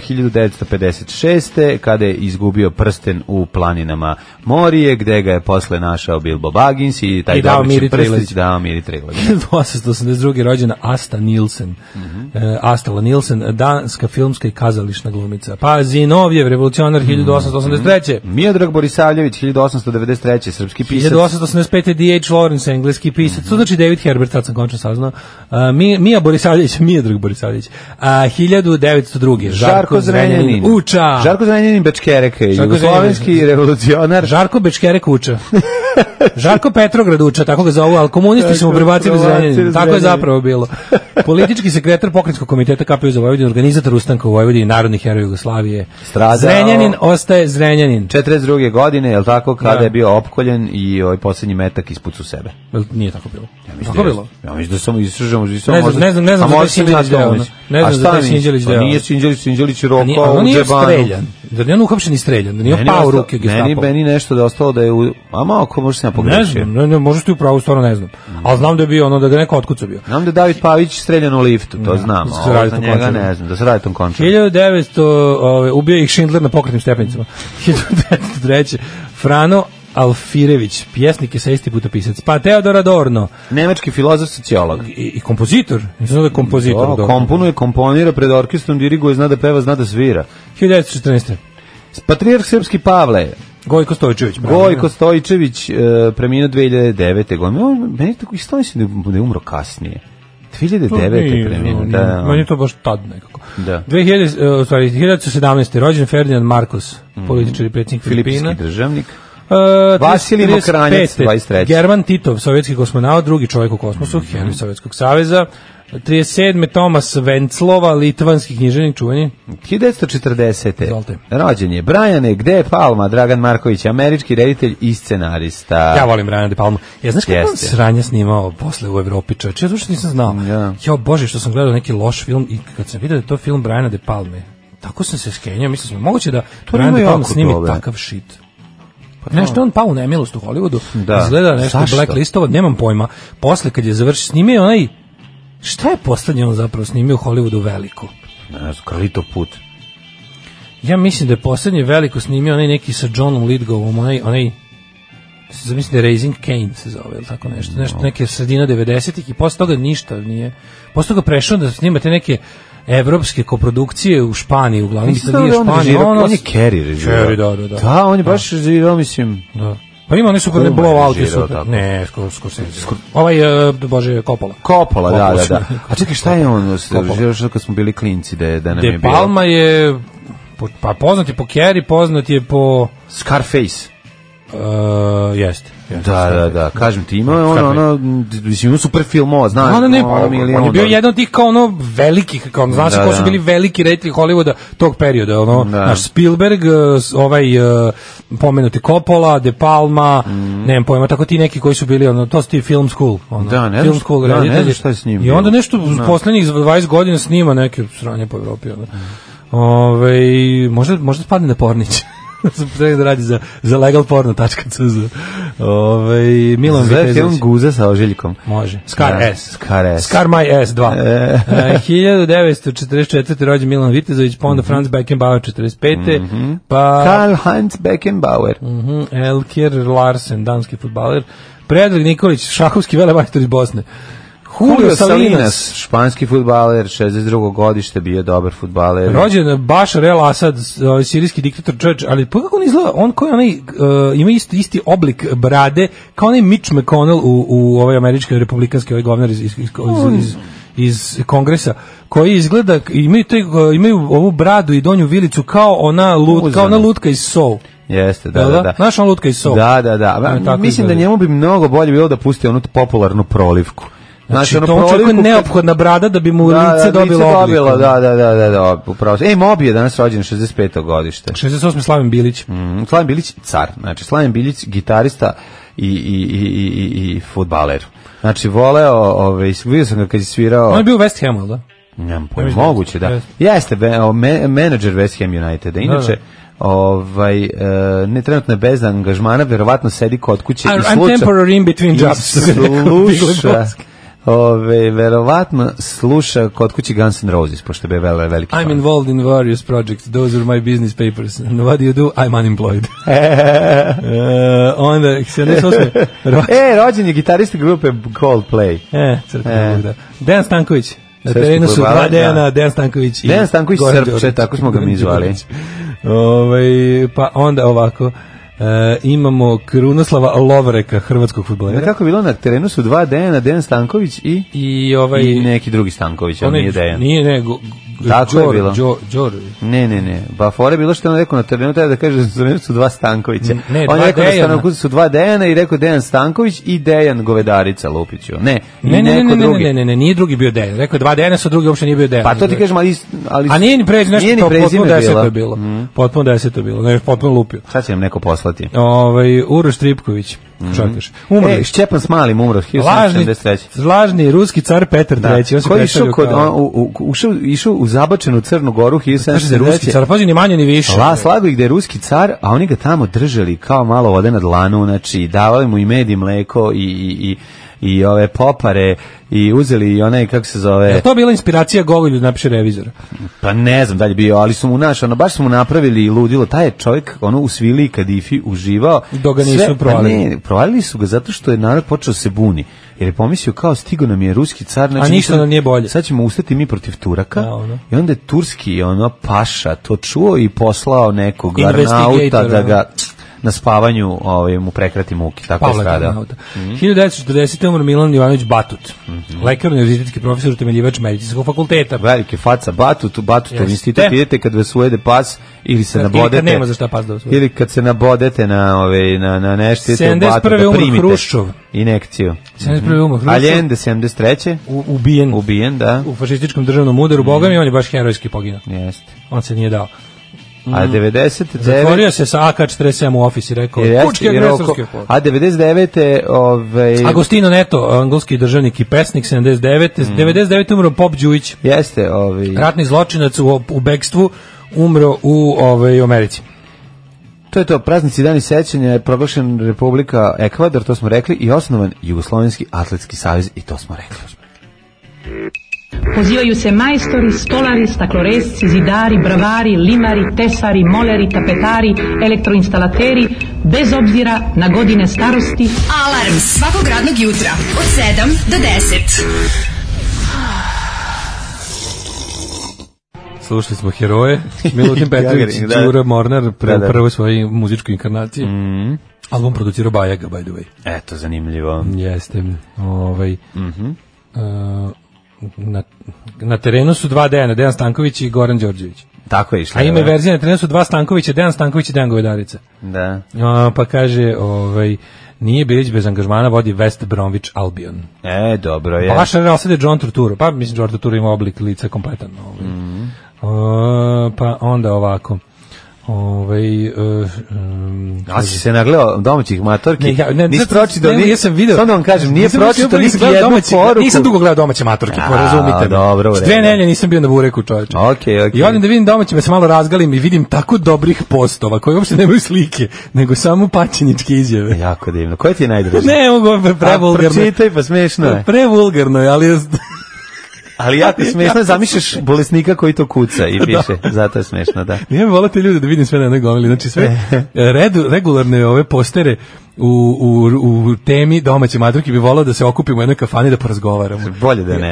1956. kada je izgubio prsten u planinama Morije, gde ga je posle našao Bilbo Baggins i taj
I dao
dobrični
Miri
prstić
Triglić.
dao Miri Triglić.
1882. rođena Asta Nilsen.
Mhm.
E, Astela Nilsen, danska filmska i kazališna glumica. Pa Zinovjev, revolucionar 1883.
Miodrag Borisavljević, 1893. srpski pisac.
1885. D.H. Lawrence, engleski pisac,
Mhm.
to znači David Herbert, sad sam končno saznao, A, Mi- Mija Borisavljević, Mija Drug Borisavljević, E, a, 1902.
Žarko Zrenjanin.
Uča!
Žarko Zrenjanin Bečkerek, jugoslovenski
Zrenjanin.
revolucionar.
Žarko Bečkerek uča. Žarko Petrograd uča, tako ga zovu, ali komunisti su mu
Tako,
prebacili
prebacili
Zrenjanin. Tako je
Zrenjanin.
zapravo bilo. Politički sekretar pokretskog komiteta KPU za Vojvodinu, organizator ustanka u Vojvodini, narodnih heroja Jugoslavije.
Stradao.
Zrenjanin ostaje Zrenjanin.
42. godine, je li tako, kada
Da.
je bio opkoljen i ovaj poslednji metak ispucu sebe.
Jel Nije tako bilo.
Da
Tako
je-
bilo.
Ja mislim da samo isržamo, da
Pa Ne znam, ne znam, ne znam za taj Sinđelić deo, ono. Ne znam za taj Sinđelić
A Pa
deo.
nije Sinđelić, Sinđelić je
A nije- a
rokao
on
u
nije
džebanu.
streljan. Da nije on uhapšen i streljan, da nije
Meni je
pao u
ostalo-
ruke
Meni,
Gestapo.
meni nešto da je ostalo da je u... A malo ko može se ja
Ne
pogrešio.
znam, ne, ne, možeš ti u pravu, stvarno ne znam. Ali znam da je bio ono, da ga neko otkucao bio.
Znam da je David Pavić streljan u liftu, to znam.
da se
a ovo
radi
za
tom
njega
končaru.
ne znam, da se radi tom končaru.
1900 ovaj ubio ih Schindler na pokretnim stepenicama. 1903 Frano Alfirević, pjesnik i sesti putopisac. Pa Teodor Adorno
Nemački filozof sociolog.
i, i kompozitor. Nisam znao da je kompozitor.
To,
Adorno.
komponuje, komponira pred orkestrom, diriguje, zna da peva, zna da svira.
1914.
Patrijarh srpski Pavle,
Gojko Stojčević.
Gojko Stojičević, e, preminuo 2009. godine. On, meni tako isto mislim da je umro kasnije.
Pa
2009. preminuo. ono, Da, da.
Meni je to baš tad nekako.
Da.
2000, e, u stvari, 1917. rođen Ferdinand Marcos, političar i predsjednik Filipina.
Filipinski Mm. državnik.
Uh,
Vasilij Mokranjac, 23..
German Titov, sovjetski kosmonaut, drugi čovjek u kosmosu, heroj Sovjetskog saveza. 37. Tomas Venclova, litvanski književnik čuveni.
1940.
Izvolite.
Rođen je. Brajane, gde je Palma? Dragan Marković, američki reditelj i scenarista.
Ja volim Brian De Palma. Ja znaš kako on
Jeste.
sranje snimao posle u Evropi, čovječe? Ja to što nisam znao.
Ja.
Jo, bože, što sam gledao neki loš film i kad sam vidio da je to film Briana De Palme, tako sam se skenjao, mislim sam, moguće da to Brian
ima
De Palma
jako
snimi
dobre.
takav shit. Pa nešto je on pao u nemilost u Hollywoodu,
Da.
izgleda nešto
Zašto?
blacklistova, nemam pojma. Posle kad je završio, snimio je onaj, šta je poslednje on zapravo snimio u Hollywoodu veliko?
Ne znam, Kralito put.
Ja mislim da je poslednje veliko snimio onaj neki sa Johnom Lidgovom, onaj, onaj zamislim da je Raising Kane se zove, ili tako nešto, nešto neke sredina 90-ih i posle toga ništa nije. Posle toga prešao da snimate neke evropske koprodukcije u Španiji, uglavnom
Mislim
da
da
nije
je on
Španija.
režirao,
ono-
on je Kerry režirao.
Carey, da, da, da.
Da, on je baš režirao, mislim.
Da. Pa ima oni super ne
Kuma je
blowout i
režirao
super.
tako.
Ne, skoro, skoro se. Ovaj, e, bože, Coppola.
Coppola, da,
Coppola
da,
su-
da. A čekaj, šta je on režirao što kad smo bili klinci da je, da nam je
De
bilo?
Palma je, po- pa poznat je po Kerry, poznat je po...
Scarface.
Uh, jeste. jeste.
Da, da, da, kažem ti, ima ono, ono, mislim, ima super filmova, znaš,
Ono ne,
ono milion,
on je bio
ono.
jedan od tih kao ono velikih, kao ono, znaš
Da,
ko su
da.
bili veliki reditelji Hollywooda tog perioda, ono,
Da.
naš Spielberg, eh, s- ovaj eh, pomenuti Coppola, De Palma, nemam pojma, tako ti neki koji su bili, ono, to su ti film school, ono,
Mhm. Da, ne znam
film
šta-
school
da, ne znam
reditelji.
šta je s njim
I onda
bilo.
nešto u poslednjih 20 godina snima neke sranje po Evropi, ono. Ove, možda, možda spadne na Pornić. Sam treba da radi za, za legalporno.cz Ove, Milan
Zove
Vitezović.
film Guza sa ožiljkom.
Može. Scar
Da,
S.
Scar S.
Scar My S2. E. 1944. rođen Milan Vitezović, pa onda Franz Beckenbauer 45. Pa
Karl Heinz Beckenbauer.
mhm, Elkir Larsen, danski futbaler. Predrag Nikolić, šahovski velemajstor iz Bosne. Julio Salinas,
španski futbaler, 62. godište, bio dobar futbaler.
rođen Bašar El Asad, s- ovaj, sirijski diktator čovječ, ali pa kako on izgleda, on koji onaj, uh, ima isti, isti oblik brade, kao onaj Mitch McConnell u, u ovoj američkoj republikanski, ovaj govnar iz, iz, iz, iz,
Mm.
iz, iz kongresa, koji izgleda, imaju, taj, uh, imaju ovu bradu i donju vilicu kao ona, lut, kao ona lutka iz Soul.
Jeste, da,
Jel
da, da.
Znaš ona lutka iz Soul?
Da, da, da.
Ona tako
Mislim da
izgleda.
njemu bi mnogo bolje bilo da pusti onu popularnu prolivku.
Znači,
ono
to on čovjeku je
prolivku kad-
neophodna brada da bi mu
Da, da,
lice dobilo oblik. ono.
dobilo, da, da, da, da, da, upravo. Ej, Mobi je danas rođen 65. godište.
68. Slavim Bilić.
Mm, Slaven Bilić car, znači Slaven Bilić gitarista i, i, i, i, i, i fudbaler. Znači voleo, ovaj vidio sam ga kad je svirao.
On je bio u West Hamu, jel da?
Nemam pojma, moguće da.
Jeste.
Jeste be- o, me- menadžer West Ham Uniteda. Inače, ovaj e, ne trenutno je bez angažmana, verovatno sedi kod kuće i
I'm
sluča.
temporary in between
i
jobs.
sluša. Ove, verovatno sluša kod kuće Guns N' Roses, pošto je vele, veliki
I'm
fan.
involved in various projects. Those are my business papers. And what do you do? I'm unemployed. uh, onda, 78. Ro-
E, rođen je gitarista grupe Coldplay.
e, crkva
E.
Bog da. Dejan Stanković. Na
Srpski
terenu su dva
futbaler, da.
Dejana, Dejan Stanković i
Dejan Stanković
Goran
Srpče,
Đorđević.
tako smo ga mi zvali.
Ovaj, pa onda ovako. E, imamo Krunoslava Lovreka, hrvatskog
Da
futbolera.
kako je bilo na terenu su dva Dejana, Dejan Stanković i
I ovaj...
i neki drugi Stanković, on
onaj-
nije Dejan.
Nije, ne, go, go,
Tako je
Đor-
bilo.
Đor- Đor-
Ne, ne, ne. Ba fore je bilo što je on rekao na terenu treba da kaže da su- da su dva Stankovića.
N- ne,
on
dva
je rekao
Dejana.
da stanu su dva Dejana i rekao Dejan Stanković i Dejan Govedarica Lupiću. Ne, i
Ne, ne, ne,
neko
ne, ne,
drugi.
ne, ne, ne, nije drugi bio Dejan. Rekao je dva Dejana, sa drugi uopšte nije bio Dejan.
Pa to ti kažem, ali, ali
A nije ni prezime, nešto
nije ni
to
prezime Mhm.
potpuno deseto je
bilo.
bilo. Potpuno deseto je bilo, ne, potpuno lupio.
Šta će nam neko poslati?
Ovaj Uroš Tripković, čakaš. Umrli.
Mhm. E, Šćepan s malim umro,
lažni,
1773.
lažni ruski car Petar
Da,
III. On se
koji je išao,
predstavljao
kod,
kao-
on, u, u, ušao, išao u zabačenu Crnu Goru
Kaže da je ruski
1773.
car, pazi, ni manje ni više.
La, slago ih da je ruski car, a oni ga tamo držali kao malo vode na dlanu, znači davali mu i med i mleko i, i, i, i ove popare i uzeli i onaj, kako se
Je
zove,
to bila inspiracija Gogolju da napiše revizora?
pa ne znam da li je bio, ali su mu naš, ono, baš su mu napravili i ludilo, taj je čovjek ono, u svili i kadifi uživao.
Dok ga nisu
Sve- pa
provalili.
Ne, provalili su ga zato što je narod počeo se buni. Jer je pomislio kao stigo nam je ruski car, znači
A ništa nam nije bolje.
Sad ćemo ustati mi protiv Turaka.
Da, ono.
I onda je turski ono paša to čuo i poslao nekog
Investigator,
Arnauta da
ono.
ga na spavanju ovaj, mu prekrati muki. Tako je Mhm.
Pavla
stradao.
Granauta. 1940. umro Milan Jovanović Batut,
Mhm.
lekar, univerzitetski profesor, utemeljivač medicinskog fakulteta.
Velike faca Batut, Batutov
Jeste.
institut, idete kad vas ujede pas ili se
Ili kad
nabodete.
nema za šta pas da vas ujede.
Ili kad se nabodete na, ove, na, na nešto, idete u Batut
71.
da
umro
primite.
Hruščov.
Inekciju.
71. umro Hruščov.
Allende, 73.
U- ubijen.
Ubijen, da.
u fašističkom državnom udaru, boga mi, on je baš herojski poginuo.
Jeste.
On se nije dao.
A 99.
Mm. Zatvorio se sa AK-47 u ofis i rekao,
Jer jeste,
pučki
jer
agresorski
oko-
opor.
A 99. Ovaj,
Agostino Neto, angolski državnik i pesnik, 79. 99. umro Pop Đujić,
Jeste, ovaj,
ratni zločinac u, u bekstvu, umro u ovaj, Americi.
to je to, praznici dani sećanja je proglašen Republika Ekvador, to smo rekli, i osnovan Jugoslovenski atletski savez, i to smo rekli.
Pozivaju se majstori, stolari, stakloresci, zidari, bravari, limari, tesari, moleri, tapetari, elektroinstalateri, bez obzira na godine starosti
Alarm svakog radnog jutra od 7 do 10.
Slušali smo heroje, Milutin Petrović,
Gagarin, da.
Đura Mornar, pre,
Da, da.
prvoj svojoj muzičkoj inkarnaciji. Mm. Album producirao Bajaga, by the way.
Eto, zanimljivo.
Jeste. Ovaj,
Mhm.
uh, e, na, na terenu su dva Dejana, Dejan Stanković i Goran Đorđević.
Tako je išlo.
A ima i
da.
verzija na terenu su dva Stankovića, Dejan Stanković i Dejan Govedarica.
Da.
A, pa kaže, ovaj, nije Bilić bez angažmana, vodi West Bromwich Albion.
E, dobro je.
Pa vaš Real sad je John Turturro. Pa mislim, John Turturro ima oblik lica kompletan. Ovaj.
Mhm.
O, pa onda ovako. Ovaj, e, um,
A si se nagledao domaćih matorki?
Ne, ja, ne,
nisi
zato-
pročitao,
ne,
ni-
nisam video.
Samo da vam kažem, nije
Nisam- nisam-
pročitao
nisam
niti
gledao
jednu
domaće-
poruku.
Nisam dugo gledao domaće maturke,
A,
porazumite me.
dobro, u
S Dve
redu.
nelje nisam bio na bureku, čoveče.
Okej, okej.
I odem da vidim domaće, me se malo razgalim i vidim tako dobrih postova, koji uopšte nemaju slike, nego samo pačeničke izjave.
E, Jako divno. Koje ti je najdraži?
Ne, ovo je
A,
prevulgarno.
pročitaj, pa smešno je.
Prevulgarno je, ali je...
Ali jako je smešno, zamišljaš bolesnika koji to kuca i piše. Zato je smešno, da.
Nije me volate ljude da vidim sve na jednoj gomili. Znači sve
E.
redu, regularne ove postere u, u, u temi domaće maturke bi volao da se okupimo u jednoj kafani da porazgovaramo.
Bolje da ne.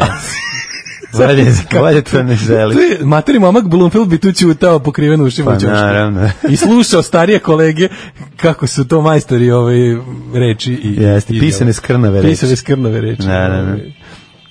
Bolje, bolje to ne
Tu
želi.
je materi momak Bloomfield bi tu ćutao pokriven ušima
Pa
u ćošku.
naravno.
I slušao starije kolege kako su to majstori ove reči i
Jeste,
i-
pisane skrnave reči.
Pisane skrnave reči.
Da, da, da.
Ovaj.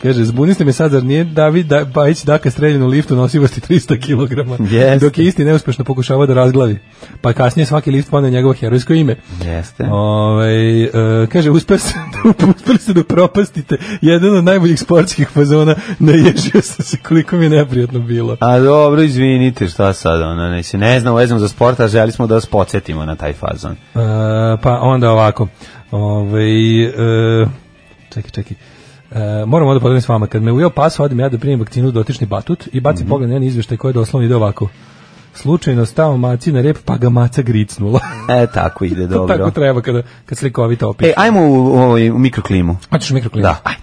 Kaže, zbuni ste me sad, zar nije David da, Bajić Daka streljen u liftu nosivosti 300 kg,
Jeste.
dok je isti neuspešno pokušavao da razglavi. Pa kasnije svaki lift ponio njegovo herojsko ime.
Jeste.
Ovaj, e, kaže, uspeli ste, da, uspeli ste da propastite jedan od najboljih sportskih fazona, naježio sam se koliko mi je neprijatno bilo. E,
A dobro, izvinite, šta sad, ono, ne, ne znam, vezam za sport, a želi smo da vas podsjetimo na taj fazon.
E, pa onda ovako. Ovaj e, čekaj, čekaj. E, moram ovo da podelim s vama. Kad me ujeo pas, odim ja da primim vakcinu dotični batut i bacim pogled na jedan izveštaj koji je doslovno ide ovako. Slučajno stao maci na rep, pa ga maca gricnula.
E, tako ide,
To Tako
dobro.
treba kada, kad slikovito opiše.
E, ajmo u, u, ovaj- u mikroklimu.
E, Hoćeš mikroklimu?
Da, ajde.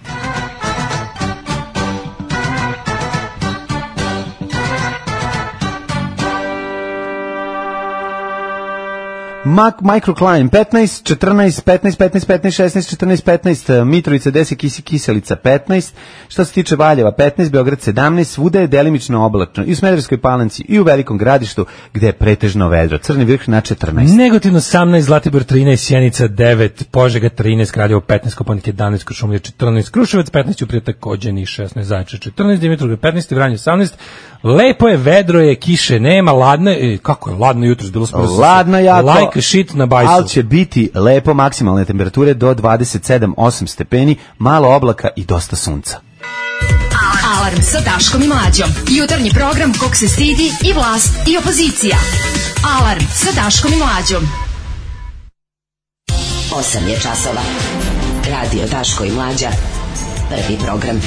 Mac, microclimb 15, 14, 15, 15, 15, 16, 14, 15, Mitrovica 10, Kisi, Kiselica 15, što se tiče Valjeva 15, Beograd 17, svuda je delimično oblačno i u Smederskoj palanci i u Velikom gradištu gde je pretežno vedro, Crni vrh na 14.
Negotivno 18, Zlatibor 13, Sjenica 9, Požega 13, Kraljevo 15, Koponik 11, Krušumlje 14, Kruševac 15, Uprije takođe ni 16, Zajče 14, Dimitrovgrad 15, Vranje 18, Lepo je, vedro je, kiše nema, ladno je, e, kako je, ladno jutro, bilo smo
Ladno jako.
like a shit na bajsu.
Ali će biti lepo maksimalne temperature do 27-8 stepeni, malo oblaka i dosta sunca.
Alarm sa Daškom i Mlađom. Jutarnji program kog se stidi i vlast i opozicija. Alarm sa Daškom i Mlađom.
8 je časova. Radio Daško i Mlađa. Prvi program.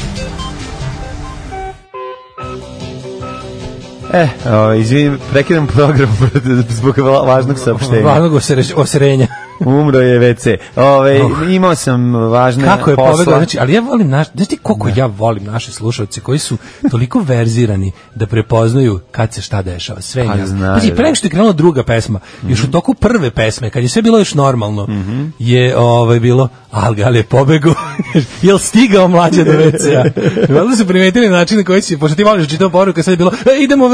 E, o, izvinim, prekidam program zbog va- važnog saopštenja.
Vanog osere- osrenja.
Umro je WC. Ove, imao sam važne
Kako je
posla.
povedao, znači, ali ja volim naš, znaš ti koliko ja volim naše slušalce koji su toliko verzirani da prepoznaju kad se šta dešava, sve je
Pa
jasno.
znaju, Mhm.
Znači, pre nego što je krenula druga pesma, još u toku prve pesme, kad je sve bilo još normalno, je ovaj, bilo, ali ga je pobegu, jel stigao mlađe do WC-a? Valjda su primetili način na koji si, pošto ti voliš čitav poruka, sad je bilo, e, idemo,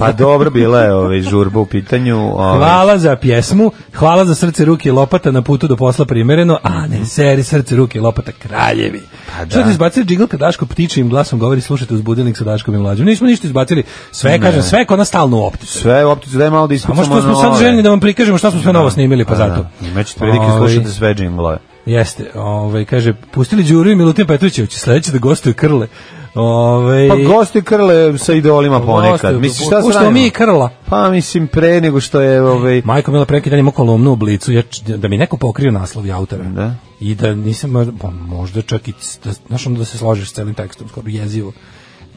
Pa dobro, bila je ove, žurba u pitanju. Ove,
Hvala za pjesmu, hvala za srce, ruke i lopata na putu do posla primereno, a ne seri srce, ruke i lopata kraljevi.
Pa da.
Što ti izbacili džigl kad Daško ptičijim glasom govori slušajte uz budilnik sa Daškom i mlađom? Nismo ništa izbacili, sve kažem, sve je kod nas stalno u optici.
Sve u opticu, daj malo da
A
ispucamo
možda smo sad
nove.
željni da vam prikažemo šta smo sve novo snimili, pa
Da,
zato.
Imaćete prilike
Ovaj,
slušati sve džinglove.
Jeste, ovaj, kaže, pustili Đuru i Milutin Petrovićević, sledeće da gostuje Krle. Ovaj,
Pa gosti krle sa idolima ponekad.
gostuju,
Misliš, šta se
puštamo
radimo?
mi i Krla.
Pa mislim pre nego što je ovaj
Majko Mila preki dan imao kolumnu u Blicu, ja, č- da mi neko pokrio naslov i autora.
Da.
I da nisam, možda- pa možda čak i, c- da, znaš ono da se složiš s celim tekstom, skoro jezivo.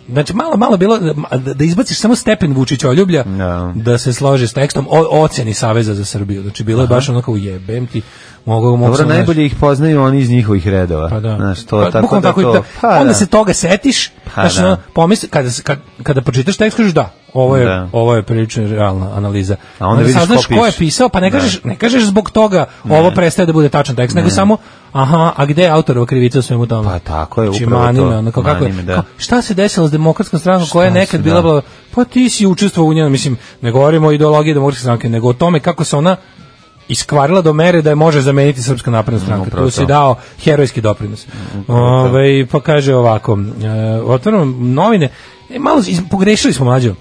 Znači, malo, malo bilo, da- da izbaciš samo stepen Vučića oljublja,
Da.
da se složi s tekstom o, oceni Saveza za Srbiju. Znači, bilo je baš ono kao jebem ti, mogu, mogu
Dobro,
sam, znaš,
najbolje ih poznaju oni iz njihovih redova.
pa da.
Znaš, to,
Pa,
tako
bukvalno
da
tako i
to...
to.
Pa
onda
da.
se toga setiš,
Pa
znaš,
da.
ono, pomisli, kada, se- kad, kada pročitaš tekst, kažeš da, ovo je,
Da.
ovo je prilično realna analiza.
A onda vidiš
saznaš
ko
ko je
piše.
pisao, pa ne kažeš, ne kažeš zbog toga ovo prestaje da bude tačan tekst, nego samo, aha, a gde je autorova krivica u svemu tome?
Pa tako je,
Znači,
upravo
mani
to.
me, ono, kao, kako,
Mani me,
je,
da.
kao, šta se desilo s demokratskom strankom koja je
Šta
nekad
se,
bila,
da.
bila, pa ti si učestvovao u njoj, mislim, ne govorimo o ideologiji demokratske stranke, nego o tome kako se ona iskvarila do mere da je može zameniti Srpska napredna stranka.
Mm, Upravo
Tu si
to. Mm,
dao herojski doprinos. Ovaj, eh, Ove, pa kaže ovako, e, otvaram novine, e, malo iz- pogrešili smo mlađo.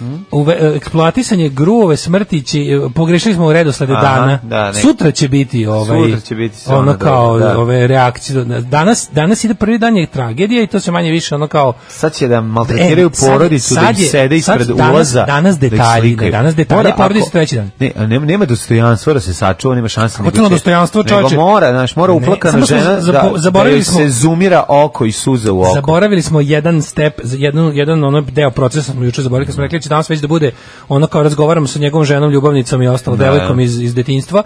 Mm?
Uve, e, eksploatisanje gruvove smrti će, e, pogrešili smo u redoslede
Aha,
dana.
da, ne.
Sutra će biti ovaj
Sutra će biti sve ono,
ono
da,
kao
da.
ove reakcije. Danas danas ide prvi dan je tragedija i to se manje više ono kao
Sad će da maltretiraju
E, sad-
porodicu, da
sad
ih
je-
sede
sad
ispred
danas-
ulaza.
danas
da ih
detalji,
slikaju.
ne, danas detalji,
Mora,
porodice
ako-
treći dan.
Ne, a nema, nema dostojanstva da se sačuva, nema šanse.
Kako
nego
to na
će-
dostojanstvo, čoveče?
Nego mora, znaš, mora
Ne,
uplakana
samo smo
žena
za-
da,
zapo-
da
zaboravili
joj
smo-
se zumira oko i suze u oko.
Zaboravili smo jedan step, jedan, jedan ono deo procesa smo juče zaboravili, kad smo rekli da će danas već da bude ono kao razgovaram sa njegovom ženom, ljubavnicom i ostalo
Da.
devojkom iz, iz detinjstva.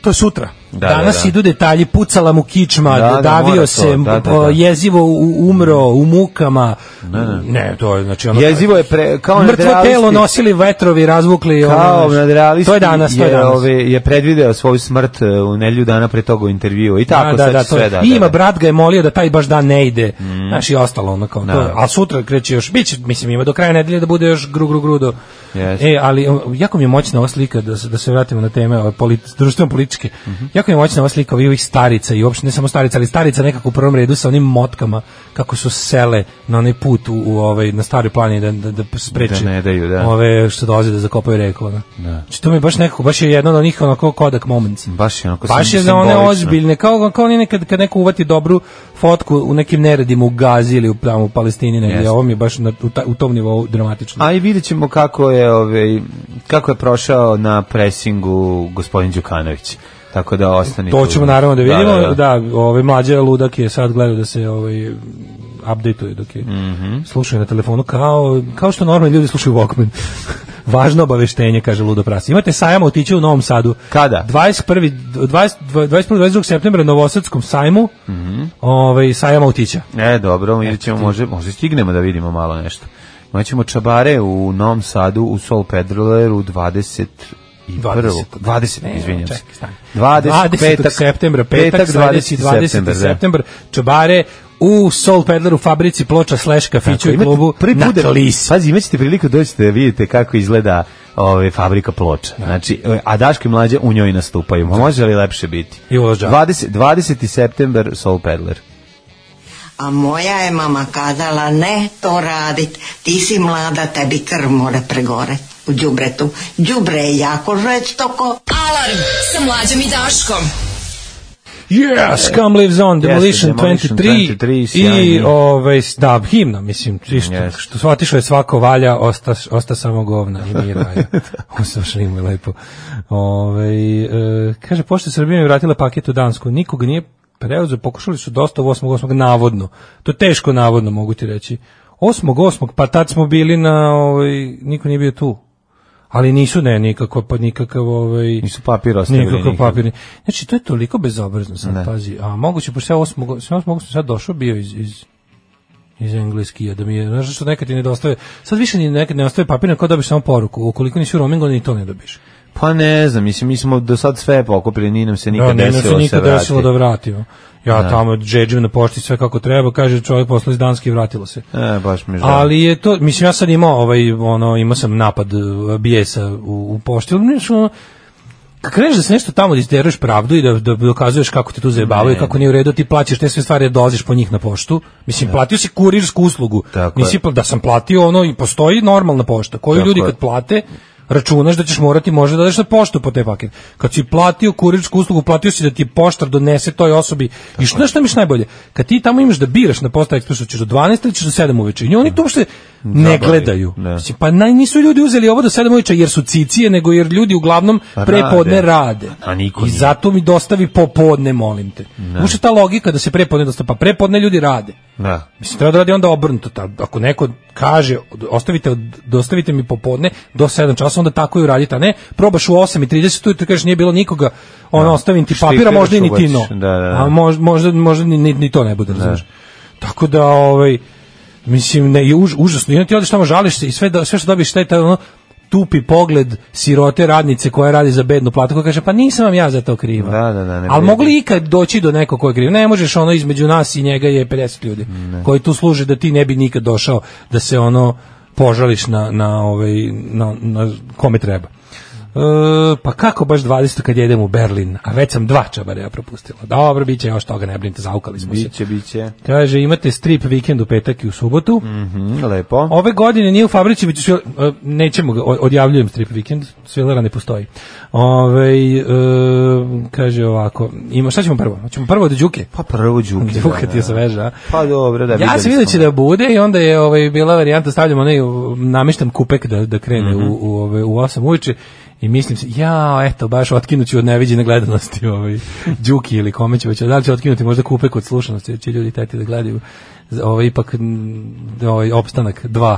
To je sutra.
Da,
Danas
da, da.
idu detalji, pucala mu kičma,
Da, da, mora to,
davio se,
da, da,
o,
da.
jezivo u- umro u mukama. Ne, to je znači ono...
Jezivo je pre, kao
Mrtvo
nadrealisti-
telo nosili vetrovi, razvukli.
kao
ono,
nadrealisti
To je danas, to je danas.
ove, je predvideo svoju smrt e, u nedelju dana pre toga u intervju i tako
da,
sad
da, da,
će
to
sve
je.
da,
I ima
da, da.
brat ga je molio da taj baš dan ne ide. Znaš, i ostalo ono kao
Da.
to. A sutra kreće još, biće, mislim, ima do kraja nedelje da bude još gru, gru, gru do...
Jeste.
E, ali o, jako mi je moćna ova slika, da, se- da se vratimo na teme ove polit, društveno-političke,
Mhm.
jako mi je moćna ova slika ovih, ovih starica i uopšte ne samo starica, ali starica nekako u prvom redu sa onim motkama kako su sele na onaj put u, u ovaj, na staroj planini da, da, da spreče
Da ne daju, da.
ove što dolaze da zakopaju reku. ono. Znači, to mi je baš nekako, baš je jedan od onih onako kodak moments.
baš je onako
Baš
sim-
je za one
simbolično.
ozbiljne, kao, kao oni nekad kad neko uvati dobru fotku u nekim neredima u Gazi ili u, tamo u Palestini, negdje,
Jeste.
ovo mi je baš na, u, ta- u tom nivou dramatično.
A i vidjet ćemo kako je, ovaj, kako je prošao na presingu gospodin Đukanović. Tako da ostane.
to
tu.
ćemo naravno da vidimo, da,
da, da.
ovaj mlađe ludak je sad gledao da se ovaj updateuje dok je slušaju na telefonu kao, kao što normalni ljudi slušaju Walkman. Važno obaveštenje, kaže Ludo Prasi. Imate sajam otići u Novom Sadu.
Kada?
21. 20, 21. 22. septembra na Novosadskom sajmu ovaj, sajam otića.
E, dobro, vidjet ćemo, može, možda stignemo da vidimo malo nešto. Imaćemo čabare u Novom Sadu, u Sol Pedroleru 20 i
20.
20,
Ne,
izvinjam se.
čekaj, stani.
20,
20.
petak,
septembra, petak, 20. 20.
da.
septembar, čobare u Soul Pedler u fabrici ploča slash kafiću
Tako,
i
imate
klubu
prvi put da-
na Klisi.
Pazi, imat ćete priliku doći da vidite kako izgleda ove, fabrika ploča. Znači, e, a Daške mlađe u njoj nastupaju. Ma Može li lepše biti?
I Uroš Đakić.
20, 20. september Soul Peddler.
A moja je mama kazala, ne to radit, ti si mlada, tebi krv mora pregore u đubretu. Đubre je jako žestoko.
Alarm sa mlađom i Daškom.
Yes, Come Lives On, Demolition,
Demolition
23,
23, sjajni.
i ovaj, da, himna, mislim, i što,
Yes.
što su otišlo je svako valja, osta, osta samo govna i mi raja. Uslušali mu je lepo. Ovaj, e, kaže, pošto Srbija je vratila paket u Dansku, nikog nije preuzeo, pokušali su dosta u 8.8. navodno. To je teško navodno, mogu ti reći. 8.8. pa tad smo bili na, ovaj, niko nije bio tu. Ali nisu, ne, nikako, pa nikakav, ovaj...
Nisu papir ostavili.
Nikakav
nikad.
papirni. Znači, to je toliko bezobrazno sad, pazi. A moguće, pošto ja osmog, sam osmog sam sad došao bio iz, iz, iz engleski, da mi je, znaš što nekad ti nedostaje, sad više ni nekad ne ostaje papir, nego dobiš samo poruku. Ukoliko nisi u roamingu, ni to ne dobiš.
Pa ne znam, mislim, mi smo do sad sve pokupili, nije nam se nikad
Da, ne,
desilo
se nikad
se
desilo da
vrati.
vratimo. Ja tamo džedžim na pošti sve kako treba, kaže čovjek posla iz Danske i vratilo se.
E, baš mi žao.
Ali je to, mislim ja sad imao ovaj ono imao sam napad e, bijesa u, u pošti, ali znaš, ono, kad kreneš da se nešto tamo da isteruješ pravdu i da, da dokazuješ kako te tu zajebavaju, kako nije u redu, ti plaćaš te sve stvari, jer dolaziš po njih na poštu. Mislim, platio si kurirsku uslugu.
Tako
Nisi,
je.
pla- da sam platio ono i postoji normalna pošta, koju
Tako
ljudi
je.
kad plate, računaš da ćeš morati možda da daš na poštu po te paket. Kad si platio kurirsku uslugu, platio si da ti poštar donese toj osobi. I što, znaš šta mi je najbolje? Kad ti tamo imaš da biraš na posta ekspresu, ćeš do 12 ili ćeš do 7 uveče. I oni to uopšte ne
Zabavi,
gledaju.
da.
Mislim, Pa naj, nisu ljudi uzeli ovo do 7 uveče jer su cicije, nego jer ljudi uglavnom
Pa Rade.
prepodne rade.
A niko
I
nije.
zato mi dostavi popodne, molim te. Ušte ta logika da se prepodne dostavi, pa prepodne ljudi rade.
Da.
Mislim, treba da radi onda obrnuto. ta- Ako neko kaže, ostavite, dostavite mi popodne do 7 časa, onda tako i uradite, a ne probaš u 8.30 i ti kažeš nije bilo nikoga, ono, ostavim ti papira,
Štitiraš,
možda i ni ti
ubaciš.
no.
Da, da, da.
A mož- možda, možda ni, ni, ni to ne bude, razumeš. Tako da, ovaj, mislim, ne, i už, užasno. I onda ti odeš tamo, žališ se i sve, do- sve što dobiješ, taj, taj, ono, tupi pogled sirote radnice koja radi za bednu platu, koja kaže, pa nisam vam ja za to kriva.
Da, da, da,
Ali
ne vredi.
mogli ikad doći do nekog ko je kriv. Ne možeš ono između nas i njega je 50 ljudi koji tu služe da ti ne bi nikad došao da se ono požališ na, na, ovaj, na, na kome treba. E, E, pa kako baš 20. kad jedem u Berlin, a već sam dva čabareja propustila. Dobro, bit će još toga, ne brinite, zaukali smo se.
Biće, biće.
Kaže, imate strip vikend u petak i u subotu.
Mhm, lepo.
Ove godine nije u Fabrići, već svil... nećemo ga, o- odjavljujem strip vikend, svilera ne postoji. Ove, e, kaže ovako, ima, šta ćemo prvo? Hoćemo prvo od Đuke?
Pa prvo Đuke.
Đuka
da,
ti je
da.
sveža. a?
Pa dobro, da
ja
videli
sam vidio će
smo.
da bude i onda je ovaj bila varijanta stavljamo onaj u- nameštam kupek da da krene
Mhm.
u u ovaj u 8 uveče i mislim se ja eto baš otkinuću od neviđene gledanosti ovaj Đuki ili kome će već da li će otkinuti možda kupek od slušanosti jer će ljudi teti da gledaju za- ovaj ipak m, ovaj opstanak 2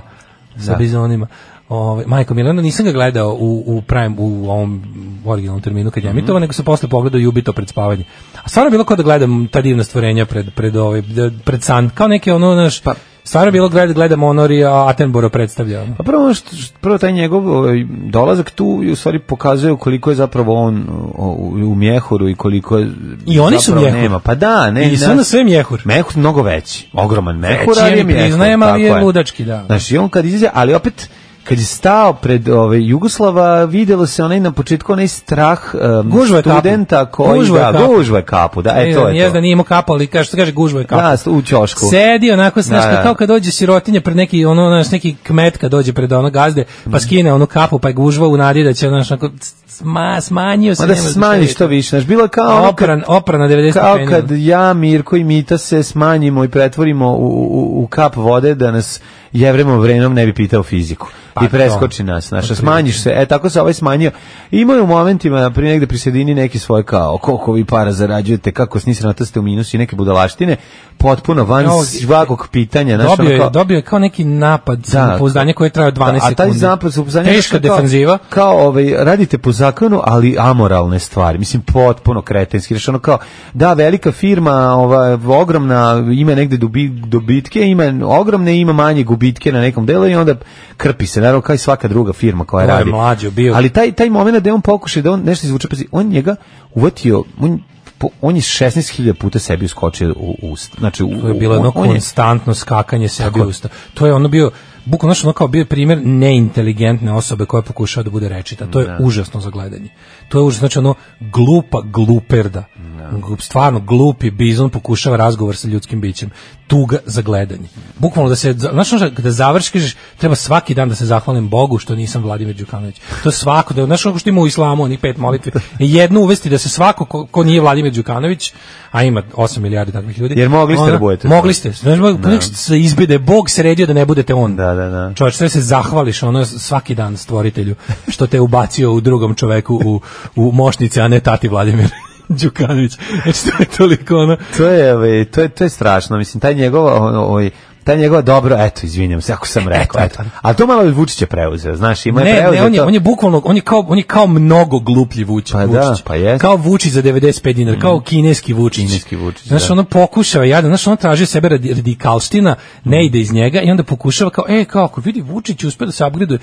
sa
Da.
bizonima. Ovaj Majko Milano nisam ga gledao u u prime u ovom originalnom terminu kad je
Mhm.
mm nego sam posle pogledao Jubito pred spavanje. A stvarno je bilo kao da gledam ta divna stvorenja pred pred ovaj d- pred san, kao neke ono naš pa stvarno je bilo gleda gledam Honori a Attenborough predstavlja. ono.
Pa prvo, ono što, što- prvo taj njegov ovaj, dolazak tu i u stvari pokazuje koliko je zapravo on o, u, u mjehuru i koliko je
I oni su
zapravo
mjehur.
Nema. Pa da, ne.
I sve na sve mjehur.
Mjehur mnogo veći, ogroman mjehur,
Veći je,
ali je
mi
mjehur.
priznajem, ali
tako
je ludački, da.
Znaš, i on kad izađe, ali opet kad je stao pred ove Jugoslava, videlo se onaj na početku onaj strah em,
Gužva je kapu.
studenta koji
Gužva je
da,
kapu.
gužva je kapu, da, e to je to.
Jezda nije imao kapu, ali kaže, što kaže, gužvo je kapu.
Da, u ćošku.
Sedi onako, znaš,
Da, da.
kao kad dođe sirotinja pred neki, ono, znaš, neki kmet kad dođe pred ono gazde,
Mm.
pa skine onu kapu, pa je gužva u nadi da će, znaš, onako, c- c- ma, smanjio se.
Ma da
nema
se
šta
smanji
vidjeti.
što više. Znaš, bilo je kao ono kad-
Opran, opran na 90
Kao
stepeni.
kad ja, Mirko i Mita se smanjimo i pretvorimo u, u, u kap vode da nas jevremo vrenom ne bi pitao fiziku.
Pa
I preskoči nas. Znaš, smanjiš se. E, tako se ovaj smanjio. Imao je u momentima, prije negde pri sredini, neki svoje kao, koliko vi para zarađujete, kako s nisranata ste u minusu i neke budalaštine, potpuno van
Ovo-
svakog pitanja. Znaš,
dobio,
ono
je,
kao-
dobio je kao neki napad da, pouzdanje koje traje 12
da,
sekundi.
A taj zapad samopouzdanje je
Teška
kao-
defanziva.
Kao ovaj radite po zakonu, ali amoralne stvari. Mislim potpuno kretenski. Znači ono kao da velika firma, ova ogromna ima negde dobi, dobitke, ima ogromne, ima manje gubitke na nekom delu i onda krpi se. Naravno kao i svaka druga firma koja
Ovo je
radi.
mlađo bio.
Ali taj taj momenat da on pokuša da on nešto izvuče, pazi, on njega uvatio, on po- on je 16.000 puta sebi uskočio u ust. Znači, u,
To je bilo
on-
jedno
on je-
konstantno skakanje sebi
Tako je.
u usta. To je ono bio bukvalno što ono kao bio primjer neinteligentne osobe koja pokušava da bude rečita. To je užasno za gledanje. To je užasno, znači ono glupa gluperda. Glup- Stvarno glupi bizon pokušava razgovor sa ljudskim bićem. Tuga za gledanje. Bukvalno da se, znači ono kada završiš, kažeš, treba svaki dan da se zahvalim Bogu što nisam Vladimir Đukanović. To je svako, da, znaš ono što ima u islamu, onih pet molitvi, jednu uvesti da se svako ko, ko nije Vladimir Đukanović, a ima 8 milijardi takvih ljudi,
Jer mogli ste
ono,
da budete.
Mogli ste. Znaš, mo- nek se izbede, Bog sredio da ne budete on.
Da, da, da.
Čovječ, sve se zahvališ ono svaki dan stvoritelju što te ubacio u drugom čoveku u, u mošnice, a ne tati Vladimir Đukanović. Znači, to je toliko ono...
to je, ovaj, to je, to je strašno, mislim, taj njegov, ovaj, taj njegov dobro, eto, izvinjam se, ako sam rekao, eto. A to malo je Vučić je preuzeo, znaš, ima je
Ne,
preuzeo
ne, on je,
to.
on je bukvalno, on je kao, on je kao mnogo gluplji Vučić.
Pa da,
Vučić.
pa jest. Mhm.
Kao Vučić za 95 dinara, kao kineski Vučić.
Kineski Vučić,
Znaš,
da.
ono pokušava, jadan, znaš, ono traži sebe radi- radikalština, ne ide iz njega i onda pokušava kao, e, kako, vidi, Vučić uspe da se upgradeuje.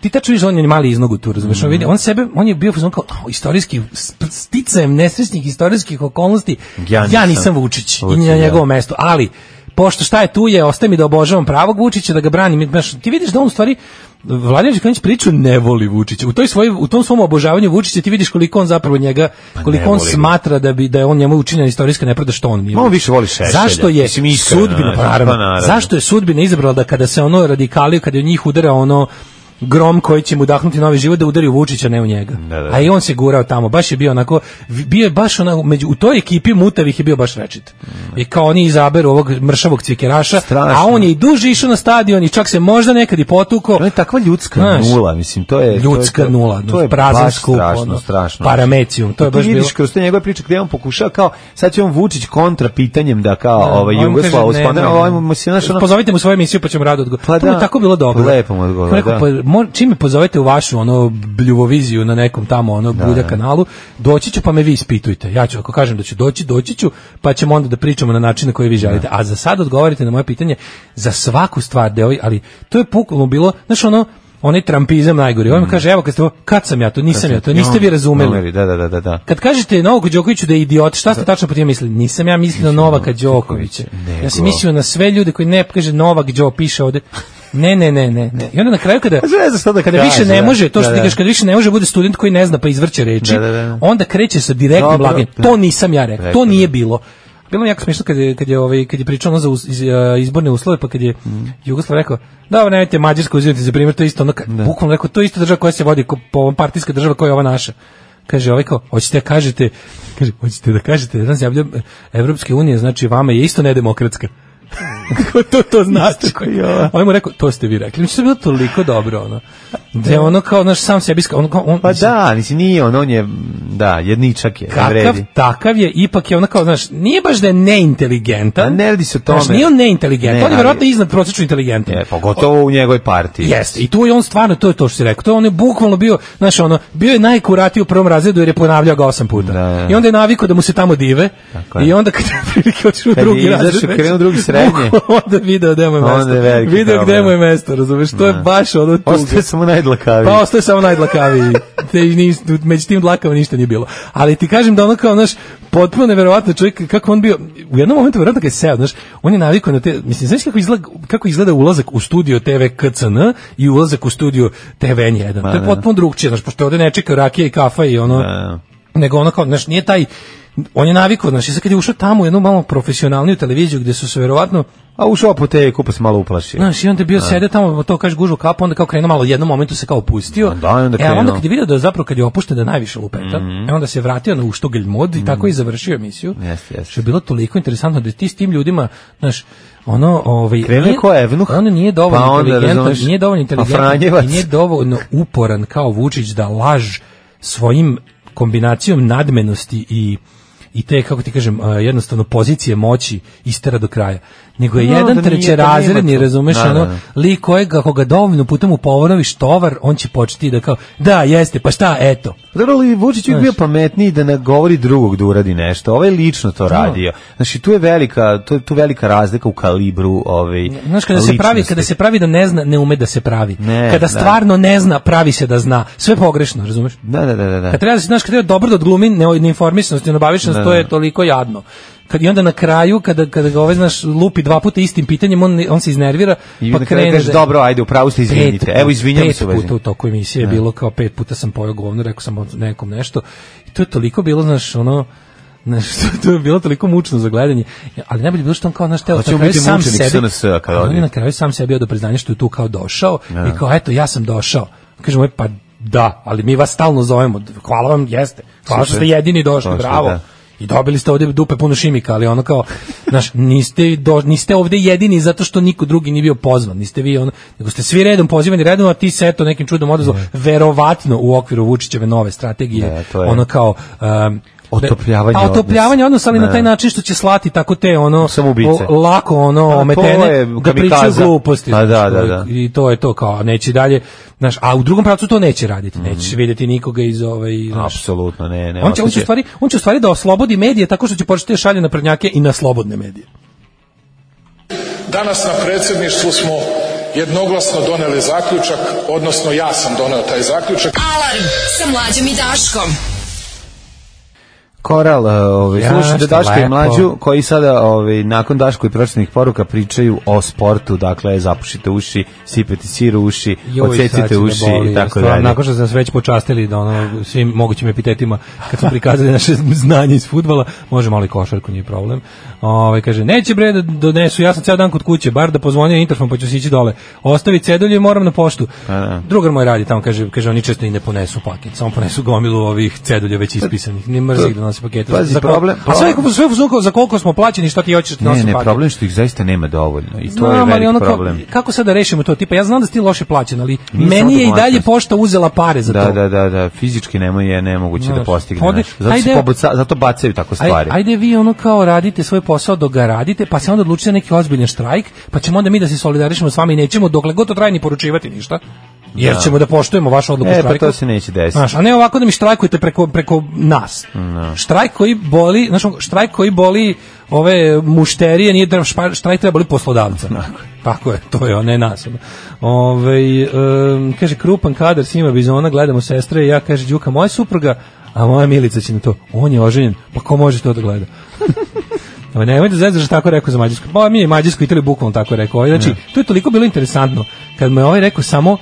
Ti tačno vidiš, on je mali iznogu tu, razumiješ, on, vidi,
Mhm.
on sebe, on je bio fazon kao, "Au, istorijski, sp- sticajem nesrećnih istorijskih okolnosti,
Ja
ja
nisam
nisam, Vučić, i
Vučić,
na
da.
njegovom mestu, ali pošto šta je tu je, ostaje mi da obožavam pravog Vučića, da ga branim. Znaš, ti vidiš da on u stvari Vladimir Đukanović priču ne voli Vučića. U toj svojoj u tom svom obožavanju Vučića ti vidiš koliko on zapravo njega, koliko on
Pa voli ga.
smatra da bi da je on njemu učinjena istorijska nepravda što on nije.
Ma, on više voli Šešelja.
Zašto je
Mislim, iskreno,
sudbina
znaš,
pa naravno,
pa naravno.
Zašto je sudbina izabrala da kada se ono radikali, kada je u njih udara ono grom koji će mu dahnuti novi život da udari u Vučića ne u njega.
Da, da, da.
A i on se gurao tamo, baš je bio onako bio je baš onako među u toj ekipi mutavih je bio baš rečit. I kao oni izaberu ovog mršavog cvikeraša,
Strašno.
a on je i duže išao na stadion i čak se možda nekad i potukao.
On je takva ljudska
Znaš,
nula, mislim, to je... to je-
Ljudska
to-
nula, ono,
to je
prazan
baš
skup,
strašno,
ono,
strašno.
paramecijum, to je
I ti
baš
vidiš
bilo-
kroz te njegove priče gdje on pokušava kao, sad će on Vučić kontra pitanjem da kao
Da,
ovaj,
on mu kaže,
Jugoslav
ne,
uspane,
ne,
ovaj
ne.
mu se, znaš, ono,
Pozovite mu svoju emisiju pa ćemo rado odgovoriti.
Pa
Pa to mu
da.
je tako bilo dobro.
Lepo mu odgovorio,
Rekao,
da.
pa, mo- čim me pozovete u vašu ono bljuvoviziju na nekom tamo ono bulja kanalu, doći ću pa me vi ispitujte. Ja ću ako kažem da ću doći, doći ću, pa ćemo onda da pričamo na način na koji vi želite. A za sad odgovorite na moje pitanje za svaku stvar, deo, ali to je pukulno bilo, znaš ono, onaj trampizam najgori.
Mm.
On mi kaže, evo, kad, ste, ovo- kad sam ja to, nisam ja to, niste vi razumeli.
Da, da, da, da, da.
Kad kažete Novak Đokoviću da je idiot, šta ste tačno po time mislili? Nisam ja mislio na Novaka Đokovića. Ja sam mislio na sve ljude koji ne kaže Novak Đo, piše ovde. Ne, ne, ne, ne, ne. I onda na kraju kada
ne znam šta da
kada više
kaže,
ne
da.
može, to
Da,
što ti
da.
kažeš, kada više ne može bude student koji ne zna pa izvrće reči,
Da, da, da.
onda kreće sa direktnim
Dobro,
laganjem.
da.
To nisam ja rekao,
Rekao,
to
da.
nije bilo. Bilo mi jako smiješno kad je, kad je, ovaj, kad je pričao ono za uz- iz- a, izborne uslove, pa kad je Jugoslav rekao, da, ovo nemojte Mađarsko uzimati za primjer, to je isto ono, kad, bukvalno rekao, to je isto država koja se vodi, ko- po ovom partijska država koja je ova naša. Kaže, ovaj kao, hoćete da kažete, kaže, hoćete da kažete, jedna zemlja e, Evropske unije, znači vama je isto nedemokratska. Kako to to znači? On mu rekao, to ste vi rekli. Znači, to je bilo toliko dobro, ono. Da je ono kao, znaš, sam sebi, ska- ono, kao, on,
Pa da, nisi nije on, on je, mm, da, jedničak je, ne
kakav
vredi.
takav je, ipak je ono kao, znaš, nije baš da je neinteligentan.
A Pa ne radi se o tome.
Znaš, nije on neinteligentan,
Ne,
on je
ali-
verovatno iznad prosječno inteligentan.
E, pogotovo u njegovoj partiji.
Jeste, i tu je on stvarno, to je to što si rekao, to je on je bukvalno bio, znaš, ono, bio je najkuratiji u prvom razredu jer je ponavljao ga osam puta. I onda je navikao da mu se tamo dive,
Tako je.
i onda kad je prilike otišao u
Kad je
drugi
izašao,
razred.
krenuo u drugi srednje.
bukvalno onda je video gde mu je
Onda je
mesto.
veliki
Video gde
problem.
mu je mesto, razumeš, to je
Da.
baš ono tuga.
Ostaje samo najdlakaviji.
Pa ostaje samo najdlakaviji. Te, i nis, među tim dlakama ništa nije bilo. Ali ti kažem da ono kao, znaš, potpuno neverovatno čovjek, kako on bio, u jednom momentu verovatno kad je seo, znaš, on je navikao na te, mislim, znaš kako izgleda, kako izgleda ulazak u studio TV KCN i ulazak u studio TV N1. to je
da.
potpuno drugčije, znaš, pošto ovde ne čeka rakija i kafa i ono, nego ono kao, znaš, nije taj, on je navikao, znaš, i sad kad je ušao tamo u jednu malo profesionalniju televiziju gde su se verovatno
A ušao po te kupa se malo uplašio.
Znaš, i onda je bio sede tamo, to kaže gužu kapu, onda kao krenuo malo, u jednom momentu se kao opustio.
Da, i onda
e, a onda
krenuo. Mhm.
kad je vidio da je zapravo kad je opušten da je najviše lupeta, e, onda se vratio na uštogelj mod i tako je i završio emisiju.
Jeste, jeste.
Što je bilo toliko interesantno da ti s tim ljudima, znaš, ono, ovaj,
Krenuo je
nije-
ko Evnuh,
ono nije dovoljno
pa onda,
inteligentan,
razumeš,
nije dovoljno
a
inteligentan
Franjevac.
i nije dovoljno uporan kao Vučić da laž svojim kombinacijom nadmenosti i i te, kako ti kažem, a, jednostavno pozicije moći istera do kraja. Nego je
No, da
jedan
nije, da
trećerazredni,
nema tu.
razumeš,
Da, da,
ono,
da.
lik kojeg ako ga dovoljno putem upovoroviš tovar, on će početi da kao, da, jeste, pa šta, eto.
Dobro, ali Vučić je
Znaš.
bio pametniji da ne govori drugog da uradi nešto. Ovaj lično to radio. Znači, tu je velika, tu, tu je velika razlika u kalibru ovaj,
Znaš, kada se, pravi, kada se pravi da ne zna, ne ume da se pravi.
Ne,
kada
da.
stvarno ne zna, pravi se da zna. Sve pogrešno, razumeš?
Da, da, da, da. da.
Kad treba, da se- znaš, kad treba dobro da odglumi neo- neinformisanost i neobavišenost,
Da,
to
da.
je toliko jadno. Kad, I onda na kraju, kada, kada ga ovaj, znaš, lupi dva puta istim pitanjem, on, on se iznervira,
I
pa
na kraju
krene...
kaže,
da-
dobro, ajde, upravo ste,
Pet
izvinite.
puta-
Evo, izvinjam se.
Pet
uvaženi.
puta u toku emisije je
Da.
bilo kao pet puta sam pojao govno, rekao sam nekom nešto. I to je toliko bilo, znaš, ono, znaš, to je bilo toliko mučno za gledanje. Ali najbolje je bilo što on kao, znaš, teo,
Hoćemo biti mučenik SNS-a kada
a on je
odi.
na kraju sam sebi do priznanje što je tu kao došao i kao, eto, ja sam došao. Kažemo, "E, pa da, ali mi vas stalno zovemo. Hvala vam, jeste. Hvala što ste
Super.
jedini došli,
Došli,
bravo.
da.
I dobili ste ovdje dupe puno šimika, ali ono kao, znaš, niste, do, niste ovdje jedini zato što niko drugi nije bio pozvan, niste vi ono, nego ste svi redom pozivani redom, a ti se eto nekim čudom odazvao, verovatno u okviru Vučićeve nove strategije,
Ne, to je-
ono kao... Um,
Otopljavanje
pa, otopljavanje odnosa, ali na
Ne.
taj način što će slati tako te ono
Samoubice.
o- lako ono
to
ometene
je
da pričaju
kamikaza.
gluposti
Pa da,
znaš,
da,
to je-
da.
i to je to kao neće dalje znaš a u drugom pravcu to neće raditi nećeš vidjeti nikoga iz ovaj znaš,
Mm. Apsolutno, ne, ne.
on će, on, E, će u
ostaće-
stvari, on će u stvari da oslobodi medije tako što će početi da šalje na prednjake i na slobodne medije.
Danas na predsjedništvu smo jednoglasno doneli zaključak, odnosno ja sam doneo taj zaključak.
Alarm sa mlađom i Daškom.
Koral, e, ovaj,
Ja,
slušajte
šta
Daška i
lepo.
Mlađu, koji sada, ovaj, nakon Daško i pročitnih poruka, pričaju o sportu, dakle, zapušite uši, sipete sir u uši,
Joj, sad će
ocecite
me
uši
boli,
i tako
stvarno,
dalje.
Nakon što su nas već počastili da ono, svim mogućim epitetima kad su prikazali naše znanje iz futbala, može malo i košarku, nije problem. Ovaj kaže, neće bre da donesu, ja sam ceo dan kod kuće, bar da pozvonio interfon pa ću sići dole. Ostavi cedulju i moram na poštu.
da.
Drugar moj radi tamo, kaže, kaže oni često i ne ponesu paket, samo ponesu gomilu ovih cedulja već ispisanih. Ne mrzi ih da nose pakete.
Pazi,
Za ko-
problem-
A sve, sve u fazonu kao, za koliko smo plaćeni, šta ti hoćeš da
Ne,
nosim
ne,
paket?
problem je što ih zaista nema dovoljno i to
Znam,
je
ali
veliki
ono kao-
problem.
kako sad da rešimo to? Tipa, ja znam da si ti loše plaćen, ali
Nije samo
meni je i dalje
domaćnost.
pošta uzela pare za
Da,
to.
da, da, da, fizički nema je nemoguće da
Znaš,
postigne.
ovde-
znaš. Zato, se
ajde-
pobaca- zato bacaju tako
Aj-
stvari.
ajde vi ono kao radite svoj posao dok ga radite, pa se onda odlučite na neki ozbiljan štrajk, pa ćemo onda mi da se solidarišemo s vama i nećemo dokle god to traje ni poručivati ništa. Jer
Da.
ćemo da poštujemo vašu odluku o
E, pa
štrajku.
to se neće desiti.
Znaš, a ne ovako da mi štrajkujete preko, preko nas.
Da.
štrajk koji boli, znači štrajk koji boli ove mušterije nije drv štrajk trebali poslodavca. Tako je, to je, ne nas. ono. Ovaj, em, kaže, krupan kadar svima bizona, gledamo sestre i ja, kaže, Đuka, moja supruga, a moja Milica će na to, on je oženjen, pa ko može to da gleda? Pa nemoj da zezaš tako rekao za Mađarsku. Pa mi je Mađarsku Italiju bukvalno tako je rekao. Ovaj, Znači, to je toliko bilo interesantno. Kad mu je ovaj rekao samo,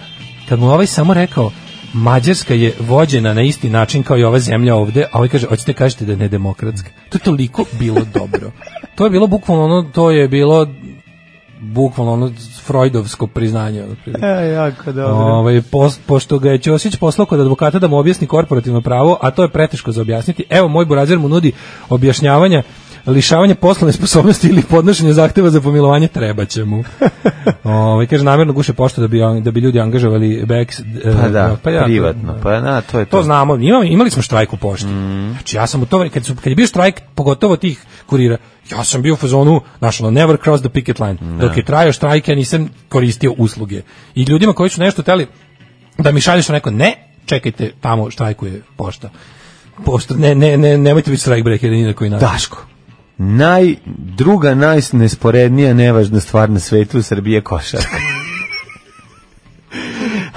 kad mu je ovaj samo rekao, Mađarska je vođena na isti način kao i ova zemlja ovde, a ovaj kaže, hoćete kažete da je nedemokratska. To je toliko bilo dobro. To je bilo bukvalno ono, to je bilo bukvalno ono Freudovsko priznanje. ono, otprilike.
E, jako dobro.
Ovaj, pos- pošto ga je Ćosić poslao kod advokata da mu objasni korporativno pravo, a to je preteško za objasniti, evo moj burazer mu nudi objašnjavanja lišavanje poslovne sposobnosti ili podnošenje zahteva za pomilovanje treba će mu. Ovaj, kaže, namjerno guše pošto da bi, an- da bi ljudi angažovali backs, e,
Pa da,
pa ja-
privatno. Pa na, to je to.
to znamo, imali, imali smo štrajk u pošti.
Mhm.
Znači ja sam u to vrijeme, kad, su, kad je bio štrajk, pogotovo tih kurira, ja sam bio u fazonu, znaš, ono, never cross the picket line. Dok je trajao štrajk, ja nisam koristio usluge. I ljudima koji su nešto teli da mi šalješ neko, ne, čekajte, tamo štrajkuje pošta. Pošta, ne, ne, ne, nemojte biti strike breakeri ni na koji način.
Daško. Naj, druga najnesporednija nevažna stvar na svetu u Srbiji je košarka.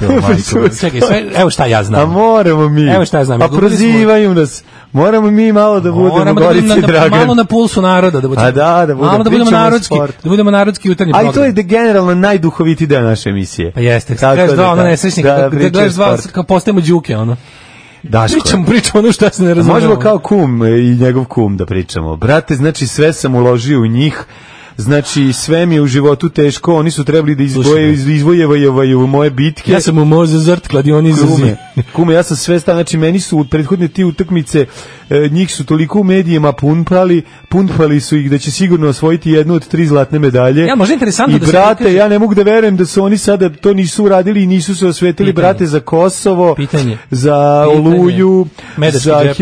Jo, majko.
Čekaj, sve, evo šta ja znam.
pa A moramo mi.
Evo šta ja znam,
A
izgubili smo-
prozivaju nas. Moramo mi malo da budemo
Pa Moramo da budemo
Gorici
na-
Dragan.
malo na pulsu naroda da budemo.
A da, da budemo,
Malo da budemo
pričamo o
narodski,
sportu.
da budemo narodski jutarnji
A
program.
i to je de- generalno najduhoviti deo naše emisije.
Pa jeste,
Tako
gledaš dva
da,
ona
da.
nesrećnika,
Da,
da,
pričaju
gledaš dva,
sport.
kao postajemo đuke, ono.
Daško.
Pričamo, pričamo ono šta se ne razumemo.
Možemo kao kum e, i njegov kum da pričamo. Brate, znači sve sam uložio u njih. Znači sve mi je u životu teško, oni su trebali da izvoje iz- izvojevaju moje bitke.
Ja sam u moze zrt kladioni za
Kume,
zime.
kume, ja sam sve stavio, znači meni su u prethodne ti utakmice, e, njih su toliko u medijima punpali, punpali su ih da će sigurno osvojiti jednu od tri zlatne medalje.
Ja, možda je interesantno
I
da se
brate,
prikaže-
ja ne mogu da verujem da su oni sada to nisu uradili i nisu se osvetili,
Pitanje.
brate, za Kosovo,
Pitanje.
za
Pitanje.
Oluju,
Medački
za
džep.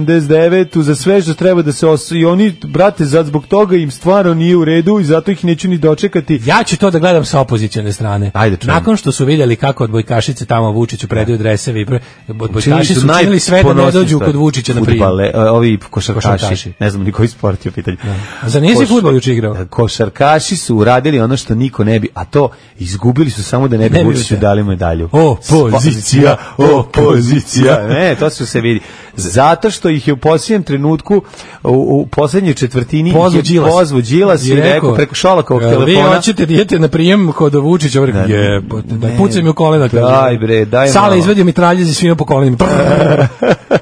1389, za sve što treba da se os... I oni, brate, za, zbog toga im stvarno nije u redu i zato ih neću ni dočekati.
Ja ću to da gledam sa opozicione strane.
Ajde, čujem.
Nakon što su vidjeli kako odbojkašice tamo Vučiću predaju dreseve i pre-
Čini
odbojkaši
su
su učinili sve da ne
najponosniji
dođu
stvar.
kod Vučića na prijem.
Fudbale, e, ovi košarkaši,
Košarkaši.
ne znam ni koji sport je u pitanju.
A Za nije si
Koš-
fudbal juče igrao?
Košarkaši su uradili ono što niko ne bi, a to izgubili su samo da ne bi
Ne bi
Vučiću
se.
dali medalju. Pa,
Opozicija,
opozicija. Ne, to su se vidi. Zato što ih je u posljednjem trenutku, u, u posljednjoj četvrtini,
Pozvu
ih je
Đilas.
pozvu Đilas i rekao preko Šolakovog
"Jel Vi
telefona.
hoćete dijete na prijem kod Vučića, ovaj rekao,
Da,
jebote,
ne,
da pucam mi u kolena. kaže.
daj bre, daj malo.
Sale izvedio mitralje za svima po kolenima.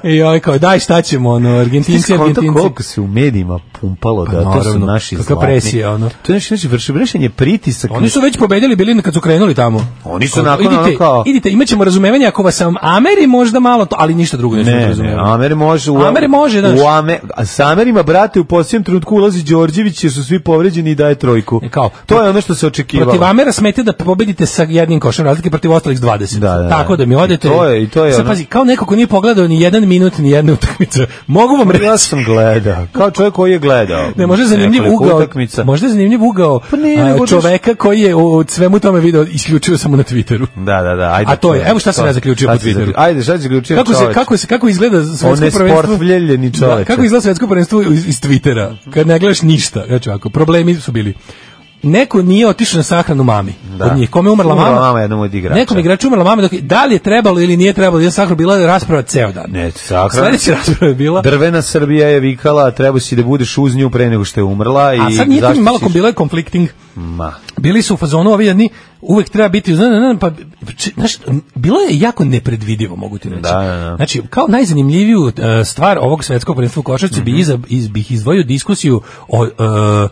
I ovaj kao, daj šta ćemo, ono,
Ti
Argentinci,
si skonto
Argentinci. Pa
koliko se u medijima pumpalo da to su
naravno,
naši
kakva
zlatni.
presija, ono.
To je naši, naši vrši, vršenje pritisaka.
Oni su već pobedili bili kad su krenuli tamo.
Oni su
Kao,
nakon ono
idite,
kao-
idite, imaćemo razumevanje ako vas sam Ameri možda malo to, ali ništa drugo nećemo
Ne, ne,
razumevanje.
Amer može u
Amer može, znaš.
u Ame, a sa Amerima brate u posljednjem trenutku ulazi Đorđević jer su svi povređeni i daje trojku.
E, kao,
to je ono što se očekivalo.
Protiv Amera smete da pobedite sa jednim košem razlike protiv ostalih s 20.
Da, da, da.
Tako da mi odete.
I to je- i to je
Sad
ono-
pazi, kao neko ko nije pogledao ni jedan minut ni jednu utakmicu. Mogu vam reći
Pa ja sam gledao, kao čovjek koji je gledao.
Ne, možda je zanimljiv
Nekoliko
ugao.
Utakmica.
Možda je zanimljiv ugao
Pa nije,
a,
nego-
čoveka koji je u svemu tome video isključio samo na Twitteru.
Da, da, da, ajde.
A to je,
čovjek,
evo šta sam
to-
ja zaključio
šta
po
si
Twitteru.
zaključio? Ajde, šta si zaključio
Kako se
čoveče?
kako se kako izgleda
On je
svetsko prvenstvo?
sportvljeljeni čoveče.
kako izgleda svetsko prvenstvo iz, iz Twittera? Kad ne gledaš ništa, znači ovako, problemi su bili. Neko nije otišao na sahranu mami.
Da.
Od njih kome je umrla
Umrla
mama?
mama jednom od igrača.
Nekom igraču umrla mama dok da li je trebalo ili nije trebalo, ja sahranu bila je rasprava ceo dan.
Ne, sakra.
Sledeća rasprava je bila
Drvena Srbija je vikala, treba si da budeš uz nju pre nego što je umrla i
A sad nije to ni
zašto
malo
si-
kom bilo je conflicting.
Ma.
bili su u fazonu ovi jedni uvek treba biti zna, zna, pa či- znaš, bilo je jako nepredvidivo mogu ti reći.
Da, da, da.
Znači kao najzanimljiviju e, stvar ovog svetskog prvenstva u košarci
Mhm.
bi iza, iz, bih izdvojio diskusiju o e,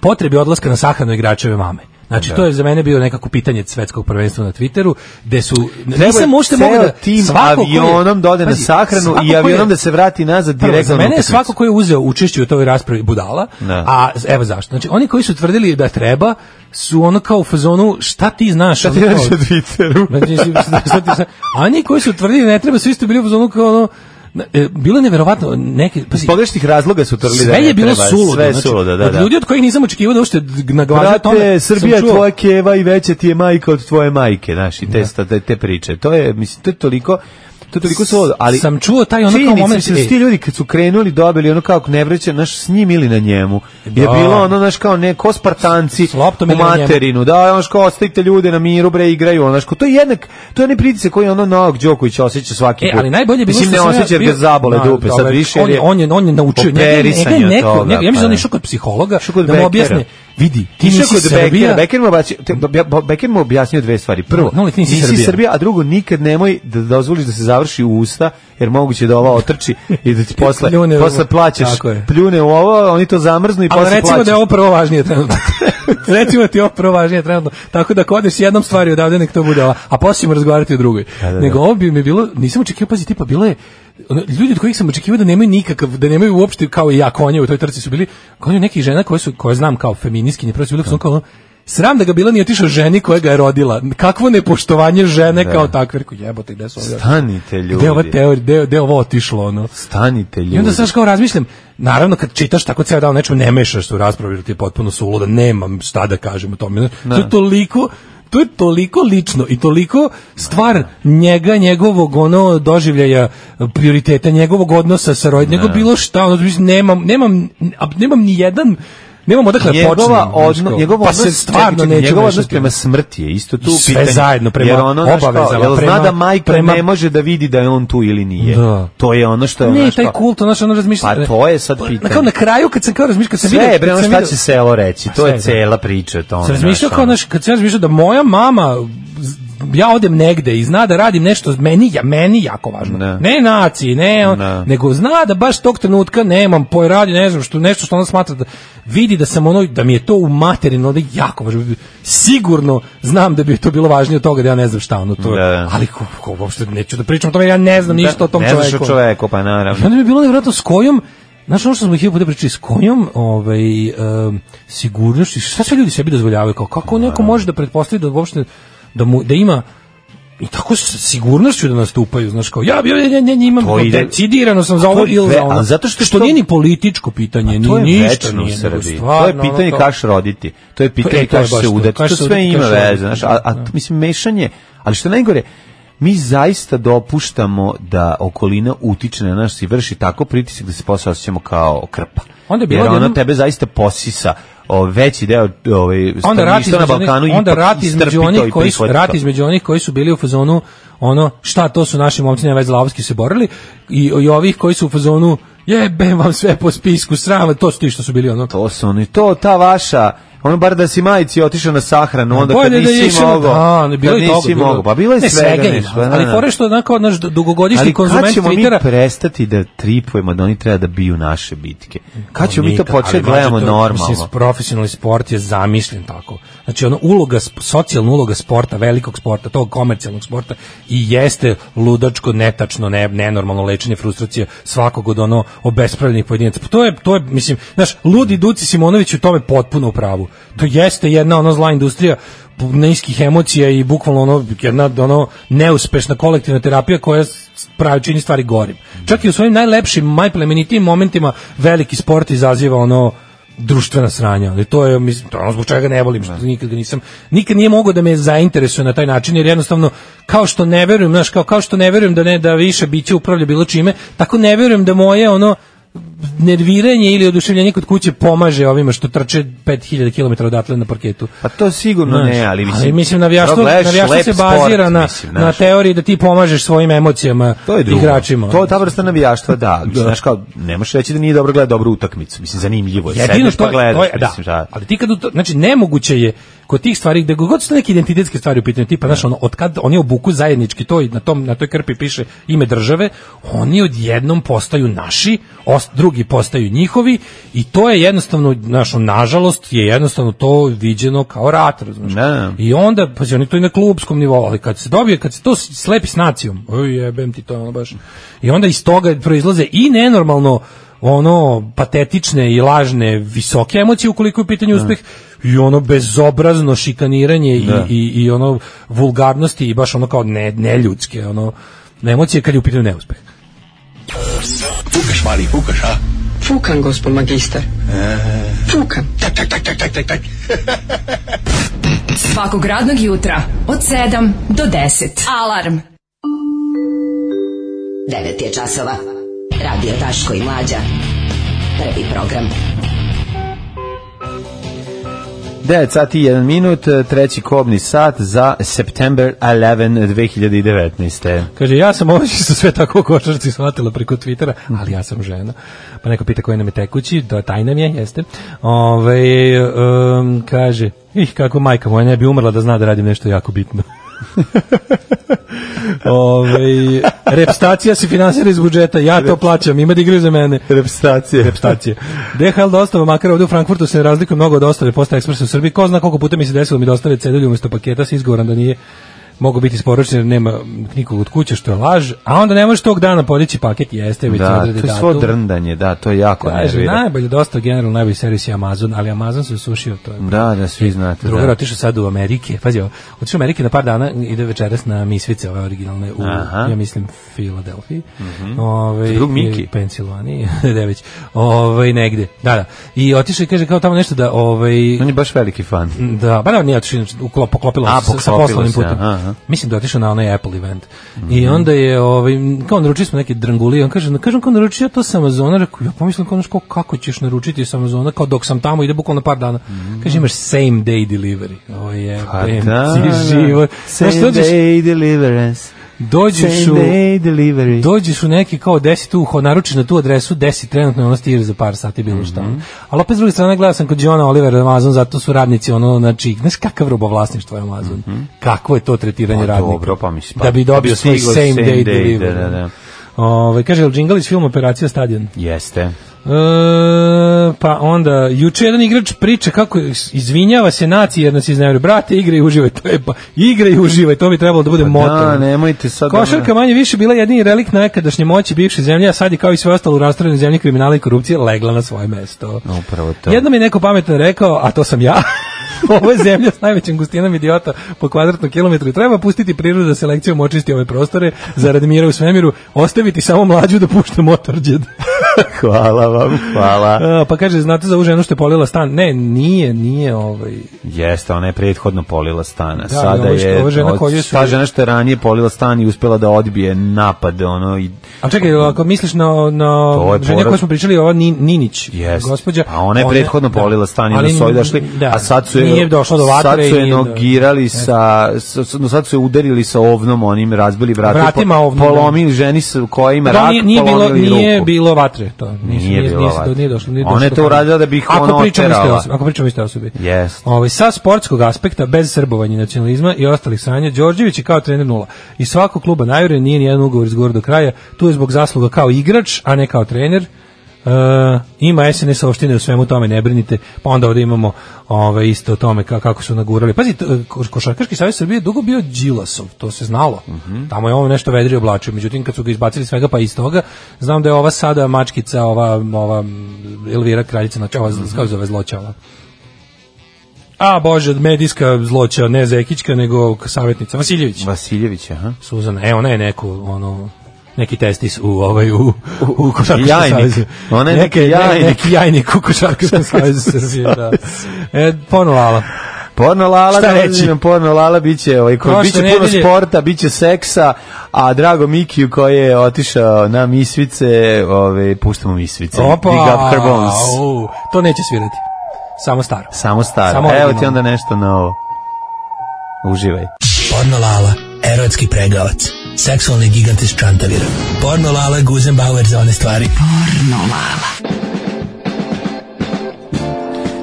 potrebi odlaska na sahranu igračeve mame. Znači to je za mene bilo nekako pitanje svetskog prvenstva na Twitteru, gde su
Treba
nisam uopšte
ceo
mogao da
tim
svako ko je-
avionom da ode na
Pazi,
sahranu
svako
i
ko je-
avionom da se vrati nazad
Prvo,
direktno
za
na
mene je
utakmicu.
svako ko je uzeo učešće u toj raspravi budala,
Da.
a evo zašto. Znači, oni koji su tvrdili da treba, su ono kao u fazonu, šta ti znaš?
Šta ti
ono kao-
radiš na Twitteru?
Znači, šta- šta ti znaš? a oni koji su tvrdili da ne treba, su isto bili u fazonu kao ono, na- e, bilo je neverovatno neke pazi,
Iz pogrešnih razloga su trli da
sve
ne
je bilo
treba,
suludo
Sve je
znači,
suludo, da,
od
da.
ljudi od kojih nisam očekivao da uopšte naglaže tome
Brate,
sam
Srbija je
čuo-
tvoja keva i veća ti je majka od tvoje majke, znaš, i te, sta- te, te priče. To je, mislim, to je toliko to je toliko solo, ali
sam čuo taj ono kao
činjenica
moment,
je da su
ej.
ti ljudi kad su krenuli dobili ono kao ne vreće naš s njim ili na njemu. Je bilo ono naš kao ne ko Spartanci
loptom
u
ili na njemu.
materinu, da, ono kao ostavite ljude na miru bre igraju, ono što to je jednak, to je ne pritisak koji ono Novak Đoković osjeća svaki
E,
put.
ali najbolje je bilo
Mislim,
što
ne
sam ja
osjeća jer ga
bio-
zabole
Da,
dupe, sad
dobro,
više
on je on je on je naučio, njega je- njega je neko, njega- ja mislim da
pa
on je išao kod psihologa da mu objasni, vidi, ti
Išao
nisi
kod Bekera,
Srbija,
Beker mu, objaci- te- obja- bo- Beker mu objasnio dve stvari. Prvo,
No, ali ti nisi Srbija.
a drugo, nikad nemoj da dozvoliš da se završi u usta, jer moguće da ova otrči i da ti posle,
Pljune u
posle
ovo.
plaćaš,
Tako je.
pljune u ovo, oni to zamrznu i
Ali
posle
recimo
plaćaš.
da je ovo prvo važnije trenutno. recimo ti je ovo prvo važnije trenutno. Tako da ako odeš s jednom stvari odavde, nek to bude ova. A poslije ćemo razgovarati o drugoj.
Da, da, da.
Nego ovo bi mi bilo, nisam očekivao, pazi, tipa, bilo je, ono, ljudi od kojih sam očekivao da nemaju nikakav, da nemaju uopšte kao i ja konje u toj trci su bili, konje nekih žena koje su, koje znam kao feministkinje, prvo su bile su kao ono, Sram da ga bila nije otišao ženi koja ga je rodila. Kakvo nepoštovanje žene
Da.
kao takve. Rekao, jebote, gde su ovi?
Stanite, ljudi.
Gde je ova teorija, gde, je- gde je ovo otišlo, ono?
Stanite, ljudi.
I onda sad kao razmišljam, naravno kad čitaš tako ceo dan o nečemu ne mešaš se u raspravi, jer ti je potpuno suludo, nemam šta da kažem o tome. Znači,
Da.
To je toliko to je toliko lično i toliko stvar njega, njegovog ono doživljaja prioriteta, njegovog odnosa sa roditeljem, nego bilo šta, ono, mislim, nemam, nemam, a nemam ni jedan Nemam odakle
njegova
počnem, znaš
odno,
kao.
njegov
pa
odnos,
se stvarno
čekaj, čekaj,
neću
njegov odnos
mešati.
prema smrti je isto tu
I sve
pitanje,
zajedno, prema
jer ono, znaš, kao,
obavezama,
jel zna
prema-
da majka
prema-
ne može da vidi da je on tu ili nije
Da.
to je ono što je
Ne,
znaš,
taj
kao-
kult, ono što ono razmišlja.
Pa to je sad
Na,
pitanje.
kao na kraju, kad sam kao razmišljao, kad sam
Sve
vidio-
je, bre,
kad
ono
sam
šta
vidio-
će selo reći,
Pa
to
sve,
je
da.
cela priča o tome.
Sam razmišljao
znaš,
kao,
ono.
znaš, kad sam ja razmišljao da moja mama ja odem negde i zna da radim nešto meni ja meni jako važno
Ne.
ne, naciji ne, on-
Ne.
nego zna da baš tog trenutka nemam poj radi ne znam što nešto što ona smatra da vidi da sam ono da mi je to u materinu onda jako važno sigurno znam da bi to bilo važnije od toga da ja ne znam šta ono to je.
Da.
ali ko, ko, uopšte neću da pričam o tome jer ja ne znam ništa o tom
ne
čoveku
znaš o čoveku, pa naravno.
i onda mi je bilo nevjerojatno s kojom Znaš ono što smo hiljadu puta pričali, s kojom ovaj, em, sigurnošću, šta sve ljudi sebi dozvoljavaju, kao kako neko može da pretpostavi da uopšte, da, mu, da ima i tako s sigurnošću da nastupaju, znaš kao, ja, ja, ja, ja, ja imam,
To ide-
decidirano sam za ovo
To je
ili
ve-
za ono.
ali zato što-
što nije ni političko pitanje, ni
To je
ništa
večno u
nije. nego
Srbiji. To
stvarno,
je
ono
pitanje
kao- E,
kaš roditi. To je
To
pitanje
je- to je
kaš
baš
se
to.
udati.
Kaš
To
se
sve
udati,
ima
kaš roditi,
veze. Znaš, a, a,
da.
mislim, mešanje, ali što je najgore, mi zaista dopuštamo da okolina utiče na nas i vrši tako pritisak da se posle osjećamo kao krpa.
Onda je bilo
Jer ona
odjednom-
tebe zaista posisa o, veći deo ovaj,
onda rat
stanovništva na
između onih-
Balkanu
onda
ipak
rat
istrpi
između
to
onih
i
koji su
prihvati
rat
to.
između onih koji su bili u fazonu ono šta to su naši momci nema veze lavski se borili i, i ovih koji su u fazonu jebem vam sve po spisku srama to su ti što su bili ono
To su oni, to, ta vaša, ono bar da si majici otišao na sahranu, onda kad
Bolje da
nisi
išemo-
mogao.
Da, ne, bilo
kad
je toga,
nisi
bilo je-
mogao, pa bilo je
Ne,
svega.
svega ima,
nešto, da,
ali
da.
fore što onako naš dugogodišnji
Ali kad
konzument
ćemo mi
Twittera
prestati da tripujemo da oni treba da biju naše bitke? Kad ćemo mi to
Nikad,
početi
ali
da gledamo
mlađe, to,
normalno?
Mislim, profesionalni sport je zamišljen tako. Znači, ono, uloga, sp- socijalna uloga sporta, velikog sporta, tog komercijalnog sporta i jeste ludačko, netačno, ne, nenormalno lečenje frustracije svakog od ono obespravljenih pojedinaca. Pa To je, to je, mislim, znaš, ludi Duci Simonović je u tome potpuno u pravu. To jeste jedna ono zla industrija niskih emocija i bukvalno ono jedna ono neuspešna kolektivna terapija koja s- pravi čini stvari gorim. Čak i u svojim najlepšim, najplemenitijim momentima veliki sport izaziva ono društvena sranja, ali to je mislim to je ono zbog čega ne volim što nikad ga nisam nikad nije mogao da me zainteresuje na taj način jer jednostavno kao što ne verujem, znaš, kao kao što ne verujem da ne da više biće upravlja bilo čime, tako ne verujem da moje ono nerviranje ili oduševljenje kod kuće pomaže ovima što trče 5000 km odatle na parketu.
Pa to sigurno
Znaš,
ne, ali mislim...
ali mislim navijaštvo,
Dobro, gledaš
navijaštvo
lep
se bazira
sport,
na,
mislim,
na
znaš.
teoriji da ti pomažeš svojim emocijama
To je drugo.
igračima.
To je ta vrsta navijaštva, da. Mislim, Znaš kao, ne možeš reći da nije dobro gledati dobru utakmicu. Mislim, zanimljivo je.
Jedino
Sedneš
što
pa gledaš.
to je, da.
mislim, šta-
Ali ti kad u to, znači nemoguće je kod tih stvari gde god su to neke identitetske stvari u pitanju, tipa znaš ono od kad oni obuku zajednički to i na tom na toj krpi piše ime države, oni odjednom postaju naši, os- drugi postaju njihovi i to je jednostavno našo nažalost je jednostavno to viđeno kao rat, razumeš?
Da.
I onda pa oni to i na klubskom nivou, ali kad se dobije, kad se to slepi s nacijom, oj jebem ti to je ono baš. I onda iz toga proizlaze i nenormalno ono patetične i lažne visoke emocije ukoliko je u pitanju uspeh i ono bezobrazno šikaniranje i,
Da.
i, i ono vulgarnosti i baš ono kao ne, neljudske ono emocije kad je u pitanju neuspeh.
Fukaš, mali, fukaš, a?
Fukan, gospod magister.
Fukan. Tak, tak, tak, tak, tak, tak, tak.
Svakog radnog jutra od 7 do 10. Alarm.
9 je časova. Radio Daško i Mlađa. Prvi program.
9 sati i 1 minut, e, treći kobni sat za September 11 2019.
Kaže, ja sam ovo što su sve tako u košarci shvatila preko Twittera, ali ja sam žena. Pa neko pita koji nam je tekući, da tajna mi je, jeste. Ove, um, kaže, ih, kako majka moja ne bi umrla da zna da radim nešto jako bitno. Ove, repstacija se finansira iz budžeta, ja to plaćam, ima da igraju za mene.
Repstacije.
Repstacije. DHL dostava, makar ovde u Frankfurtu se ne razlikuje mnogo od dostave posta ekspresa u Srbiji. Ko zna koliko puta mi se desilo mi dostave cedulju umjesto paketa sa izgovorom da nije mogu biti isporučen jer nema nikog od kuće što je laž, a onda ne možeš tog dana podići paket, jeste, već
Da,
odredi
to je svo
datum.
drndanje, da, to je jako
Kaže,
nervira.
najbolje dosta generalno najbolji servis je Amazon, ali Amazon se usušio, to je
Da, da, svi znate.
Drugar
da.
otišao sad u Amerike, pazi ovo, otišao u Amerike na par dana, ide večeras na Misvice, ove originalne, u,
Aha.
ja mislim, Filadelfiji.
Mhm.
Ovaj,
Drug Miki.
i Pensilvaniji, ne već, ovaj, negde, da, da. I otišao i kaže kao tamo nešto da, ovaj...
On je baš veliki fan.
Da, ba da, nije otišao, inače, uklop- poklopilo
A,
se sa- sa
poklopilo
poslovnim
se,
putem.
aha.
Mislim da je otišao na onaj Apple event. I onda je, ovaj, kao naručili smo neke drangulije, on kaže, na- kažem kao naručio ja to sa Amazona, rekao, ja pomislim kao, znaš, kao, kako ćeš naručiti sa Amazona, kao dok sam tamo, ide bukvalno par dana. Kaže, imaš same day delivery. Ovo je,
Pa
jebem
da,
ti život.
Same
Znaš, dođeš-
day deliverance.
Dođeš
Same
u,
day
dođeš u neki kao 10 tu, naručiš na tu adresu, 10 trenutno i ono stiže za par sati bilo šta.
Mhm.
Ali opet s druge strane gledao sam kod Johna Olivera Amazon, zato su radnici ono, znači, znaš kakav robovlasništvo je Amazon. Kakvo je to tretiranje
Mhm. Pa
radnika?
dobro, pa mislim, pa
da bi
da bi
dobio svoj
stiglo
same,
same
day,
day, da,
delivery.
da, da.
Ovaj, kaže, jel džingalić film Operacija Stadion?
Jeste.
E, pa onda, juče jedan igrač priča kako izvinjava se naciji jer nas iznevri. Brate, igra i uživaj. To je, pa, igra i uživaj, to bi trebalo da bude
Pa
moto.
Da, nemojte sad...
Košarka manje više bila jedini relikt nekadašnje moći bivše zemlje, a sad je kao i sve ostalo u rastrojenoj zemlji kriminala i korupcije legla na svoje mesto.
ono- Upravo to.
Jednom je neko pametan rekao, a to sam ja, ovo je zemlja s najvećim gustinom idiota po kvadratnom kilometru i treba pustiti prirodu da selekcijom očisti ove prostore zarad mira u svemiru, ostaviti samo mlađu da pušta motorđed.
Hvala vam, hvala.
A, pa kaže, znate za ovu ženu što je polila stan? Ne, nije, nije ovaj...
Jeste, ona je prethodno polila stana.
Da,
Sada
i ovo što-
je
ova žena
od-
koju su-
ta žena što je ranije polila stan i uspela da odbije napad, ono i
A čekaj, ako misliš na, na
To je
ženja
porod-
koju smo pričali, ova Ni- Ninić,
Jest.
gospođa.
A ona je prethodno polila stan i onda
Ali
su ovi došli,
n- da,
a sad su je,
nije došlo do vatre
sad su
i
je
nije do- E.
nogirali sa, sa, sa- no sad su je udarili sa ovnom, onim razbili vrati,
Vratima ovnom, da.
polomili ženi s- koja ima
Da,
rak,
nije, nije bilo
polomili
nije
ruku.
bilo vatre to.
Nije bilo
nisu-
vatre.
Nije došlo, nije
Ona
došlo
je
do
to
toga.
uradila da bi ih
ako
ona
pričamo iste
oterala.
osobe, ako pričamo iste osobe.
Jest.
Ovaj sa sportskog aspekta bez srbovanja nacionalizma i ostalih sanja Đorđević je kao trener nula. I svakog kluba najure nije ni jedan ugovor izgovor do kraja. Tu je zbog zasluga kao igrač, a ne kao trener. E, ima SNS opštine u svemu tome, ne brinite. Pa onda ovdje imamo ovaj isto o tome ka- kako su nagurali. Pazi, t- ko- Košarkaški savez Srbije je dugo bio Đilasov, to se znalo. Tamo je on nešto vedri oblačio. Međutim, kad su ga izbacili svega pa iz toga, znam da je ova sada mačkica, ova, ova Elvira kraljica, znači ova, kako se zove, zloćava. A bože, medijska zloća, ne Zekićka, nego k- savjetnica Vasiljević.
Vasiljević, aha.
Suzana, e, ona je neku, ono, neki testis u ovaj u u, u košarkaškom
Jajnik.
savezu.
Ona je neki
Neke- ne-
jajnik.
neki jajnik u košarkaškom savezu Srbije, da. E, ponovala.
Porno Lala,
Šta
da
reći?
reći? Porno Lala biće, ovaj, ko,
Prošle
biće puno
nedelje-
sporta, biće seksa, a Drago Mikiju koji je otišao na Misvice, ovaj, puštamo Misvice.
Opa,
Big up her bones.
au, to neće svirati. Samo staro.
Samo staro.
Samo
Evo ti
originalno.
onda nešto novo. Uživaj.
Porno Lala, erotski pregavac. Seksualni gigant iz Čantavira. Porno Lala, Guzenbauer za one stvari. Porno Lala.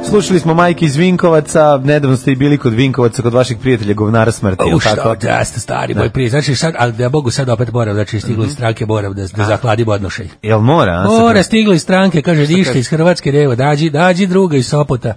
Slušali smo majke iz Vinkovaca, nedavno ste i bili kod Vinkovaca, kod vaših prijatelja govnara smrti. jel
U šta,
tako?
da ste stari
Pa Da.
moj prije. Znači sad, ali da Bogu sad opet moram, znači stiglo iz stranke moram da, da zahladi bodnošaj.
Jel mora? a?
Mora, stiglo iz stranke, kaže,
kaže?
dište iz Hrvatske, devo, dađi, dađi druga iz Sopota.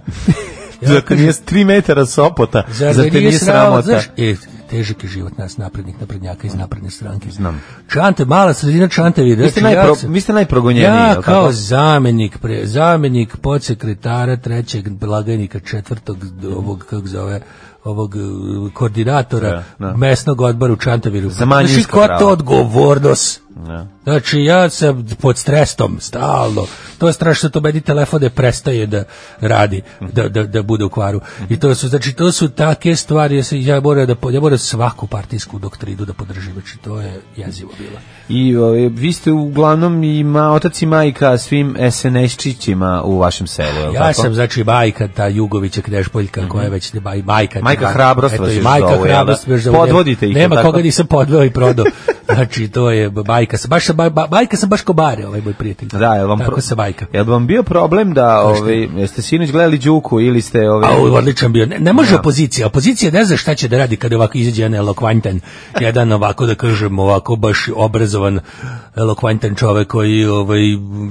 Zar te nije s tri metara sopota?
Zar,
Zar te nije sramota?
Znaš, e, težak je život nas naprednih naprednjaka iz napredne stranke.
Znam.
Čante, mala sredina Čante vidi.
Vi ste
znači, ja
najpro-
sam-
vi ste najprogonjeniji,
Ja
jel
kao
tako?
zamenik, pre, zamenik podsekretara trećeg blagajnika četvrtog d- ovog, kako zove, ovog
uh,
eh, koordinatora
Da, da.
mesnog odbora u Čantaviru. Za
manjinska
znači, ko
prava.
to odgovornost?
Da.
Znači, ja sam pod stresom, stalno.
to je strašno to meni telefon da prestaje da radi, da, da, da bude u kvaru. I to su, znači, to su take stvari, ja, se, ja, moram, da, ja moram svaku partijsku doktrinu da podržim, znači, to je jezivo bilo.
I o, vi ste uglavnom i ma, otac i majka svim SNS-čićima u vašem selu, je li
Ja
tako?
sam, znači, majka ta Jugovića Knešpoljka, koja je već ne, maj- majka.
Majka
Eto,
hrabrost vas
i
još
Majka
zovu, jel da?
hrabrost me još zovu.
Podvodite ih,
Nema
jel tako?
koga nisam podveo i prodao. znači, to je majka. sam- Baš, sam- ba, ba- majka sam baš kobare, ovaj moj prijatelj.
Da, je vam
Tako
pro-
se majka.
Jel bi vam bio problem da ovaj jeste sinoć gledali Đuku ili ste ovaj
A, u, odličan bio. Ne, ne može opozicija. Opozicija ne zna šta će da radi kada ovako izađe jedan elokvantan, jedan ovako da kažem ovako baš obrazovan elokvantan čovek koji ovaj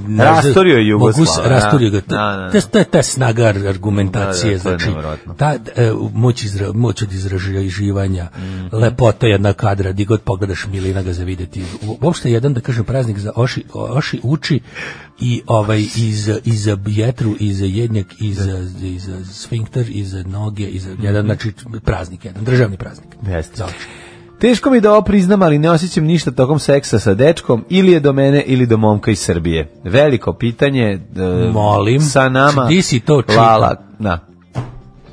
ne zna-
Rasturio je
mogu s-
Jugoslava, da.
Rasturio ga.
Da, da, da.
Ta, ta, ta snaga argumentacije,
Da, da, to je
znači
nevjerojatno.
ta e, moć izra, moć od izraživanja, lepota jedna kadra, di god pogledaš Milina ga za videti. U- Uopšte jedan da kažem praznik za Oši, Oši uči i ovaj iz iz jetru, i za jednjak, i za i za sfinkter, i za noge, i za jedan znači praznik jedan, državni praznik.
Jeste. Teško mi da ovo priznam, ali ne osjećam ništa tokom seksa sa dečkom, ili je do mene, ili do momka iz Srbije. Veliko pitanje. e,
Molim.
Sa nama.
Ti si to čitao.
Lala, da.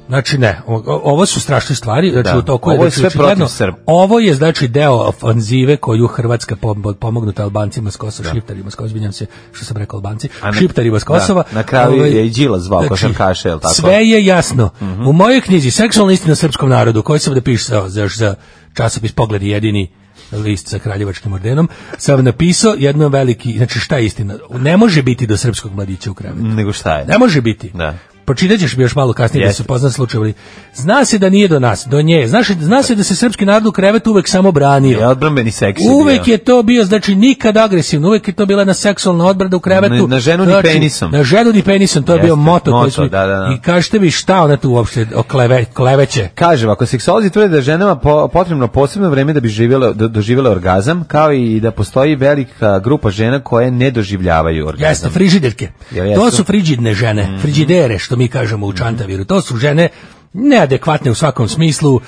Znači ne, o- o- ovo su strašne stvari, znači
Da.
u toku je,
Ovo je
znači,
sve protiv
očigledno,
Srba.
Ovo je znači deo ofanzive koju Hrvatska pom- pomognuta Albancima s Kosova, šiptarima s Kosova, izvinjam se što sam rekao Albanci,
A na-
šiptarima s Kosova.
da, na kraju
ovaj,
je i Đilas zvao košarkaše, jel tako? Mhm.
Sve je jasno. U mojoj knjizi Seksualna istina srpskom narodu, koju sam napisao za, za časopis Pogled i jedini list sa kraljevačkim ordenom, sam napisao jedno veliki, znači šta je istina? Ne može biti do srpskog mladića u krevetu.
Nego šta je?
Ne može biti.
Da.
Pročitat ćeš mi još malo kasnije
Jeste.
da se pozna slučaj, ali zna se da nije do nas, do nje. Znaš, zna se da se srpski narod u krevetu uvek samo branio.
Je odbrambeni seks. je
Uvek
bio.
je to bio, znači nikad agresivno, uvek je to bila na seksualna odbrada u krevetu.
Na- na ženu ni
Znači,
penisom.
Na ženu ni penisom, to je bio
Jeste,
moto. koji
moto,
smo-
da, da, da.
I kažete mi šta ona tu uopšte o kleve, kleveće.
Kaže, ako seksolozi tvrde da je ženama po- potrebno posebno vreme da bi živjela, do, doživjela orgazam, kao i da postoji velika grupa žena koje ne doživljavaju orgazam.
Jeste, frižiderke.
Jel jesu? Mhm.
To su frižidne žene, frižidere, što mi kažemo u Čantaviru. To su žene neadekvatne u svakom smislu,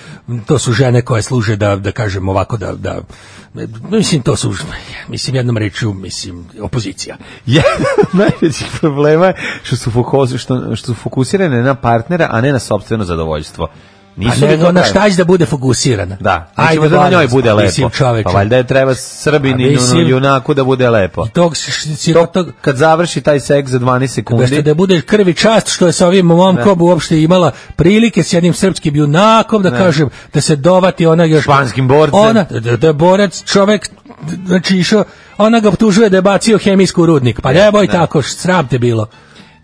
to su žene koje služe da, da kažem ovako, da, da, mislim, to su, mislim, jednom rečju, mislim, opozicija.
Jedan od najvećih problema je što su, fokus, što, što su fokusirane na partnera, a ne na sopstveno zadovoljstvo.
A
li
nego na
to pravi?
šta će da bude fokusirana?
Da, nećemo da na
molim
njoj
vas,
bude
pa
lepo.
Mislim, čoveče.
Pa valjda je treba Srbini
Pa mislim-
junaku da bude lepo.
Tog, si- si- tog,
Kad završi taj seks za 12
da ste
sekundi,
da bude krvi čast što je sa ovim momkom uopšte imala prilike s jednim srpskim junakom da
Ne.
kažem da se dovati ona još
Španskim borcem.
ona da, da je borac čovek znači išao ona ga optužuje da je bacio hemijsku u rudnik pa nemoj
ne.
tako sram te bilo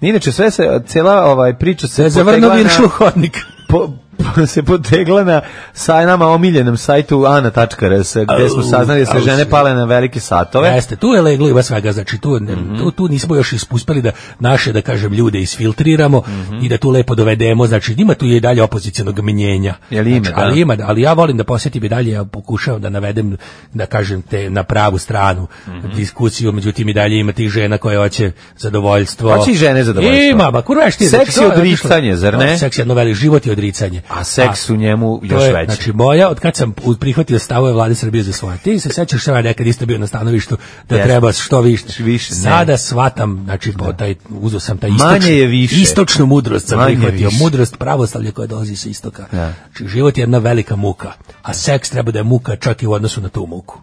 inače sve se, cela ovaj priča se
da je zavrnuo
potegla na-
viršlu hodnik
po, po- se potegla na saj nama omiljenom sajtu ana.rs gde smo saznali da se
au,
žene
au,
pale na velike satove.
Jeste, tu je leglo ima svega, znači tu, ne-
Mhm.
tu, tu nismo još is- uspeli da naše, da kažem, ljude isfiltriramo
Mhm.
i da tu lepo dovedemo, znači ima tu i dalje opozicijalnog menjenja.
Jel ima,
Znači,
da?
ali ima, ali ja volim da posjetim i dalje, ja pokušavam da navedem, da kažem, te na pravu stranu
Mhm.
diskusiju, međutim i dalje ima tih žena koje hoće zadovoljstvo.
Hoće i Pa žene zadovoljstvo.
Ima, ma kurva što je, znači,
Seks
to
je
otišlo-
odricanje, zar ne?
To, Seks je jedno veliko, život je odricanje.
A seks u njemu
To
još
je,
veći.
znači moja, od kad sam u- prihvatio stavove vlade Srbije za svoje. Ti se sećaš šta ja nekad isto bio na stanovištu da
Jeste.
treba što više.
Više, ne.
Sada shvatam, znači po taj uzeo sam taj istočnu,
Manje je više.
istočnu mudrost sam
Manje je
prihvatio,
više.
mudrost pravoslavlja koja dolazi sa istoka.
Da.
Znači život je jedna velika muka, a seks treba da je muka čak i u odnosu na tu muku.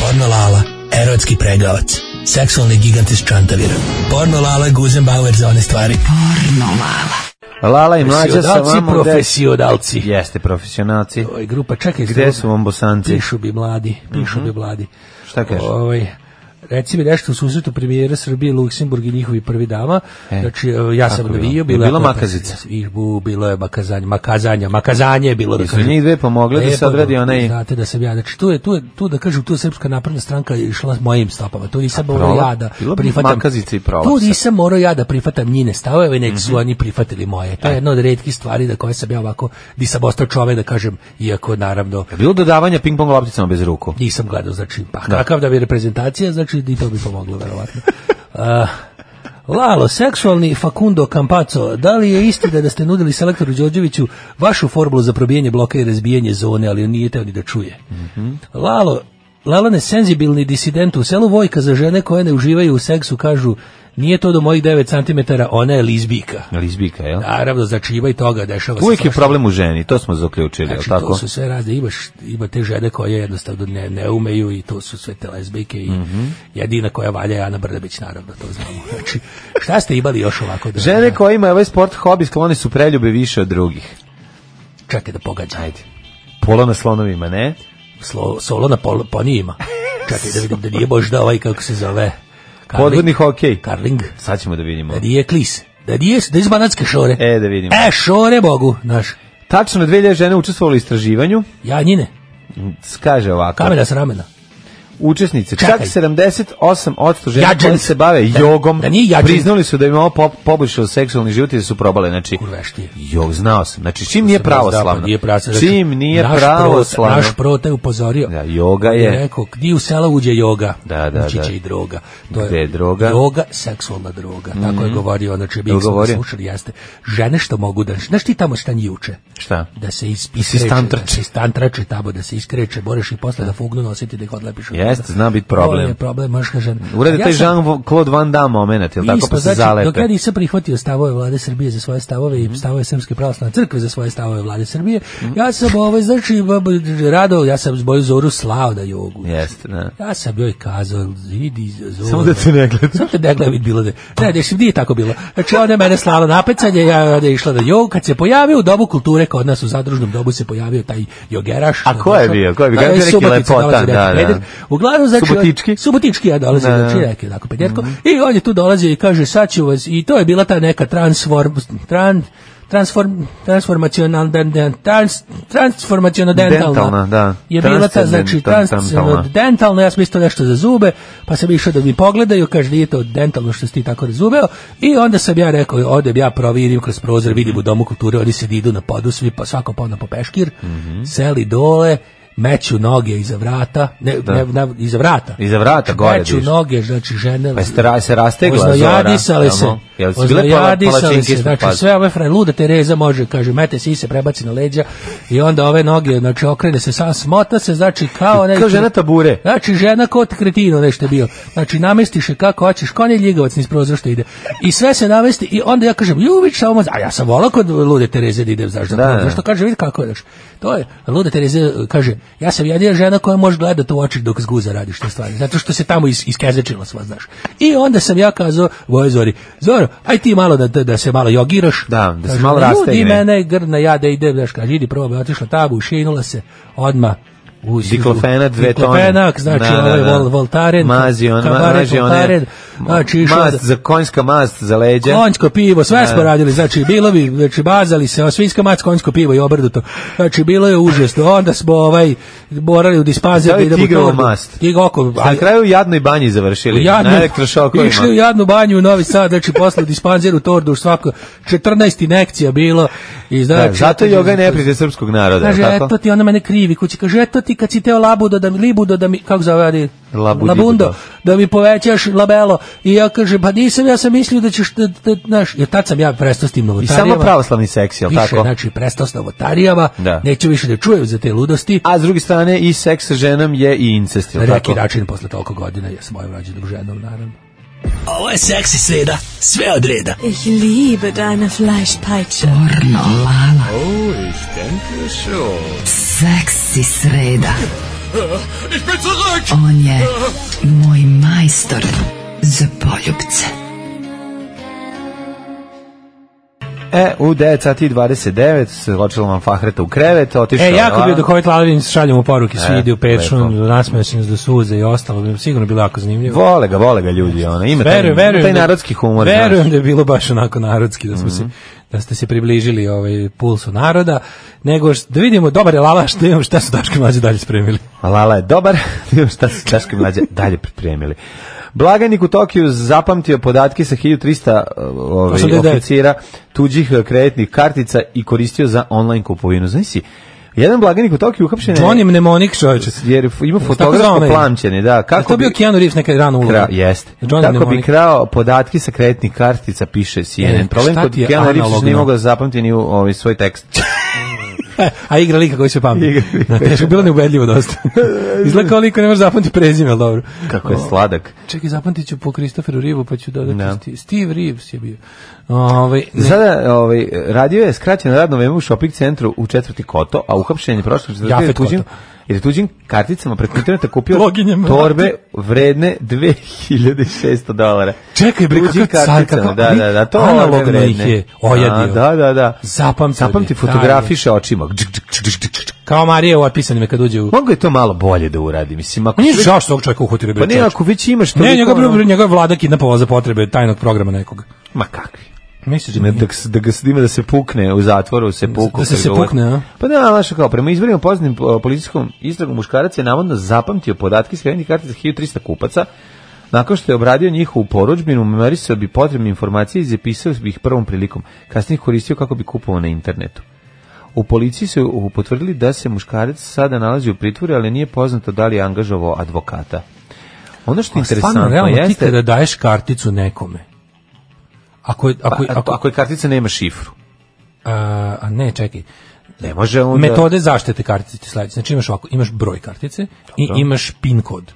Porno Lala, erotski pregavac, seksualni gigant iz Čantavira. Porno Lala Guzenbauer za one stvari. Porno Lala.
Lala i mlađa sa
Profesionalci,
vama. gde-
profesionalci.
Jeste, profesionalci.
Ovaj grupa čekaj
Gde
samo-
su vam bosanci? Mhm.
Pišu bi mladi, pišu bi mladi.
Šta kažeš?
Ovaj reci mi nešto u susretu premijera Srbije, Luksemburg i njihovi prvi dama.
E,
znači, evo, ja sam
kako je
navio,
bilo?
bila,
Je bila makazica?
I, bu, bilo je makazanje, makazanje, makazanje je bilo. Da
Jesu
kažem.
njih dve pomogle da
Lepo,
se odradi onaj...
Znate da sam ja, znači tu je, tu je, tu da kažem, tu je srpska napredna stranka išla mojim stopama, tu nisam morao
prola-
ja da
Pa bilo bi
prihvatam.
makazice i Mhm. prolapsa.
tu nisam morao ja da prihvatam njine stavove, nek su oni prihvatili moje.
E.
To je jedna od retkih stvari da koje sam ja ovako, di sam ostao čovek da kažem, iako naravno
Je Bilo dodavanja ping-pong lopticama bez ruku.
nisam gledao, znači, pa
Da.
kakav da bi reprezentacija, znači i to bi pomoglo, verovatno. Uh, Lalo, seksualni Facundo Campazzo, da li je istina da ste nudili selektoru Đorđeviću
Mhm.
vašu formulu za probijanje bloka i razbijanje zone, ali on nije teo ni da čuje? Lalo, Lalane senzibilni disident u selu Vojka za žene koje ne uživaju u seksu kažu nije to do mojih 9 cm, ona je lizbika.
Lizbika, jel?
Naravno, znači ima i toga, dešava
Uvijek
se.
je problem u ženi, to smo zaključili, jel
Znači,
tako?
to su sve razne, imaš, ima te žene koje jednostavno ne, ne umeju i to su sve te lezbijke i
Mhm.
jedina koja valja je Ana Brnabić, naravno, to znamo. Znači, šta ste imali još ovako? Da
Žene koje imaju ovaj sport hobi sklone su preljube više od drugih.
Čekaj da pogađam. Ajde.
Polo na slonovima, ne?
Slo, solo na pol, ponijima. Čekaj da vidim da nije možda ovaj, kako se zove. Karling.
Podvodni hokej.
Karling.
Sad ćemo da vidimo.
Da nije klis. Da nije, da iz banatske šore.
E, da vidimo.
E, šore Bogu, znaš.
Tačno 2000 žene učestvovalo u istraživanju.
Ja njine.
Kaže ovako.
Kamena s ramena.
Učesnice,
Čekaj.
čak 78% žena
Jađenci.
koje se bave
Da-
jogom,
da nije jađenci.
priznali su da im ovo pop- poboljšao seksualni život i da su probale, znači,
Veštije.
jog, znao sam, znači, čim nije pravoslavno,
Nije prasa, znači,
čim nije
naš
pravoslavno,
prota- Naš prota je upozorio.
da, joga
je
je,
rekao, gdje u sela uđe joga,
Da, da,
ući
da.
će i droga.
Gde je droga?
Droga, seksualna droga. Tako je
Mhm.
govorio, znači, mi
Je li
smo
govorio?
slušali, jeste. Žene što mogu da... Znaš ti tamo šta njuče?
šta?
Da se is-
se
iskreče,
istantrače.
da se istantrače tamo, da se iskreče, moraš i posle da fugnu nositi da ih odlepiš. od
Jeste,
toga.
zna biti
To je
problem.
problem, muška žena.
Urede
Ja
taj
sam-
Jean-Claude Van Damme moment, jel tako,
Isto,
pa se
znači, dok
zalepe.
ja nisam prihvatio stavove vlade Srbije za svoje stavove i stavove Srpske pravoslavne crkve za svoje stavove vlade Srbije, ja sam ovaj, znači, b- b- rado, ja sam moju zoru slao da jogu.
Jeste, da.
Ja sam joj kazao, idi Zora.
Samo da te ne gleda.
Samo da te ne gleda, vidi bilo da. Ne, ne, nije tako bilo. Znači, ona je mene slala na pecanje, ja onda je išla na jogu. Kad se pojavio u dobu kulture, kod nas u zadružnom dobu se pojavio taj jogeraš.
A ko je bio? Ko je bio?
Da,
Kako je neki
Subotica
lepotan,
dolazi,
da,
neki
da.
peder. Uglavnom, znači,
Subotički?
Subotički ja dolazi,
Da, Mhm. da.
znači, neki onako pederko. I on je tu dolazio i kaže, sad ću vas, i to je bila ta neka transform, tran, transform, transformacionalna, trans, transformacionalna dentalna,
Dentalna, da.
je bila ta, znači, trans,
Transcendentalna.
dentalno, ja sam isto nešto za zube, pa sam išao da mi pogledaju, kaže, nije to dentalno što si ti tako razumeo, i onda sam ja rekao, odem ja provirim kroz prozor, vidim u Domu kulture, oni se idu na podu, svi, pa svako pa onda po peškir,
Mhm.
seli dole, meću noge iza vrata, ne, ne, ne, iza vrata.
Iza vrata gore
Meću
diš.
noge, znači žene.
Pa jeste ra- se rastegla zora,
Oznojadisale se.
jel' mo? Jel su bile pala-
oznojadisale
palačinke
se,
ispod
znači
paze?
sve ove fra luda Tereza može, kaže, mete si se prebaci na leđa i onda ove noge, znači okrene se sam, smota se, znači kao neki...
Kao žena tabure.
Znači, žena kot kretino nešto je bio. Znači, namestiš je kako hoćeš, ko ne ljigavac niz prozora što ide. I sve se namesti i onda ja kažem, ju, vidiš samo, a ja sam volao kod lude Tereze da idem, znaš, da,
Da, da.
Zašto kaže, vidi kako je, znaš. To je, luda Tereze uh, kaže, ja sam jedina žena koja može gledati u oči dok zguza radiš te stvari, zato što se tamo is, iskezečila sva, znaš. I onda sam ja kazao, voj Zori, Zoro, aj ti malo da, da, da se malo jogiraš.
Da, da se
Kaže,
malo
"Ma, ljudi,
rastegne."
mene je grdna, ja da idem, znaš, kaže, idi probaj, otišla tabu, ušinula se, odma u
Diklofena, dve tone.
Diklofenak, znači
Da, da,
ovaj
da.
vol, voltaren,
Mazi on, ma,
kabaret
maži one-
voltaren, znači išla
mast, za konjska mast za leđa.
Konjsko pivo, sve
Da.
smo radili, znači bilo bi, znači bazali se, a svinjska mac, konjsko pivo i obrnuto. Znači bilo je užasno. Onda smo ovaj morali u dispazer
Stavio
da idemo
tigrovu
torbu.
mast.
Tigo oko.
Na kraju u jadnoj banji završili.
Jadno,
na elektrošokovima.
Išli u jadnu banju u Novi Sad, znači posle u dispanzeru u Tordu, svako 14 inekcija bilo. I znači,
Da, zato je joga neprijatelj srpskog naroda,
Kaže,
jel' tako?
eto ti, ona mene krivi kući. Kaže, eto ti kad si teo labudo da mi, libudo da mi, kako zove, ali,
Labudibudo.
labundo, da mi povećaš labelo. I ja kaže, pa nisam, ja sam mislio da ćeš, da, da, znaš, jer tad sam ja prestao s tim
I
novotarijama.
samo pravoslavni seks, jel
Više,
tako?
znači, prestao s novotarijama,
Da.
neću više da čujem za te ludosti.
A s druge strane i seks sa ženom je i incest, jel'
Na neki
tako?
način, posle toliko godina, ja sam mojom rađenom ženom, naravno.
Ovo je seksi sreda, sve od reda.
Ich liebe deine Fleischpeitsche.
Pornolala.
Oh, ich denke schon.
Seksi sreda.
Ich bin zurück!
On je moj majstor za poljubce.
E, u 9 sati i 29 se zločila vam Fahreta u krevet, otišao.
E, jako
je
bi bio
van.
dok ovaj tlavin šaljamo poruke,
E,
svi ide u
lepo.
pečun, nasmeo si nas do suze i ostalo, bi sigurno bilo jako zanimljivo.
Vole ga, vole ga ljudi, ona ima taj,
Verujem,
ima
verujem.
taj
da-
narodski humor. znaš. Mhm.
Verujem da je bilo baš onako narodski, da, smo se, da ste se približili ovaj pulsu naroda, nego š- da vidimo dobar je lala što imam, šta su daške mlađe dalje spremili.
Lala je dobar, vidimo šta su Daško i mlađe dalje pripremili. Blaganik u Tokiju zapamtio podatke sa 1300 ovaj,
89.
oficira tuđih eh, kreditnih kartica i koristio za online kupovinu. Znaš si, jedan blaganik u Tokiju uhapšen je-
Johnny Mnemonik, čovječe.
Jer ima fotografsko plamćenje, da. Kako
to bio
bi-
Keanu Reeves neka rana uloga?
Kra, jeste.
Johnny
Tako bi
Mnemonik.
krao podatke sa kreditnih kartica, piše CNN.
E,
Problem
šta
kod
ti je
Keanu Reevesa što nije
analogno?
mogao da zapamti ni u, ovaj, svoj tekst.
A igra lika koji se pamti. Da, teško, bilo neubedljivo dosta. Izgleda kao liko, ne možeš zapamtiti prezime, ali dobro.
Kako je sladak.
Čekaj, zapamtit ću po Kristoferu Rivu, pa ću dodati no. Steve, Steve Reeves je bio. Ove,
ne. Sada ovaj, radio je skraćeno radno vreme u shopping centru u četvrti koto, a uhapšen je prošlo četvrti
Jafet
tuđim,
Koto.
jer je tuđim karticama preko interneta kupio
Loginjem
torbe vredne 2600 dolara.
Čekaj, bre,
Tuđim
kakav car,
karticama,
kakav-
da, da, da, to
analogno
orbe vredne.
ih je ojadio.
A, Da, da, da.
Zapamtio
Zapamti,
je,
fotografiše očima. Džk, džk, džk, džk, džk.
Kao Marija u otpisanima kad uđe u...
Mogu je to malo bolje da uradi, mislim, ako...
Pa Nije
sve-
žao što ovog čovjeka uhvatili. bre,
Pa ne,
čoveče.
ako već imaš...
Ne,
toliko,
njega,
ono-
bre, njega je vlada kidnapovala za potrebe tajnog programa nekog.
Ma kakvi?
Misliš da
Ne,
nije?
da, s- da ga s- ima da se pukne u zatvoru, se puku.
Da se se
pregovor.
pukne, a?
Pa da, znaš kao, prema izvorima poznatim o, policijskom istragom muškarac je navodno zapamtio podatke s kreditnih kartica 1300 kupaca, Nakon što je obradio njihovu porudžbinu, memorisao bi potrebne informacije i zapisao bi ih prvom prilikom. Kasnije ih koristio kako bi kupovao na internetu. U policiji su uh, potvrdili da se muškarac sada nalazi u pritvoru, ali nije poznato da li je angažovao advokata. Ono što je
Pa
interesantno
Stvarno, realno, ti
jeste...
kada daješ karticu nekome, ako je, ako, je-
Pa,
ako,
ako je kartica nema šifru.
a, a ne, čekaj,
Ne može onda...
metode zaštite kartice ti sledeće. Znači imaš ovako, imaš broj kartice i
Dobro.
imaš pin kod.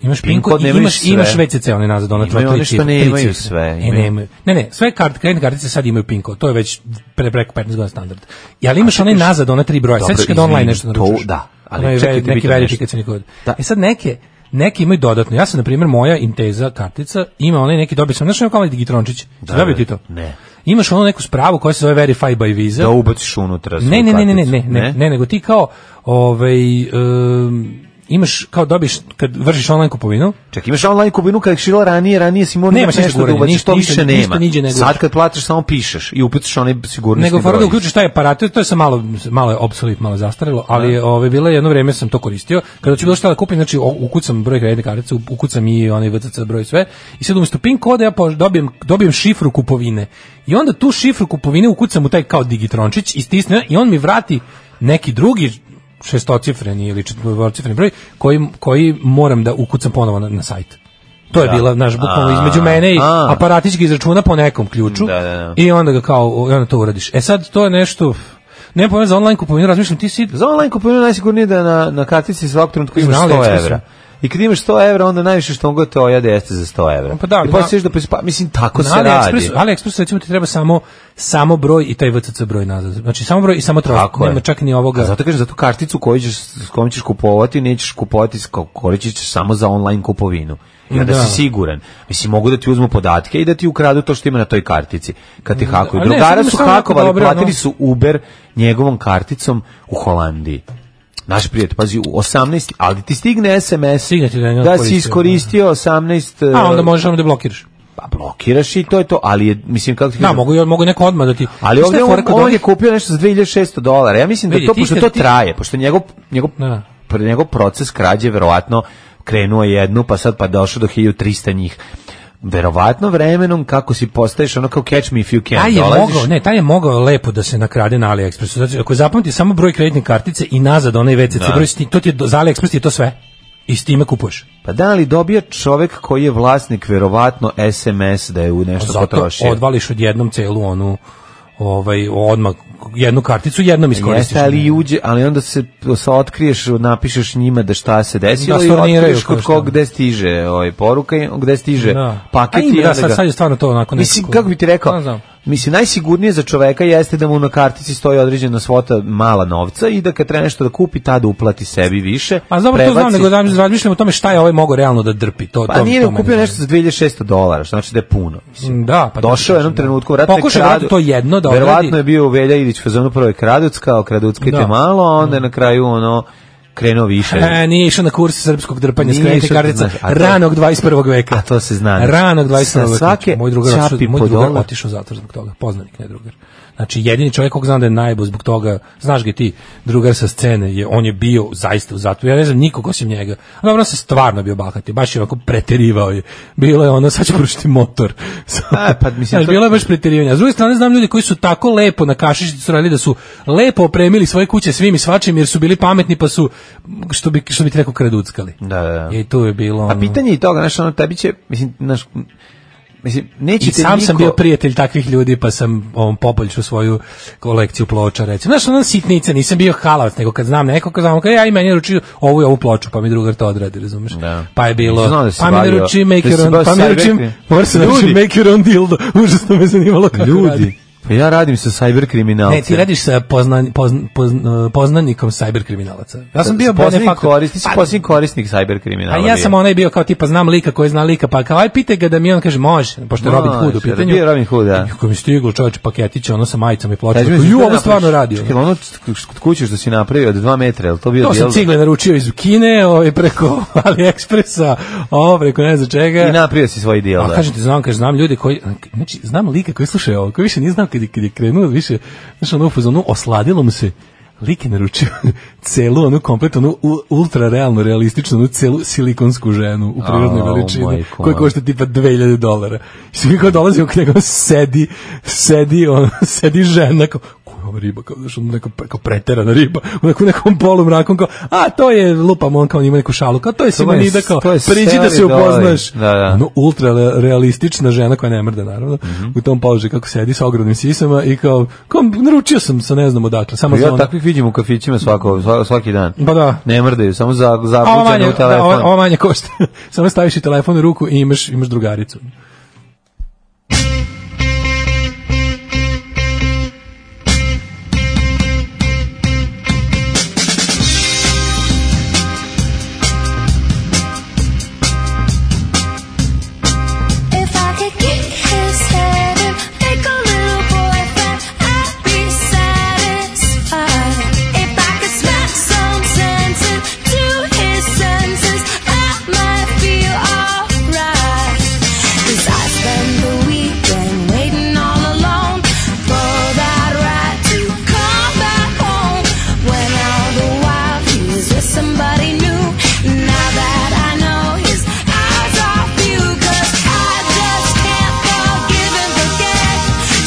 Imaš pin,
PIN
kod,
kod
i
nemaju
imaš,
sve.
imaš VCC, one nazad, ona
Imaju
tvoja
one
tri
što
cifre. tri
nemaju
cifre.
sve,
E,
imaju.
nemaju. Ne, ne, sve kart, kreditne kartice sad imaju pin kod, to je već pre, preko 15 godina standard. I ali imaš onaj nazad, ona tri broja,
Dobro,
sećaš kad online
izvini,
nešto
to-
naručiš.
da, ali
Onaj
čekaj,
ve-
ti bi
neki
to nešto.
verifikacioni kod.
Da.
E sad neke, neke imaju dodatno. Ja sam, na primjer, moja Inteza kartica ima onaj neki dobio sam, znaš ono kao onaj digitrončić? Da, dobio ti to?
Ne.
Imaš ono neku spravu koja se zove Verify by Visa.
Da ubaciš unutra svoju
Ne, ne, ne, ne, ne,
karticu.
ne, ne, ne, nego ti kao ovaj um, imaš kao dobiš kad vršiš online kupovinu,
Čak imaš online kubinu kad je šila ranije, ranije si morao
Nemaš
nešto,
ništa
da
guranje,
ubaciš,
ništa,
to
ništa,
više
ništa
nema.
niđe ne guraš.
Sad kad platiš samo pišeš i upisaš onaj sigurnosni
nego fora
broj.
da uključiš taj aparat, to je sa malo malo je obsolet, malo je zastarelo, ali je, ovaj bilo je jedno vrijeme sam to koristio. Kada ću bilo šta da kupim, znači o- ukucam broj kreditne kartice, u- ukucam i onaj VCC broj i sve i sad umjesto PIN koda ja pož- dobijem dobijem šifru kupovine. I onda tu šifru kupovine ukucam u taj kao digitrončić i stisnem i on mi vrati neki drugi šestocifreni ili četvorocifreni broj koji, koji moram da ukucam ponovo na, na sajt. To je
Da.
bila, naš, bukvalno
A,
između mene i
a.
aparatički izračuna po nekom ključu
Da, da, da.
i onda ga kao, i onda to uradiš. E sad, to je nešto, ne pojma za online kupovinu, razmišljam, ti si...
Za online kupinu najsigurnije da na, na kartici svakog trenutka imaš
Znali,
100
ekspresno.
evra. I kad imaš 100 evra, onda najviše što mogu te ojade jeste za 100 evra.
Pa da, ali
I
na-
posliješ da pa, mislim, tako se radi.
AliExpressu, AliExpressu recimo ti treba samo samo broj i taj VCC broj nazad. Znači samo broj i samo trošak.
Tako je.
Nema čak ni ovoga.
A zato kažem, zato karticu koju ćeš, s kojom ćeš kupovati, nećeš kupovati, s ko- koristit ćeš samo za online kupovinu. I onda
Da.
si siguran. Mislim, mogu da ti uzmu podatke i da ti ukradu to što ima na toj kartici. Kad ti hakuju.
ali ne, sad
Drugara
imaš
su
samo jako
hakovali,
dobre, ono-
platili su Uber njegovom karticom u Holandiji. Naš prijatelj, pazi, u 18, ali ti stigne SMS
Stigne ti da je neko
da si
koristio,
iskoristio 18,
A onda
e,
možeš samo da blokiraš.
pa blokiraš i to je to, ali je, mislim, kako ti
Da,
kažem,
mogu, mogu neko odmah da ti... Znaš
ali
šta
ovdje
je
on,
fora kod
on
ovih-
je kupio nešto za 2600 dolara. Ja mislim
Vidi,
da to,
ti
pošto
ste-
to
ti-
traje, pošto njegov, njegov,
Da.
pre njegov proces krađe verovatno krenuo je jednu, pa sad pa došao do 1300 njih. Verovatno vremenom kako si postaješ ono kao catch me if you can.
Taj je
dolaziš-
mogao, ne, taj je mogao lepo da se nakrade na AliExpressu. Znači, ako zapamti samo broj kreditne kartice i nazad onaj VCC
Da.
broj, sti- to ti je, do- za AliExpress ti je to sve. I s time kupuješ.
Pa da, ali dobija čovek koji je vlasnik verovatno SMS da je u nešto
Pa Zato
potrošio.
odvališ odjednom celu onu ovaj odmah jednu karticu jednom iskoristiš.
Jeste, ali i uđe, ali onda se sa otkriješ, napišeš njima da šta se desilo
Da
i
storniraju
otkriješ
koje
kod
šta.
kog gde stiže ovaj poruka i gde stiže
Da.
paket
A ima,
i
da,
onda
sad,
ga-
sad je stvarno to onako
Mislim,
nekako-
kako bi ti rekao,
Da, znam.
mislim, najsigurnije za čoveka jeste da mu na kartici stoji određena svota mala novca i da kad treba nešto da kupi, tada uplati sebi više.
A dobro to znam,
prebaci-
nego da razmišljam o tome šta je ovaj mogao realno da drpi. To,
Pa
to, to
nije nego
mene
kupio
zanima.
nešto za 2600 dolara, što znači da je puno. Mislim,
Da, pa
Došao je u jednom trenutku, vratno
Pokušao je vratno to jedno da
Verovatno
odradi.
je bio u Velja Ilić fazonu prvo je kraduckao, kraduckajte
Da. Mm.
malo, a onda je na kraju ono krenuo više.
E, nije išao na kurs srpskog drpanja
Nije
skrenuti
išao,
kartica
znaš, a to-
ranog 21. veka.
A to se zna.
Ranog 21.
Sa
veka.
svake
moj drugar,
čapi
otišao, moj
po
drugar
dolar.
otišao u zatvor zbog toga. Poznanik, ne drugar. Znači, jedini čovjek kog znam da je najbo zbog toga, znaš ga i ti, drugar sa scene, je, on je bio zaista u zatvoru. Ja ne znam nikog osim njega. A Dobro, on se stvarno bio bahati, baš je onako preterivao je. Bilo je ono, sad ću porušiti motor.
A, pa, mislim,
Znaš,
to-
bilo je baš preterivanje. A s druge strane, znam ljudi koji su tako lepo na kašičicu su radili da su lepo opremili svoje kuće svim i svačim jer su bili pametni pa su, što bi, što bi ti rekao, kraduckali.
Da, da, da.
I tu je bilo...
A
ono-
pitanje je i toga, znaš, ono, tebi će, mislim, znaš, Mislim, nećete
I sam
niko...
sam bio prijatelj takvih ljudi, pa sam ovom popoljšu svoju kolekciju ploča, recimo. Znaš, ona sitnica, nisam bio halavac, nego kad znam nekog, kad znam, kao, ja i meni naručio ovu i ovu ploču, pa mi drugar to odradi, razumeš?
Da.
Pa je bilo,
Nisam znao da si
pa mi
bavio-
naruči make
da si
your
bavio
own, pa mi naruči,
cybercrime.
mora se naruči
Ljudi.
make your own dildo, užasno me zanimalo kako radi.
Ljudi, pa ja radim sa cyber kriminalcem.
Ne, ti radiš sa poznan, pozn, pozn, poznanikom cyber kriminalaca. Ja sam bio
posljednji
benefaktor.
korisnik, ti si posljednji korisnik cyber
A
kriminala.
ja sam onaj bio kao tipa znam lika koji zna lika, pa kao aj pitaj ga da mi on kaže može, pošto je Robin Hood u pitanju. Pa,
Bio Robin Hood, da.
Kako mi stiglo čovječe paketić, ono sa majicom i pločom.
Kaži mi,
Ju,
šta
ovo
napraviš?
stvarno radio.
Čekaj, ono kod kuće što si napravio od 2 metra, je li to bio
To sam
dijelo?
cigle naručio iz Kine, ovaj, preko AliExpressa, ovo preko ne znam čega.
I napravio si svoj dijelo.
A kažem ti, znam, kažem, znam ljudi koji, znači, znam lika koji slušaju ovo, koji više nije znao kad, je- kad je krenuo, više, znaš, ono, u fazonu, osladilo mu se, lik je naručio celu, onu kompletnu, onu u- ultra realno, realističnu, onu celu silikonsku ženu u prirodnoj
Au,
veličini,
majko
koja
moja.
košta tipa 2000 dolara. I svi kao dolazimo k njega, ono, sedi, sedi, on, sedi žena, kao, koja je ova riba, kao, znaš, ono neka, kao preterana riba, onako u nekom polu mrakom, kao, a, to je, lupam, on kao ima neku šalu, kao, to je Simonida, kao,
to je
priđi da
stari
se upoznaš.
doj. Da, da.
Ono, ultra le- realistična žena koja ne mrda naravno u tom položaju kako sedi sa ogromnim sisama i kao, kao naručio sam sa ne znam odakle samo za
Ja
ono.
takvih vidim u kafićima svako, sva- svaki dan.
Pa da.
Ne mrdaju, samo za,
A ovo
zapućane
manje,
u telefon.
da, ovo- ovo manje košta. samo staviš i telefon u ruku i imaš, imaš drugaricu.
If I could get his head and make a little boyfriend, I'd be satisfied. If I could smack some sense into his senses, I might feel alright. 'Cause I spend the weekend waiting all alone for that right to come back home. When all the while he's with somebody new. Now that I know his eyes are few, 'cause I just can't forgive and forget.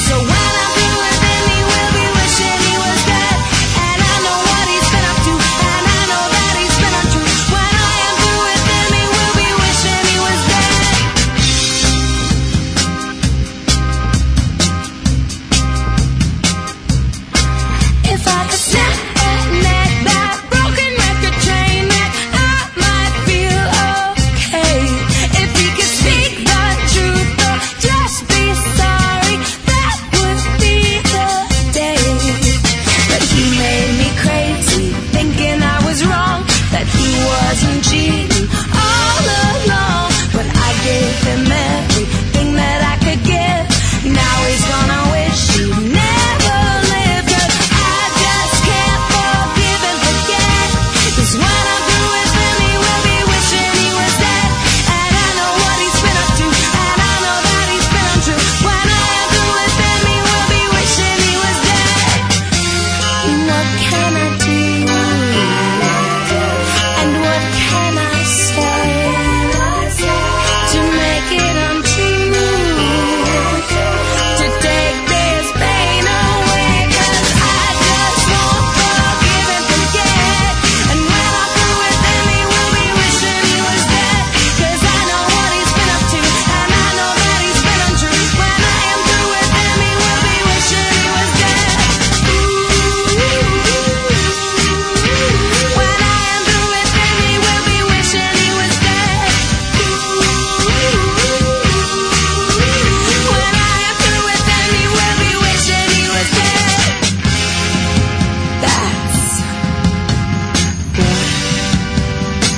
So when I'm through with him, he will be wishing he was dead. And I know what he's been up to, and I know that he's been untrue. When I am through with him, he will be wishing he was dead. If I could snap that neck, that broken record train wreck, I might feel okay. If he could speak the truth or just be sorry, that would be the day. But he made me crazy, thinking I was wrong, that he wasn't cheating all along. But I gave him everything that I could give. Now he's gonna wish he never lived. But I just can't forgive and forget. 'Cause when I'm through with him, he will be wishing he was dead. And I know what he's been up to, and I know that he's been untrue. When I am through with him, he will be wishing he was dead. What can I do? And what can I say to make it untrue? To take this pain away? 'Cause I just won't forgive and forget. And when I'm through with him, he will be wishing he was dead. 'Cause I know what he's been up to, and I know that he's been untrue. When I am through with him, he will be wishing he was dead. When I am through with him, he will be wishing he was dead. When I am through with him, he will be wishing he was dead. That's what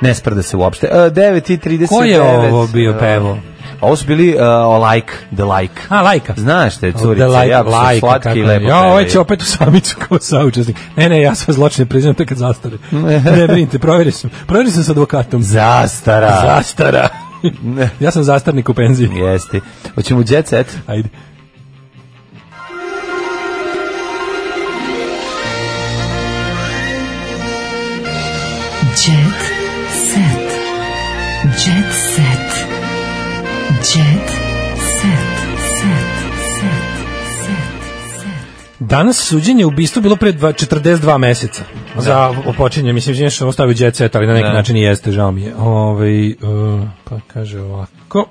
Ne sprde se uopšte. E, 9.39.
Ko je ovo bio pevo?
E, Ovo su bili uh, Like, The Like.
A, lajka.
Znaš te, curice,
Da, lajka,
jako su
lajka,
slatki
kako
i
ne.
lepo
Ja, ovaj će
pevaju.
opet u samicu kao saučesnik. Ne, ne, ja sve zločine priznam tek kad zastare. ne brinite, provjerio sam. Provjerio sam sa advokatom.
Zastara.
Zastara. ja sam zastarnik u penziji.
Jeste. Hoćemo u Jet Set?
Ajde.
Jet set. Jet set. Jet set. Set. Set.
Danas suđenje u bistvu bilo pre dva, 42 meseca da. za opočinje. Mislim, izvinjam što ostavio jet set, ali na neki da. način i jeste, žao mi je. Ove, uh, pa kaže ovako...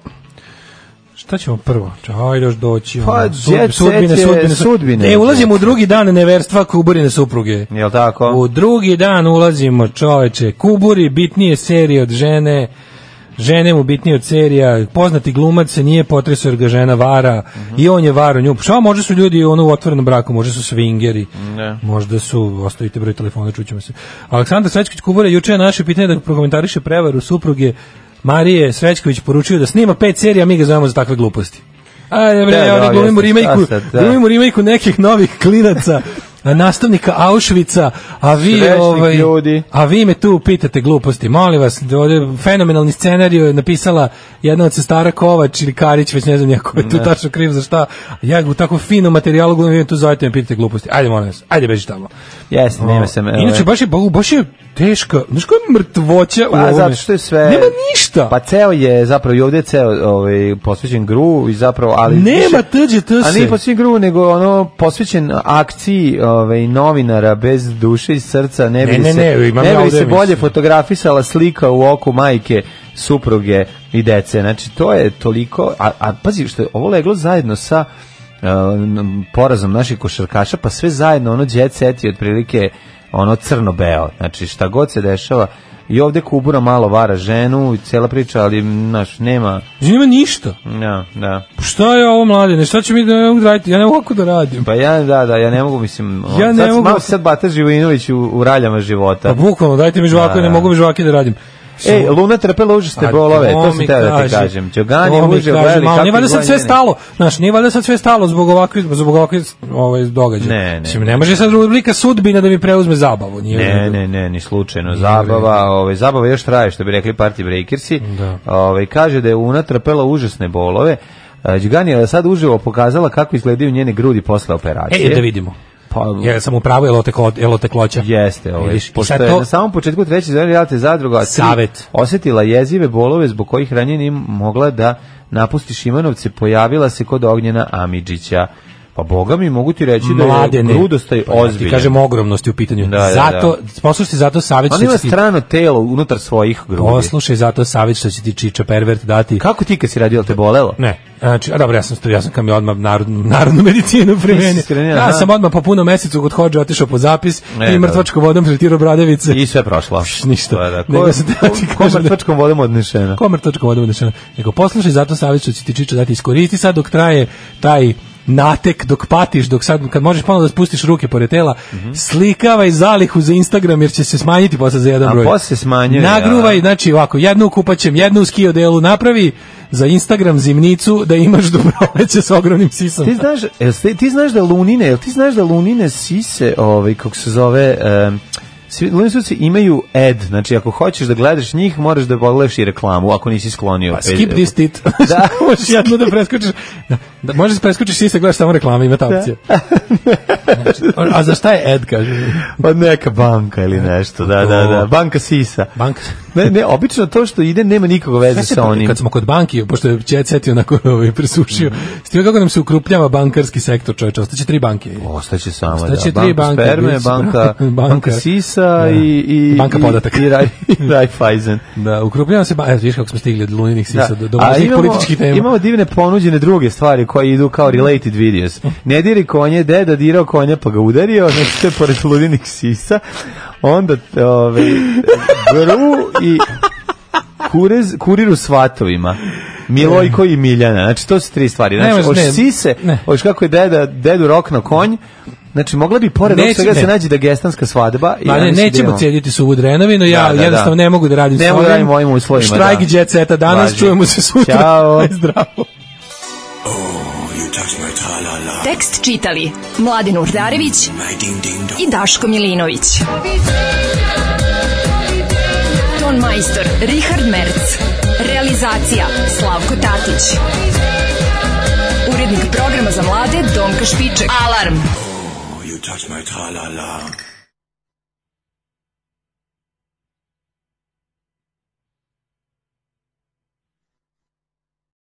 Šta ćemo prvo? Čaj, još doći.
Pa, ono, sudbine, sudbine, sudbine, sudbine.
E, ulazimo u drugi dan neverstva Kuburine supruge.
Jel tako?
U drugi dan ulazimo, čoveče. Kuburi bitnije serije od žene žene mu bitnije od serija, poznati glumac se nije potresao jer ga žena vara uh -huh. i on je varo nju. Šta može su ljudi ono u otvorenom braku, može su svingeri, ne. možda su, ostavite broj telefona, čućemo se. Aleksandar Srećković Kubura juče je naše pitanje da prokomentariše prevaru supruge Marije Srećković poručio da snima pet serija, a mi ga zovemo za takve gluposti. A, dobre, ja ovdje glumimo remake-u glumimo remake nekih novih klinaca nastavnika Auschwitza, a vi
Srešnik
ovaj
ljudi.
a vi me tu pitate gluposti. Molim vas, ovdje fenomenalni scenarijo je napisala jedna od sestara Kovač ili Karić, već ne znam neko je tu tačno kriv za šta. Ja u tako finom materijalu glumim vi tu zovete me pitate gluposti. Ajde molim vas, ajde beži tamo.
Jesi, nema se.
Inače ovaj. baš je baš je teška. Znaš koja je mrtvoća u
Pa
ovome?
zato što je sve
Nema ništa.
Pa ceo je zapravo i ovdje je ceo ovaj posvećen gru i zapravo ali
Nema tuđe to
A nije posvećen gru nego ono posvećen akciji ovaj novinara bez duše i srca ne bi
Ne, ne,
se
ne, imam ja
bi
ovdje,
se bolje
mislim.
fotografisala slika u oku majke supruge i dece. Znači to je toliko a, a pazi što je ovo leglo zajedno sa uh, n- porazom naših košarkaša, pa sve zajedno ono jet set je otprilike ono crno-beo. Znači šta god se dešava i ovdje Kubura malo vara ženu i cijela priča, ali naš nema
Znači, Nema ništa.
ja, da.
Šta je ovo mladine? Šta će mi da ne mogu da raditi? Ja ne mogu ovako da radim.
Pa ja, da, da, ja ne mogu, mislim,
Ja
on-
ne
sad,
mogu.
malo sad Bata Živojinović u, u raljama života.
Pa bukvalno, dajte mi žvaku,
Da,
ja ne
da.
mogu mi žvake da radim.
E, Luna trpela užasne
A
bolove, to
mi
sam teo da ti
kaže,
kažem. Đogan
to
je
mi
užio,
kaže,
gledali
malo,
kako
Nije valjda sad sve
izgledanje.
stalo, znaš, nije valjda sad sve stalo zbog ovakvih, zbog ovakvih ovaj, događaja.
Ne, ne.
Mislim, ne može sad rubrika sudbina da mi preuzme zabavu. Nije
Ne,
valjda.
ne, ne, ni slučajno. Zabava, ovaj, zabava još traje, što bi rekli Party Breakersi.
Da.
Ovaj, kaže da je Una trpela užasne bolove. E, Đogan je sad uživo pokazala kako izgledaju njene grudi posle operacije.
E, da vidimo.
Pa,
Ja sam u pravu, jel oteklo, jel otekloća?
Jeste, ovaj,
Vidiš, i
pošto
sad
je
to-
na samom početku treće zemlje realite zadruga a tri
Savet.
osjetila jezive bolove zbog kojih ranije nije mogla da napusti Šimanovce, pojavila se kod Ognjena Amidžića. Pa boga mi mogu ti reći da
Mladene.
je grudostaj
Pa ja ti
ozbiljan.
kažem ogromnosti u pitanju.
Da, da, da.
zato, poslušajte, zato savjet
On
što
ima
će ti...
strano telo unutar svojih grudi.
Poslušaj, zato savjet što će ti Čiča Pervert dati.
Kako ti kad si radio te bolelo?
Ne. Znači, a dobro, ja sam, sto- ja sam kam je odmah narodnu, narodnu medicinu
Ti
primenio.
si skrenio, aha.
Ja sam odmah po punom mesecu kod hođe otišao po zapis
E,
i mrtvačkom vodom tretirao Bradevice.
I sve prošlo. Pa
Pš, ništa.
Da, da. Ko,
Nego sam teo ti
ko, ko
kažem da-
mrtvačkom vodom odnešena?
Ko mrtvačka voda budeš? Nego poslušaj, zato savjet što će ti čiča dati iskoristi sad dok traje taj natek, dok patiš, dok sad, kad možeš ponovno da spustiš ruke pored tela,
Mhm.
slikavaj zalihu za Instagram jer će se smanjiti posle za jedan
A
broj.
posle se smanjuje,
Nagruvaj,
a.
znači ovako, jednu u kupaćem, jednu u skio delu, napravi za Instagram zimnicu da imaš do proleća s ogromnim sisom.
Ti znaš, jel ste- ti znaš da Lunine, jel ti znaš da Lunine sise, ovaj, kako se zove, em, svi, Lunine sise imaju ad, znači ako hoćeš da gledaš njih, moraš da pogledaš i reklamu, ako nisi sklonio.
Pa,
pe-
skip this tit.
E, Da.
možeš jednu da preskočiš. Da, da možeš preskočiš sisa, gledaš samo reklame, ima ta opcija. Znači, a za šta je ad, kaže?
Od Pa, neka banka ili nešto, da, da, da, banka sisa.
Banka.
Ne, ne, obično to što ide nema nikakve veze
Znaš,
sa onim.
Kad smo kod banki, pošto je Čet Set onako ovaj, presušio, s tim kako nam se ukrupljava bankarski sektor, čoveče, ostaće tri banke.
Ostaće samo,
Ostaće
da.
tri
banka
banke,
sperme,
bit će-
banka, banka,
banka-
sisa
Da.
i, i...
Banka
i-
podataka.
I, Raj- i Raiffeisen.
Da, ukrupljava se, ba, evo, vidiš kako smo stigli od luninih sisa do, do
A
važnih
imamo-
političkih tema.
Imamo divne ponuđene druge stvari koje idu kao related videos. Ne diri konje, deda dirao konja pa ga udario, znači to je pored ludinih sisa. Onda ove, gru i kurez, kurir u svatovima. Milojko i Miljana. Znači to su tri stvari. Znači,
Ne može,
hoš
ne.
sise,
Ne.
hoš kako je deda, dedu rokno konj, Znači, mogla bi pored ovog
Neće,
svega se
ne.
nađe da gestanska svadba. i
Ma
ja
ne,
mislim da
nećemo
imamo-
cediti suvu drenovinu, ja
Da, da, da.
jednostavno ne mogu da radim
Ne
s
mogu da
ovim.
radim u ovim uslovima,
Štrajk
da.
Jet Seta danas,
Važi.
čujemo se sutra.
Ćao.
Aj, Zdravo.
Oh,
Tekst čitali Mladin Urdarević i Daško Milinović. Ton majstor Richard Merc. Realizacija Slavko Tatić. Urednik programa za mlade Donka Špiček. Alarm!
Oh,
You touch my tra-la-la.